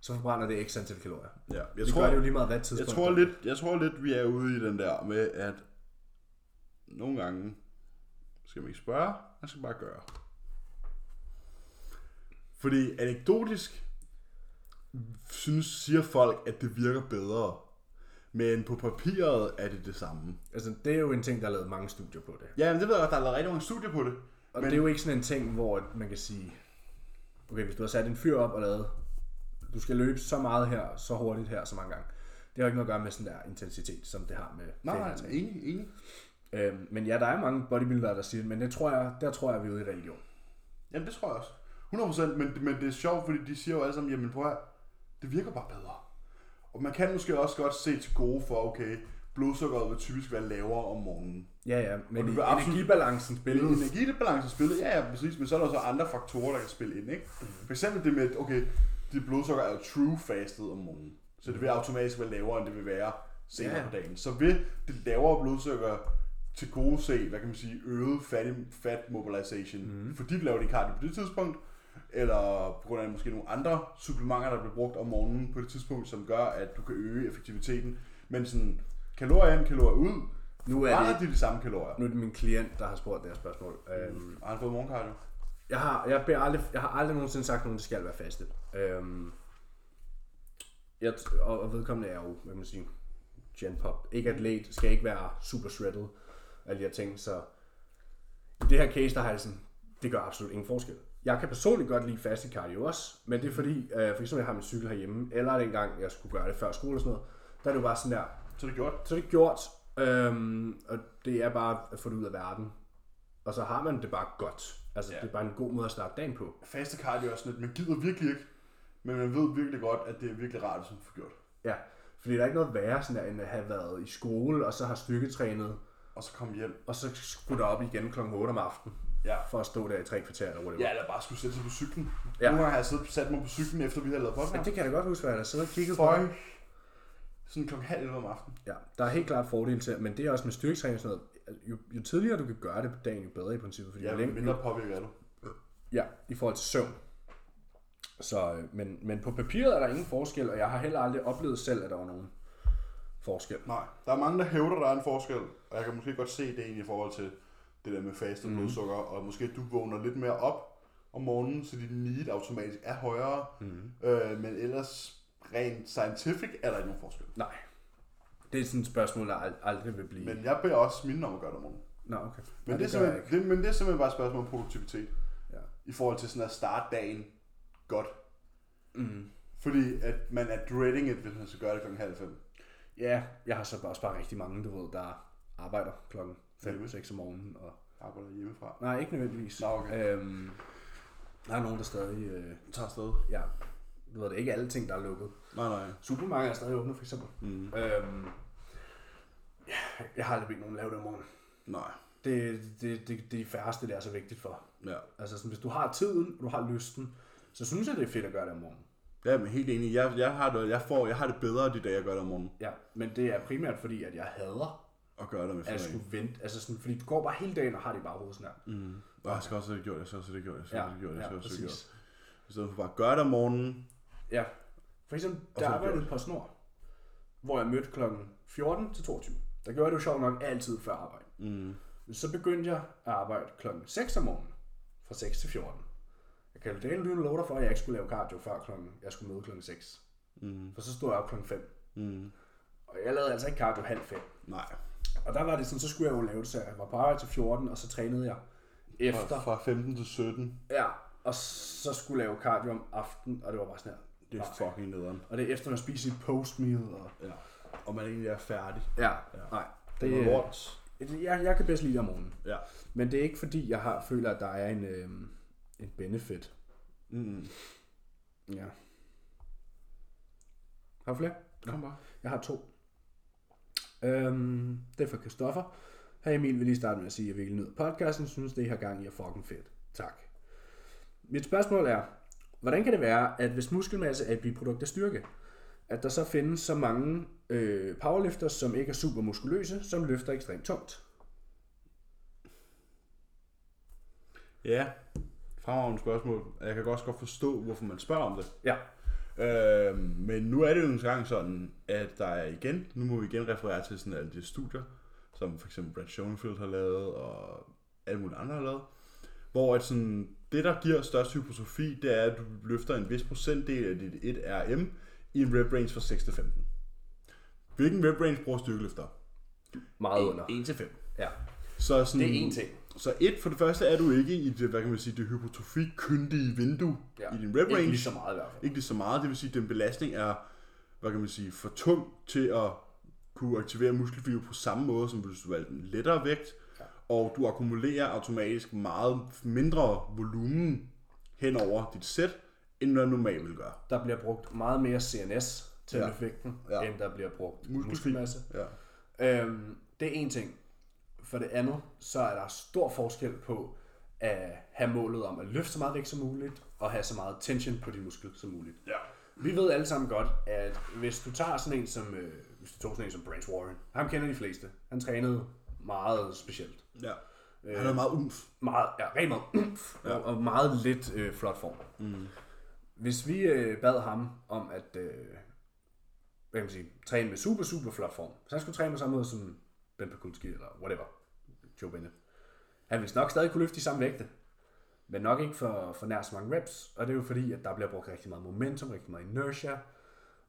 Speaker 1: så forbrænder det x antal kalorier.
Speaker 2: Ja, jeg
Speaker 1: Jeg det tror,
Speaker 2: tror,
Speaker 1: gør det jo lige meget hvad tidspunkt.
Speaker 2: Jeg tror, lidt, jeg tror lidt, vi er ude i den der med, at nogle gange, skal man ikke spørge, man skal bare gøre. Fordi anekdotisk synes, siger folk, at det virker bedre. Men på papiret er det det samme.
Speaker 1: Altså, det er jo en ting, der er lavet mange studier på det.
Speaker 2: Ja, men det ved jeg godt, der er lavet rigtig mange studier på det.
Speaker 1: Og men... det er jo ikke sådan en ting, hvor at man kan sige, okay, hvis du har sat en fyr op og lavet, du skal løbe så meget her, så hurtigt her, så mange gange. Det har ikke noget at gøre med sådan der intensitet, som det har med
Speaker 2: Nej, nej,
Speaker 1: fitness.
Speaker 2: altså, enig, enig.
Speaker 1: Øhm, men ja, der er mange bodybuildere, der siger det, men det tror jeg, der tror jeg, vi er ude i religion.
Speaker 2: Jamen, det tror jeg også. 100%, men, men det er sjovt, fordi de siger jo alle sammen, jamen prøv at, høre, det virker bare bedre. Og man kan måske også godt se til gode for, okay, blodsukkeret vil typisk være lavere om morgenen.
Speaker 1: Ja, ja, men
Speaker 2: du
Speaker 1: i
Speaker 2: vil absolut- Mm.
Speaker 1: energibalancen
Speaker 2: Men
Speaker 1: spillet.
Speaker 2: energi, det balance spillet, ja, ja, præcis, men så er der så andre faktorer, der kan spille ind, ikke?
Speaker 1: Mhm.
Speaker 2: For eksempel det med, okay, dit blodsukker er jo true fastet om morgenen, så det vil automatisk være lavere, end det vil være senere
Speaker 1: Mhm. Ja.
Speaker 2: på dagen. Så vil det lavere blodsukker til gode se, hvad kan man sige, øget fat, fat mobilization,
Speaker 1: Mhm.
Speaker 2: mm. fordi du laver din cardio på det tidspunkt, eller på grund af måske nogle andre supplementer, der bliver brugt om morgenen på det tidspunkt, som gør, at du kan øge effektiviteten. Men sådan, kalorier ind, kalorier ud,
Speaker 1: Nu er
Speaker 2: brænder
Speaker 1: det,
Speaker 2: de de samme kalorier.
Speaker 1: nu er det min klient, der har spurgt det her spørgsmål. Øhm,
Speaker 2: Har han fået morgenkardio?
Speaker 1: jeg, har, jeg, beder aldrig, jeg har aldrig nogensinde sagt, at nogen skal være faste. Øhm, jeg, t- og, og vedkommende er jo, hvad kan man sige, gen pop. Ikke atlet, skal ikke være super shredded, alle de her ting. Så i det her case, der har jeg sådan, det gør absolut ingen forskel. Jeg kan personligt godt lide faste cardio også, men det er fordi, øh, for eksempel jeg har min cykel herhjemme, eller dengang jeg skulle gøre det før skole og sådan noget, der er det jo bare sådan der,
Speaker 2: Så det gjorde det.
Speaker 1: så er det gjort, øhm, og det er bare at få det ud af verden. Og så har man det bare godt. Altså, ja. det er bare en god måde at starte dagen på.
Speaker 2: faste cardio er sådan lidt, man gider virkelig ikke, men man ved virkelig godt, at det er virkelig rart, hvis man får gjort.
Speaker 1: Ja, fordi der er ikke noget værre sådan der, end at have været i skole, og så har styrketrænet,
Speaker 2: Og så komme hjem.
Speaker 1: og så skulle der op igen kl. 8 om aftenen,
Speaker 2: Ja.
Speaker 1: for at stå der i tre kvarter eller whatever.
Speaker 2: Ja, eller bare skulle sætte sig på cyklen. Ja.
Speaker 1: Ja.
Speaker 2: Nogle gange har jeg siddet, sat mig på cyklen, efter vi havde lavet
Speaker 1: Men
Speaker 2: podcast.
Speaker 1: det kan jeg da godt huske, hvad jeg sidder og kigget på.
Speaker 2: Føj. Sådan klokken halv 11 om aftenen.
Speaker 1: Ja, der er helt klart fordele til, men det er også med styrketræning og sådan noget. Jo, jo tidligere du kan gøre det på dagen, jo bedre i princippet. Fordi
Speaker 2: Ja,
Speaker 1: jo
Speaker 2: men
Speaker 1: længe-
Speaker 2: mindre påvirket er du.
Speaker 1: Ja, i forhold til søvn. Så, øh, men, men på papiret er der ingen forskel, og jeg har heller aldrig oplevet selv, at der var nogen forskel.
Speaker 2: Nej, der er mange, der hævder, der er en forskel, og jeg kan måske godt se det egentlig i forhold til det der med faste mm. blodsukker, og måske du vågner lidt mere op om morgenen, så dit need automatisk er højere, mm. øh, men ellers rent scientific er der ikke nogen forskel.
Speaker 1: Nej. Det er sådan et spørgsmål, der ald- aldrig vil blive... Men,
Speaker 2: Men jeg beder også mine om at gøre det om morgenen.
Speaker 1: Nå, okay. Nej,
Speaker 2: Men, det, er
Speaker 1: gør jeg
Speaker 2: simpelthen, det, men det er simpelthen bare et spørgsmål om produktivitet.
Speaker 1: Ja.
Speaker 2: I forhold til sådan at starte dagen godt. Mm. Fordi at man er dreading it, hvis man skal gøre det klokken halv fem.
Speaker 1: Ja, jeg har så bare også bare rigtig mange, du ved, der arbejder klokken
Speaker 2: Mhm.
Speaker 1: 5-6 om morgenen. Og...
Speaker 2: Arbejder hjemmefra.
Speaker 1: Nej, ikke nødvendigvis.
Speaker 2: Nå, okay.
Speaker 1: Øhm, der er nogen, der stadig... Øh,
Speaker 2: Tager afsted.
Speaker 1: ja, du ved det er ikke alle ting, der er lukket.
Speaker 2: Nej, nej.
Speaker 1: Supermarkeder er stadig åbne, for eksempel. Mm. Øhm, ja, jeg har aldrig bedt nogen lave det om morgenen.
Speaker 2: Nej.
Speaker 1: det, det, det, det er færreste, det er så vigtigt for.
Speaker 2: Ja.
Speaker 1: Altså, sådan, hvis du har tiden, og du har lysten, så synes jeg, det er fedt at gøre det om morgenen.
Speaker 2: Ja, men helt enig. Jeg, jeg, har det, jeg, får, jeg har det bedre de dage, jeg gør det om morgenen.
Speaker 1: Ja, men det er primært fordi, at jeg hader
Speaker 2: Og gør det med
Speaker 1: at
Speaker 2: fredag.
Speaker 1: skulle vente. Altså sådan, fordi du går bare hele dagen og har det i baghovedet her. Mm.
Speaker 2: Og jeg skal også have det gjort, jeg skal også have det gjort, jeg skal
Speaker 1: Ja,
Speaker 2: også have det gjort, jeg
Speaker 1: ja,
Speaker 2: skal også have det
Speaker 1: præcis.
Speaker 2: gjort. I stedet for bare at gøre det om morgenen.
Speaker 1: Ja. For eksempel,
Speaker 2: så
Speaker 1: der
Speaker 2: er det
Speaker 1: arbejdede
Speaker 2: gjort.
Speaker 1: på Snor, hvor jeg mødte kl. 14 til 22. Der gjorde jeg det jo sjovt nok altid før arbejde.
Speaker 2: Mm.
Speaker 1: Men så begyndte jeg at arbejde kl. 6 om morgenen, fra 6 til 14. Jeg kan dele lyden love dig for, at jeg ikke skulle lave cardio før klokken, jeg skulle møde kl. 6.
Speaker 2: Mm.
Speaker 1: For så stod jeg op kl. 5.
Speaker 2: Mm.
Speaker 1: Og jeg lavede altså ikke cardio halv 5.
Speaker 2: Nej.
Speaker 1: Og der var det sådan, så skulle jeg jo lave det, så jeg var på arbejde til 14, og så trænede jeg efter.
Speaker 2: Fra, fra 15 til 17.
Speaker 1: Ja, og så skulle jeg lave cardio om aftenen, og det var bare sådan her.
Speaker 2: Det er fucking nederen.
Speaker 1: Og det er efter, man spiser sit postmeal. Og...
Speaker 2: Ja. Og man egentlig er færdig.
Speaker 1: Ja, nej.
Speaker 2: Det er lort.
Speaker 1: jeg, jeg kan bedst lide det om morgenen.
Speaker 2: Ja.
Speaker 1: Men det er ikke fordi, jeg har, føler, at der er en, øh, en benefit.
Speaker 2: Mm.
Speaker 1: Ja. Har du flere?
Speaker 2: Kom bare.
Speaker 1: Jeg har to. Øhm, det er fra Christoffer. Her Emil vil lige starte med at sige, at jeg virkelig nyder podcasten, synes det her gang I er fucking fedt. Tak. Mit spørgsmål er, hvordan kan det være, at hvis muskelmasse er et biprodukt af styrke, at der så findes så mange øh, powerlifters, som ikke er super muskuløse, som løfter ekstremt tungt?
Speaker 2: Ja, fremragende spørgsmål. Jeg kan også godt forstå, hvorfor man spørger om det.
Speaker 1: Ja.
Speaker 2: Øh, men nu er det jo en gang sådan, at der er igen, nu må vi igen referere til sådan alle de studier, som for eksempel Brad Schoenfeld har lavet, og alle mulige andre har lavet. Hvor at sådan, det, der giver størst hypotrofi, det er, at du løfter en vis procentdel af dit 1RM i en rep range fra 6 til 15. Hvilken rep range bruger styrkeløfter?
Speaker 1: Meget under.
Speaker 2: 1 til 5.
Speaker 1: Ja.
Speaker 2: Så sådan,
Speaker 1: Det er én ting.
Speaker 2: Så et, for det første er du ikke i det, hvad kan man sige, det hypotrofik-kyndige vindue
Speaker 1: Ja.
Speaker 2: i din rep range.
Speaker 1: Ikke lige så meget i hvert fald.
Speaker 2: ikke lige så meget. Det vil sige, at den belastning er, hvad kan man sige, for tung til at kunne aktivere muskelfibre på samme måde, som hvis du valgte en lettere vægt. Ja. Og du akkumulerer automatisk meget mindre volumen hen over dit sæt, end hvad du normalt vil gøre.
Speaker 1: Der bliver brugt meget mere CNS til
Speaker 2: Ja.
Speaker 1: ja. effekten,
Speaker 2: Ja.
Speaker 1: ja. end der bliver brugt
Speaker 2: Muskelfibre.
Speaker 1: muskelmasse.
Speaker 2: Ja.
Speaker 1: Øhm, det er en ting. For det andet, så er der stor forskel på at have målet om at løfte så meget vægt som muligt, og have så meget tension på din muskel som muligt.
Speaker 2: Ja.
Speaker 1: Vi ved alle sammen godt, at hvis du tager sådan en som, øh, hvis du tog sådan en som Branch Warren, ham kender de fleste. Han trænede meget specielt.
Speaker 2: ja. Han
Speaker 1: Øh.
Speaker 2: er meget umf.
Speaker 1: Meget, ja, rigtig meget umf, ja. og, og meget lidt øh, flot form. Mm. Hvis vi øh, bad ham om at øh, hvad kan man sige, træne med super, super flot form, så han skulle træne på samme måde som Ben Pakulski eller whatever, Joe Bennett, han ville nok stadig kunne løfte de samme vægte, men nok ikke for, for nær så mange reps, og det er jo fordi, at der bliver brugt rigtig meget momentum, rigtig meget inertia,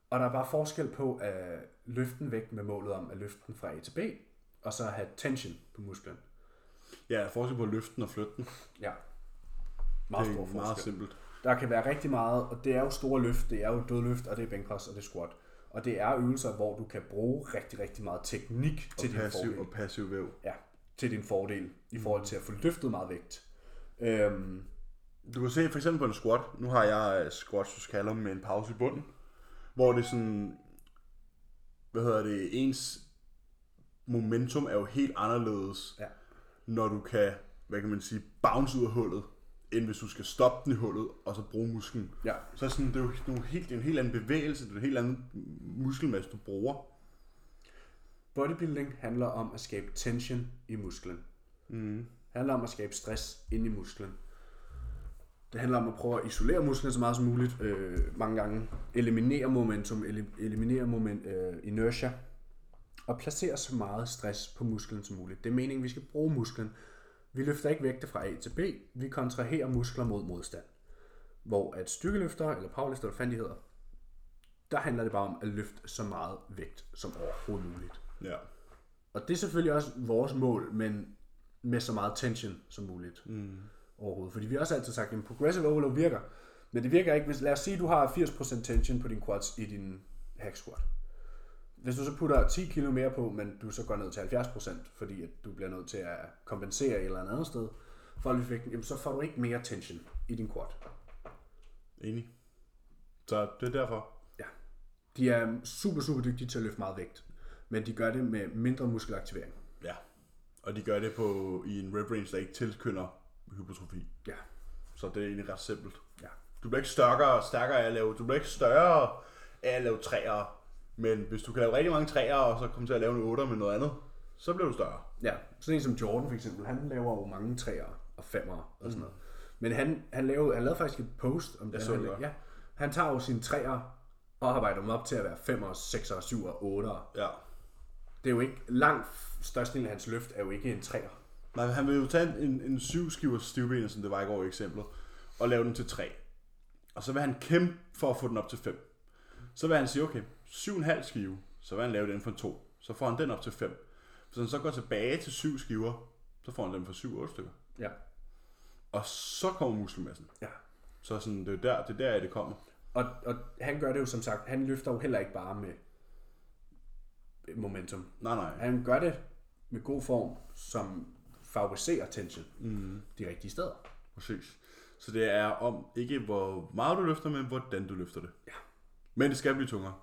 Speaker 1: og der er bare forskel på at løfte en vægt med målet om at løfte den fra A til B, og så have tension på musklen.
Speaker 2: Ja, der er forskel på løften og flytten.
Speaker 1: Ja. Meget
Speaker 2: Det
Speaker 1: stor
Speaker 2: er meget
Speaker 1: forskel.
Speaker 2: simpelt.
Speaker 1: Der kan være rigtig meget, og det er jo store løft, det er jo dødløft, og det er bænkpres, og det er squat. Og det er øvelser, hvor du kan bruge rigtig, rigtig meget teknik til din
Speaker 2: Passiv
Speaker 1: fordel.
Speaker 2: og passiv væv.
Speaker 1: Ja, til din fordel, i forhold til at få løftet meget vægt. Øhm,
Speaker 2: Du kan se for eksempel på en squat. Nu har jeg øh, squats hos Callum med en pause i bunden. Hvor det er sådan... Hvad hedder det? Ens momentum er jo helt anderledes,
Speaker 1: ja.
Speaker 2: når du kan, hvad kan man sige, bounce ud af hullet, end hvis du skal stoppe den i hullet, og så bruge musklen.
Speaker 1: Ja.
Speaker 2: Så er sådan, det er jo nogle helt, det er en helt anden bevægelse, det er en helt anden muskelmasse, du bruger.
Speaker 1: Bodybuilding handler om at skabe tension i musklen. Mm. handler om at skabe stress inde i musklen. Det handler om at prøve at isolere musklen så meget som muligt øh, mange gange. Eliminere momentum, elim- eliminere moment, øh, inertia. Og placere så meget stress på musklen som muligt. Det er meningen, vi skal bruge musklen. Vi løfter ikke vægte fra A til B. Vi kontraherer muskler mod modstand. Hvor at styrkeløfter, eller powerlifter, eller hvad fanden de hedder, der handler det bare om at løfte så meget vægt som overhovedet muligt.
Speaker 2: Ja.
Speaker 1: Og det er selvfølgelig også vores mål, men med så meget tension som muligt mm. overhovedet. Fordi vi har også altid sagt, at progressive overload virker. Men det virker ikke, hvis, lad os sige, at du har 80% tension på din quads i din hack squat. Hvis du så putter 10 kilo mere på, men du så går ned til 70%, fordi at du bliver nødt til at kompensere et eller andet andet sted for at løfte vægten, jamen så får du ikke mere tension i din quad.
Speaker 2: Enig. Så det er derfor.
Speaker 1: Ja. De er super, super dygtige til at løfte meget vægt, men de gør det med mindre muskelaktivering.
Speaker 2: Ja. Og de gør det på, i en rep range, der ikke tilskynder hypotrofi.
Speaker 1: Ja,
Speaker 2: Så det er egentlig ret simpelt.
Speaker 1: ja.
Speaker 2: Du bliver ikke stærkere og stærkere af at lave, du bliver ikke større af at lave træer. Men hvis du kan lave rigtig mange træer, og så kommer til at lave en 8 med noget andet, så bliver du større.
Speaker 1: Ja, sådan en som Jordan for eksempel, han laver jo mange træer og femmer og sådan noget. Men han, han, lavede, han lavede faktisk et post om det.
Speaker 2: så
Speaker 1: han,
Speaker 2: det godt.
Speaker 1: ja, han tager jo sine træer og arbejder dem op til at være femmer, sekser, syver, otter.
Speaker 2: Ja.
Speaker 1: Det er jo ikke langt størstedelen af hans løft er jo ikke en træer.
Speaker 2: Nej, men han vil jo tage en, en syv skiver stivbener, som det var i går i eksemplet, og lave den til 3. Og så vil han kæmpe for at få den op til 5. Så vil han sige, okay, 7,5 skive, så vil han lave den for en 2. Så får han den op til 5. Hvis han så går tilbage til 7 skiver, så får han den for 7-8 stykker.
Speaker 1: Ja.
Speaker 2: Og så kommer muskelmassen.
Speaker 1: ja.
Speaker 2: Så sådan, det er der, det er der, det kommer.
Speaker 1: Og, og han gør det jo som sagt, han løfter jo heller ikke bare med momentum.
Speaker 2: Nej, nej.
Speaker 1: Han gør det med god form, som favoriserer tension mm. de rigtige steder.
Speaker 2: Præcis. Så det er om ikke hvor meget du løfter, men hvordan du løfter det.
Speaker 1: Ja.
Speaker 2: Men det skal blive tungere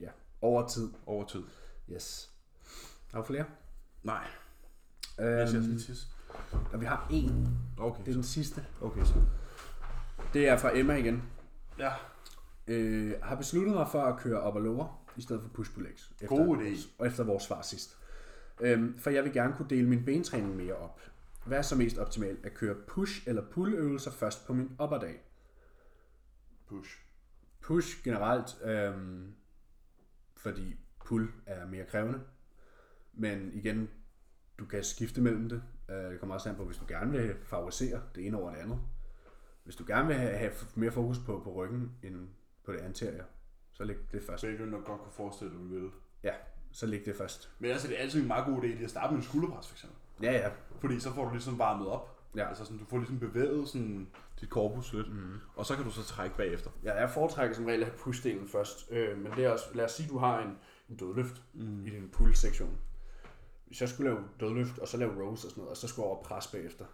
Speaker 1: Ja. Over tid.
Speaker 2: over tid.
Speaker 1: Yes. Har du flere?
Speaker 2: Nej, jeg skal
Speaker 1: Øhm,
Speaker 2: lige tisse.
Speaker 1: og vi har en.
Speaker 2: Okay,
Speaker 1: Det er den sidste.
Speaker 2: okay så.
Speaker 1: Det er fra Emma igen.
Speaker 2: Ja.
Speaker 1: Øh, har besluttet mig for at køre op og lower, i stedet for push pull legs. Efter,
Speaker 2: God idé.
Speaker 1: Og efter vores svar sidst. Øhm, for jeg vil gerne kunne dele min bentræning mere op. Hvad er så mest optimalt? At køre push eller pull øvelser først på min opperdag?
Speaker 2: Push.
Speaker 1: Push generelt, øhm, fordi pull er mere krævende. Men igen, du kan skifte mellem det. Øh, Det kommer også an på, hvis du gerne vil favorisere det ene over det andet. Hvis du gerne vil have have mere fokus på, på ryggen end på det anterior, så læg det først.
Speaker 2: Hvilket du nok godt kunne forestille dig, du ville.
Speaker 1: Ja, så læg det først.
Speaker 2: Men altså, det er altid en meget god idé lige at starte med en skulderpres, for eksempel.
Speaker 1: Ja, ja.
Speaker 2: Fordi så får du ligesom varmet op.
Speaker 1: Ja. Mhm.
Speaker 2: Altså sådan, du får ligesom bevæget sådan dit korpus lidt. Mm. Og så kan du så trække bagefter.
Speaker 1: Ja, jeg foretrækker som regel at have pusdelen først, øh, men det er også, lad os sige, at du har en, en dødløft mm. i din pull-sektion. Hvis jeg skulle lave dødløft, og så lave rows og sådan noget, og så skulle jeg over pres bagefter,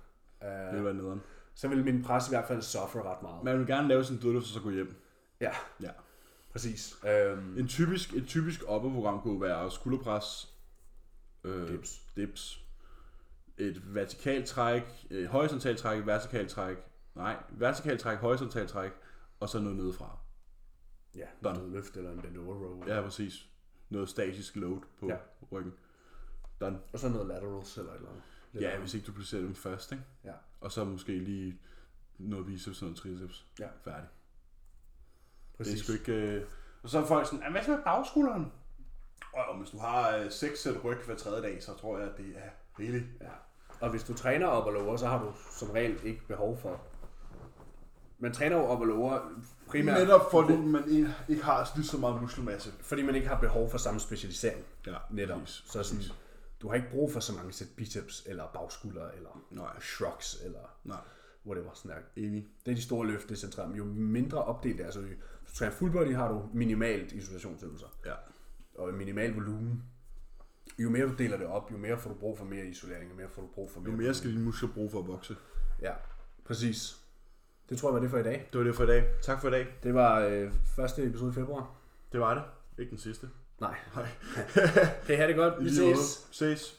Speaker 2: Ja. Det vil være nederen.
Speaker 1: så ville min pres i hvert fald suffer ret meget.
Speaker 2: Man vil gerne lave sin dødløft og så gå hjem.
Speaker 1: Ja,
Speaker 2: Ja.
Speaker 1: præcis. Øhm,
Speaker 2: En typisk, et typisk oppeprogram kunne være skulderpres, øh,
Speaker 1: Dips.
Speaker 2: dips, et vertikalt træk, et horisontalt træk, et vertikalt træk, nej, vertikalt træk, horisontalt træk, og så noget nedefra.
Speaker 1: ja, en
Speaker 2: Done.
Speaker 1: dødløft eller en bend over row.
Speaker 2: Ja, præcis. Noget statisk load på
Speaker 1: Ja.
Speaker 2: ja. ryggen. Done.
Speaker 1: Og så noget laterals eller et eller andet. Lidt
Speaker 2: Ja,
Speaker 1: andet.
Speaker 2: hvis ikke du placerer dem først, ikke?
Speaker 1: Ja.
Speaker 2: Og så måske lige noget biceps og noget triceps.
Speaker 1: Ja.
Speaker 2: Færdig. Det er
Speaker 1: præcis.
Speaker 2: sgu ikke... Øh... Og så er folk sådan, "Ah, hvad så med bagskulderen? Og jo, hvis du har øh, 6 sæt ryg hver tredje dag, så tror jeg, at det er rigeligt.
Speaker 1: Ja. Og hvis du træner op og lower, så har du som regel ikke behov for... Man træner jo op og lower primært,
Speaker 2: Netop fordi man ikke- ikke har lige så meget muskelmasse.
Speaker 1: fordi man ikke har behov for samme specialisering.
Speaker 2: Ja,
Speaker 1: Netop. Så sådan, du har ikke brug for så mange sæt biceps, eller bagskulder, eller
Speaker 2: Nej.
Speaker 1: shrugs, eller
Speaker 2: Nej,
Speaker 1: whatever. Sådan der.
Speaker 2: enig.
Speaker 1: Det er de store løft, det er centralt. Men Jo mindre opdelt det er, så jo- hvis du træner full body, har du minimalt isolationsøvelser,
Speaker 2: Ja.
Speaker 1: og minimal volumen. Jo mere du deler det op, jo mere får du brug for mere isolering, jo mere får du brug for mere.
Speaker 2: Jo mere skal dine muskler bruge for at vokse.
Speaker 1: Ja, præcis. Det tror jeg var det for i dag.
Speaker 2: Det var det for i dag. Tak for i dag.
Speaker 1: Det var øh, første episode i februar.
Speaker 2: Det var det. Ikke den sidste.
Speaker 1: Nej.
Speaker 2: Nej.
Speaker 1: Kan I have det godt? Vi
Speaker 2: Lige måde.
Speaker 1: ses.
Speaker 2: Ses.